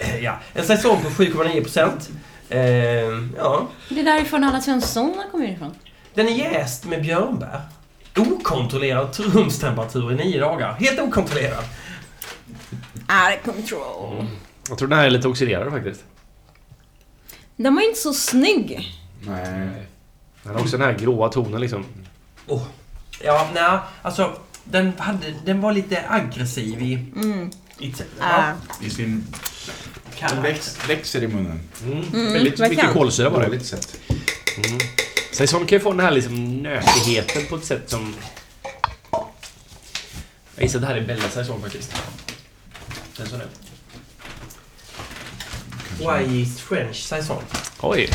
C: Eh, Ja. En säsong på 7,9 procent. Eh, ja.
B: Det är därifrån alla svenssånger kommer ifrån.
C: Den är jäst med björnbär. Okontrollerad rumstemperatur i nio dagar. Helt okontrollerad.
E: Out of control.
A: Jag tror den här är lite oxiderad faktiskt.
E: Den var ju inte så snygg.
D: Nej.
A: Den har också den här gråa tonen liksom.
C: Ja, nej, alltså den, hade, den var lite aggressiv i... i t-
E: Mm. Ah.
D: I sin...
C: karaktär.
D: Den väx, växer i munnen.
A: Mm.
E: Mm,
A: Väldigt mycket
E: verkligen.
A: kolsyra var det.
D: Dåligt sätt.
A: Mm. Saison kan ju få den här liksom nötigheten på ett sätt som... Jag gissar att det här är Bella Saison faktiskt. Den som är.
C: Why is French saison?
A: Oj!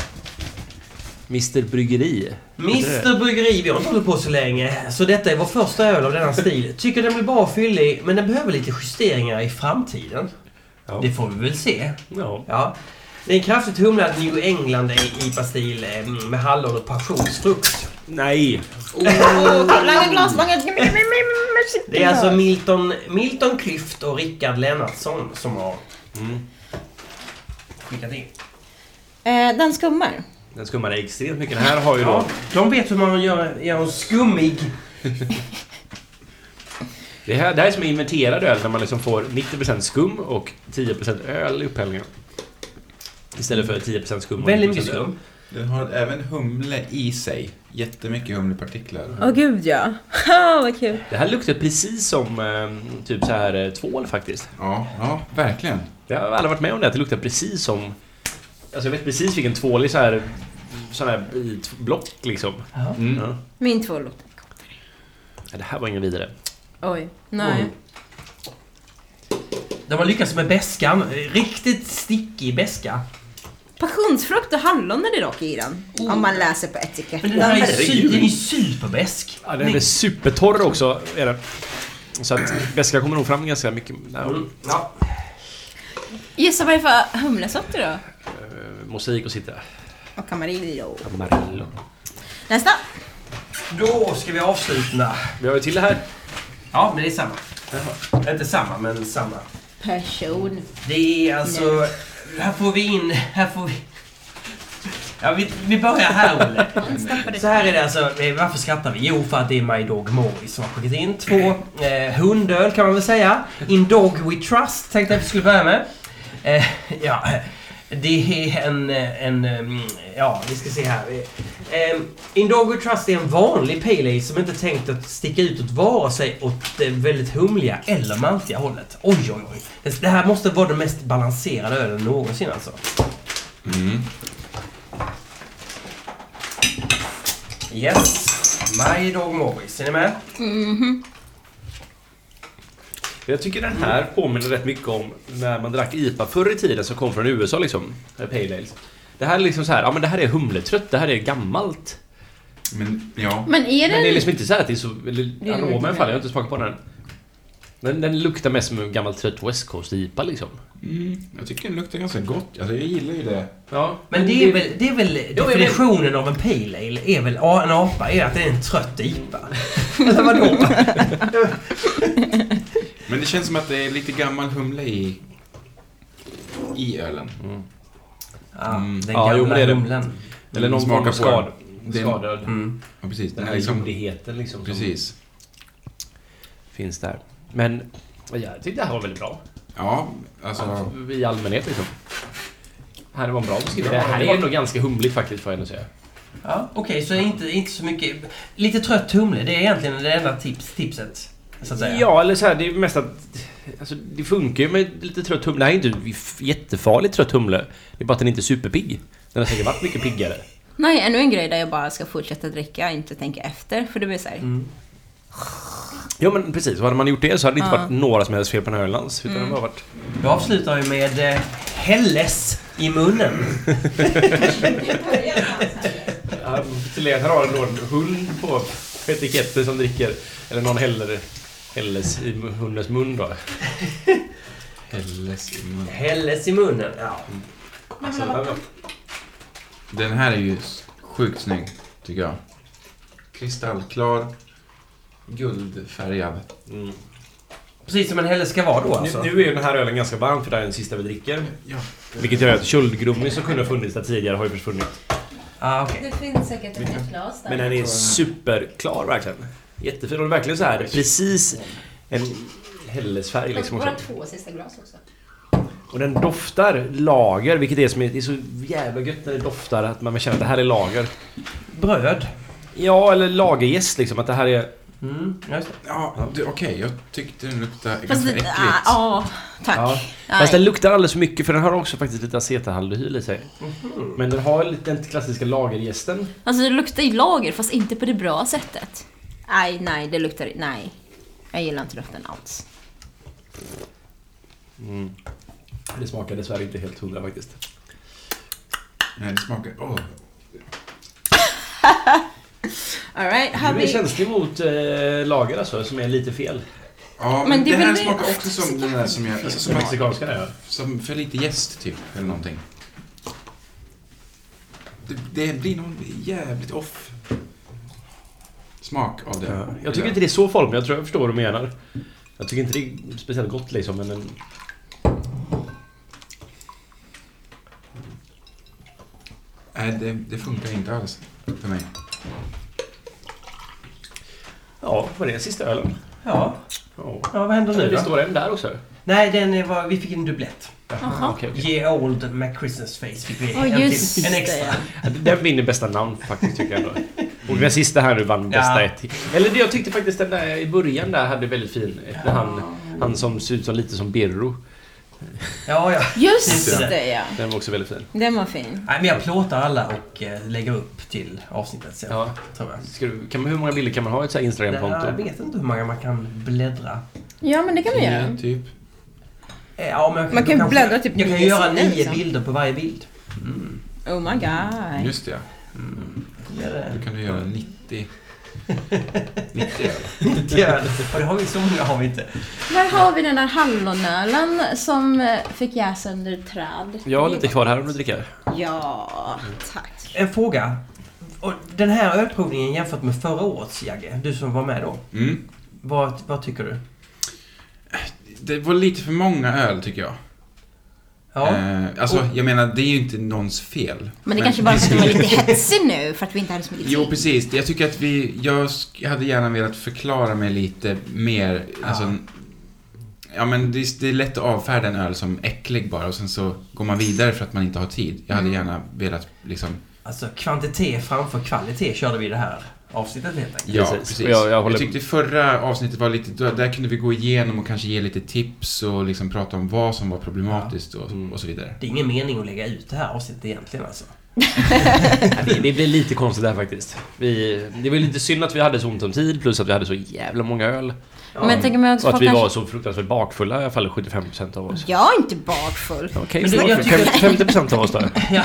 A: Mr Bryggeri.
C: Mr Bryggeri, vi har inte hållit på så länge, så detta är vår första öl av denna stil. Tycker den blir bra och fyllig, men den behöver lite justeringar i framtiden.
A: Ja.
C: Det får vi väl se.
A: Ja.
C: Ja. Det är en kraftigt humlad New England IPA-stil eh, med hallon och passionsfrukt.
A: Nej!
E: Langa glasvagnet.
C: Det är alltså Milton, Milton Klyft och Rickard Lennartsson som har
A: Mm.
C: skickat in.
E: Eh, den skummar.
A: Den skummar extremt mycket. Den här har ju
C: Ja,
A: då...
C: de vet hur man gör, gör en skummig.
A: Det här, det här är som en inventerad öl där man liksom får 90% skum och 10% öl i upphällningen. Istället för 10% skum och
C: Väldigt
A: 90%
C: mycket
A: öl.
C: skum.
D: Den har även humle i sig. Jättemycket humlepartiklar.
E: Åh gud ja. Åh, vad kul.
A: Det här luktar precis som eh, typ så här eh, tvål faktiskt.
D: Ja, ja verkligen.
A: Jag har aldrig varit med om det, att det luktar precis som... Alltså jag vet precis vilken tvål i så här... Sån här i ett block liksom.
C: Ja.
D: Mm.
A: Ja.
E: Min två låter.
A: Ja, Det här var ingen vidare.
E: Oj. Nej.
C: De har lyckats med beskan. Riktigt stickig beska.
E: Passionsfrukt och hallon är det dock i den. Mm. Om man läser på etiketten.
C: Men den här är su-
A: herregud.
C: den är superbesk.
A: Ja, den är supertorr också, är den. Så att beska kommer nog fram ganska mycket. Ja,
C: Mm, Ja.
E: Gissa vad det är för humlesorter då?
A: eh, Mosaik och sitta.
E: Och Camarillo.
A: Amarillo.
E: Nästa!
C: Då ska vi avsluta.
A: Vi har ju till det här.
C: Ja, men det är samma. Inte samma, men samma.
E: Person.
C: Det är alltså... Här får vi in... Här får vi... Ja, vi, vi börjar här, Olle. Så här är det alltså, eh, varför skrattar vi? Jo, för att det är My Dog Morris som har skickat in två eh, hundöl kan man väl säga. In Dog We Trust tänkte jag att vi skulle börja med. Eh, ja, eh, det är en, eh, en, mm, ja vi ska se här. Eh, In Dog We Trust är en vanlig pale ale som inte är tänkt att sticka ut åt vare sig åt det väldigt humliga eller maltiga hållet. Oj, oj, oj. Det- Det här måste vara den mest balanserade ölen någonsin alltså.
D: Mm.
C: Yes. My Dog Morris, är ni med?
A: Jag tycker den här påminner rätt mycket om när man drack IPA förr i tiden som kom från USA liksom. eh, Pale Ales. Det här är liksom så här, ja men det här är humletrött, det här är gammalt.
D: Men ja,
B: Men är
A: Men
B: den...
A: det är liksom inte så här att det är så... eller
B: Det är
A: Aromen
B: mycket
A: faller, jag har inte smakat på den. Den, den luktar mest som en gammal trött West Coast IPA liksom.
D: Mm, jag tycker den luktar ganska gott. Alltså jag gillar ju det.
A: Ja.
C: Men det är väl, det är väl
A: Mm. Jo, men-
C: definitionen av en pale ale, är väl a- en apa, är att det är en trött IPA. Eller vadå?
D: Men det känns som att det är lite gammal humle i, i ölen.
C: Ah,
D: Mm.
C: den
A: Ja,
C: gamla
A: jo, men det är det.
C: humlen.
A: Eller någon
D: Smaka
A: form
D: på
A: av skad,
D: den.
A: skadad.
C: Mm.
D: Ja, precis.
A: Den
D: Den
A: här
D: är liksom,
A: jordigheten liksom. som-
D: precis.
A: finns där. Men ja, jag tyckte det här var väldigt bra.
D: Ja, alltså.
A: Alltså, I allmänhet liksom. Här var en bra beskrivning.
D: Ja,
A: Det här
D: det var-
A: är nog ganska humligt faktiskt får jag ändå säga.
C: Ja, Okej, så inte, inte så mycket... Lite trött humle, det är egentligen det enda tips, tipset. Så att säga.
A: Ja, eller så här, det är mest att... Alltså, det funkar ju med lite trött humle. Det här är inte f- jättefarligt trött humle. Det är bara att den inte är superpigg. Den har säkert varit mycket piggare.
E: Nej, ännu en grej där jag bara ska fortsätta dricka, inte tänka efter. För det blir såhär,
C: Mm.
A: Ja men precis, och hade man gjort det så hade det inte varit några som helst fel på den här ölen alls. Utan det har bara varit...
C: Vi avslutar ju med eh, Helles i munnen.
A: Här har du en hund på etiketten som dricker. Eller någon häller Helles i hundens mun då.
D: Helles i mun.
C: Helles i munnen, ja.
A: Alltså,
D: Den här är ju sjukt snygg, tycker jag. Kristallklar, guldfärgad.
A: Mm.
C: Precis som en Helles ska vara då alltså.
A: Nu, nu är ju den här ölen ganska varm för det här är den sista vi dricker.
D: Ja.
A: Vilket gör att köldgrummi som kunde ha funnits där tidigare har ju försvunnit.
C: Ah, okej.
B: Det finns säkert ett glas
A: Men den är superklar verkligen. Jättefin. Och verkligen så här precis en Hellesfärg liksom. Och, så.
B: två sista glas också.
A: och den doftar lager, vilket är som är, det är så jävla gött när det doftar att man känner att det här är lager.
C: Bröd.
A: Ja, eller lagerjäst liksom. Att det här är...
C: Mm, ja, just det.
D: Ja, du, okej. jag tyckte den luktade
E: fast
D: ganska
E: det,
D: äckligt.
E: ah, ja, tack.
A: Ja.
E: Nej.
A: Fast den luktar alldeles för mycket för den har också faktiskt lite acetahaldehyl i sig. Men den har lite den klassiska lagerjästen.
E: Alltså det luktar ju lager, fast inte på det bra sättet. Nej, nej, det luktar, nej. Jag gillar inte lukten alls.
A: Det smakar dessvärre inte helt hundra faktiskt.
D: Nej, det smakar... Åh,
E: Alright, här
A: Du är
E: vi...
A: känslig mot eh, lager alltså, som är lite fel.
D: Ja, men,
E: Men det
D: det,
E: är väl
D: här
E: det-
D: smakar också som den där som jag... Alltså,
A: Som
D: som,
A: mexikanska det är.
D: som för lite jäst typ, eller någonting. Det, det blir någon jävligt off smak av det.
A: Ja. Jag tycker inte det är så farligt, men jag tror jag förstår vad du menar. Jag tycker inte det är speciellt gott liksom, men... Den...
D: Nej, det, det funkar inte alls för mig.
A: Ja, vad är det? Sista ölen?
C: Ja.
A: Ja.
C: ja, vad händer nu
A: Det
C: då?
A: står en där också.
C: Nej, den är- var, vi fick en dubblett.
E: Jaha.
A: Okej, okej.
C: Ge old McChristmas face fick vi
E: Ja,
C: en,
E: just
C: till, en
E: det.
C: extra.
A: Den vinner bästa namn faktiskt, tycker jag ändå. Och den sista här nu vann bästa
C: Ja.
A: etik. Eller det, jag tyckte faktiskt den där i början där hade väldigt fin. Efter han, han som ser ut som lite som Birro.
C: Ja, ja.
E: Just
C: Just det.
E: det, ja.
A: Den var också väldigt fin.
E: Den var fin.
C: Nej, men jag plåtar alla och eh, lägger upp till avsnittet sen.
A: Ja.
C: Tror jag.
A: Ska du, kan man, hur många bilder kan man ha i ett så här
C: Det här, jag
A: Instagram-konto?
C: vet inte hur många man kan bläddra.
E: Ja, men det kan vi göra.
D: Tio, typ.
C: Eh, Ja, men jag,
E: Man
C: då
E: kan
C: kanske-
E: bläddra typ
C: Jag kan ju
E: nio
C: göra
E: sidor,
C: nio
E: liksom.
C: bilder på varje bild.
E: Oh my god.
D: Just det,
C: Det är
D: ja.
C: det.
D: Då kan du göra 90... 90 öl.
C: Det är det. Och det har vi så många har vi inte.
E: Där har vi den här hallonölen som eh, fick jäsa under ett träd.
A: Jag har lite kvar här om du dricker.
E: Ja, tack.
C: En fråga. Och den här ölprovningen jämfört med förra årets, Jagge, du som var med då.
D: Mm.
C: Vad, vad tycker du?
D: Det var lite för många öl, tycker jag.
C: Ja.
D: Eh, alltså, jag menar, det är ju inte någons fel.
E: Men det kanske bara skulle vara lite hetsig nu för att vi inte hade så mycket tid.
D: Jo, precis. Jag tycker att vi... Jag sk- hade gärna velat förklara mig lite mer.
C: Ja.
D: Alltså, ja, men det är, det är lätt att avfärda en öl som äcklig bara och sen så går man vidare för att man inte har tid. Jag hade
E: Mm.
D: gärna velat liksom...
C: Alltså kvantitet framför kvalitet körde vi i det här avsnittet helt enkelt.
D: Ja,
A: Precis.
D: precis.
A: Och jag- jag
D: Jag,
A: håller-
D: tyckte förra avsnittet var lite... Där, där kunde vi gå igenom och kanske ge lite tips och liksom prata om vad som var problematiskt och,
A: Mm.
D: och så vidare.
C: Det är ingen mening att lägga ut det här avsnittet egentligen alltså.
A: Det, det blir lite konstigt där faktiskt. Vi, det var ju lite synd att vi hade så ont om tid plus att vi hade så jävla många öl.
E: Men jag tänker mig också
A: Och att
E: folk
A: vi
E: kanske-
A: var så fruktansvärt bakfulla i alla fall 75% av oss.
E: Jag är inte bakfull.
A: Okej,
C: Men du,
A: förlåt.
C: jag tycker-
A: 50, 50% av oss där.
C: Ja,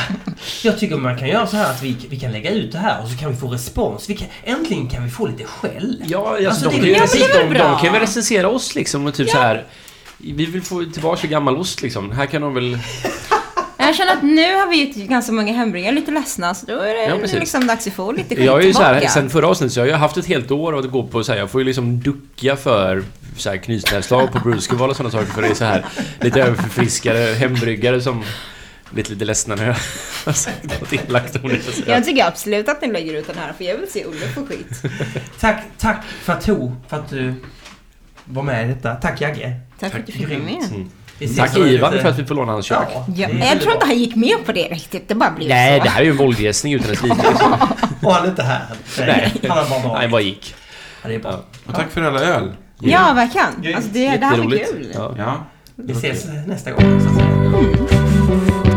C: jag tycker man kan göra så här att vi, vi kan lägga ut det här och så kan vi få respons. Vi kan, äntligen kan vi få lite skäll.
A: Ja, alltså,
C: Alltså,
A: de,
C: det-
A: kan ju
C: ja, men det
A: recensera,
E: är väl
A: de,
E: bra.
A: de kan väl recensera oss liksom och typ så här. Vi vill få tillbaka gammal ost liksom. Här kan de väl...
E: Jag känner att nu har vi gett ganska många hembryggare lite ledsna så då är det
A: Ja, precis.
E: liksom dags att få lite skit
A: Jag är ju så här,
E: tillbaka.
A: sen förra avsnittet så har jag haft ett helt år att gå på så här, jag får ju liksom ducka för så här knytnävsslag på Bruceval och sådana saker för det är så här lite överförfriskade hembryggare som blivit lite ledsna när jag har sagt något elakt om det. så
E: Jag
A: jag-
E: tycker absolut att ni lägger ut den här för jag vill se Olle få skit.
C: Tack, tack Fatou för att du var med i detta. Tack Jagge.
E: Tack för att du fick vara
C: grymt.
E: med.
C: Vi ses
A: Tack
C: om en
A: Ivan
C: liten-
A: för att vi får låna hans kök.
C: Ja,
E: Ja,
C: det
E: men
C: är
E: jag tror inte
C: jättebra.
E: han gick med på det riktigt, det bara blev
A: Nej,
E: så.
A: det här är ju en våldgästning utan dess like. liksom.
C: Och han är inte här.
A: Nej.
C: Han har bara dragit.
A: Nej, bara gick.
C: Ja, det är bra.
A: Ja.
D: Och tack för alla öl.
E: Ja, verkligen. Alltså det, det här var
A: Jätteroligt.
E: kul.
A: Ja.
D: Ja.
C: Vi ses nästa gång. Så att säga.
D: Mm.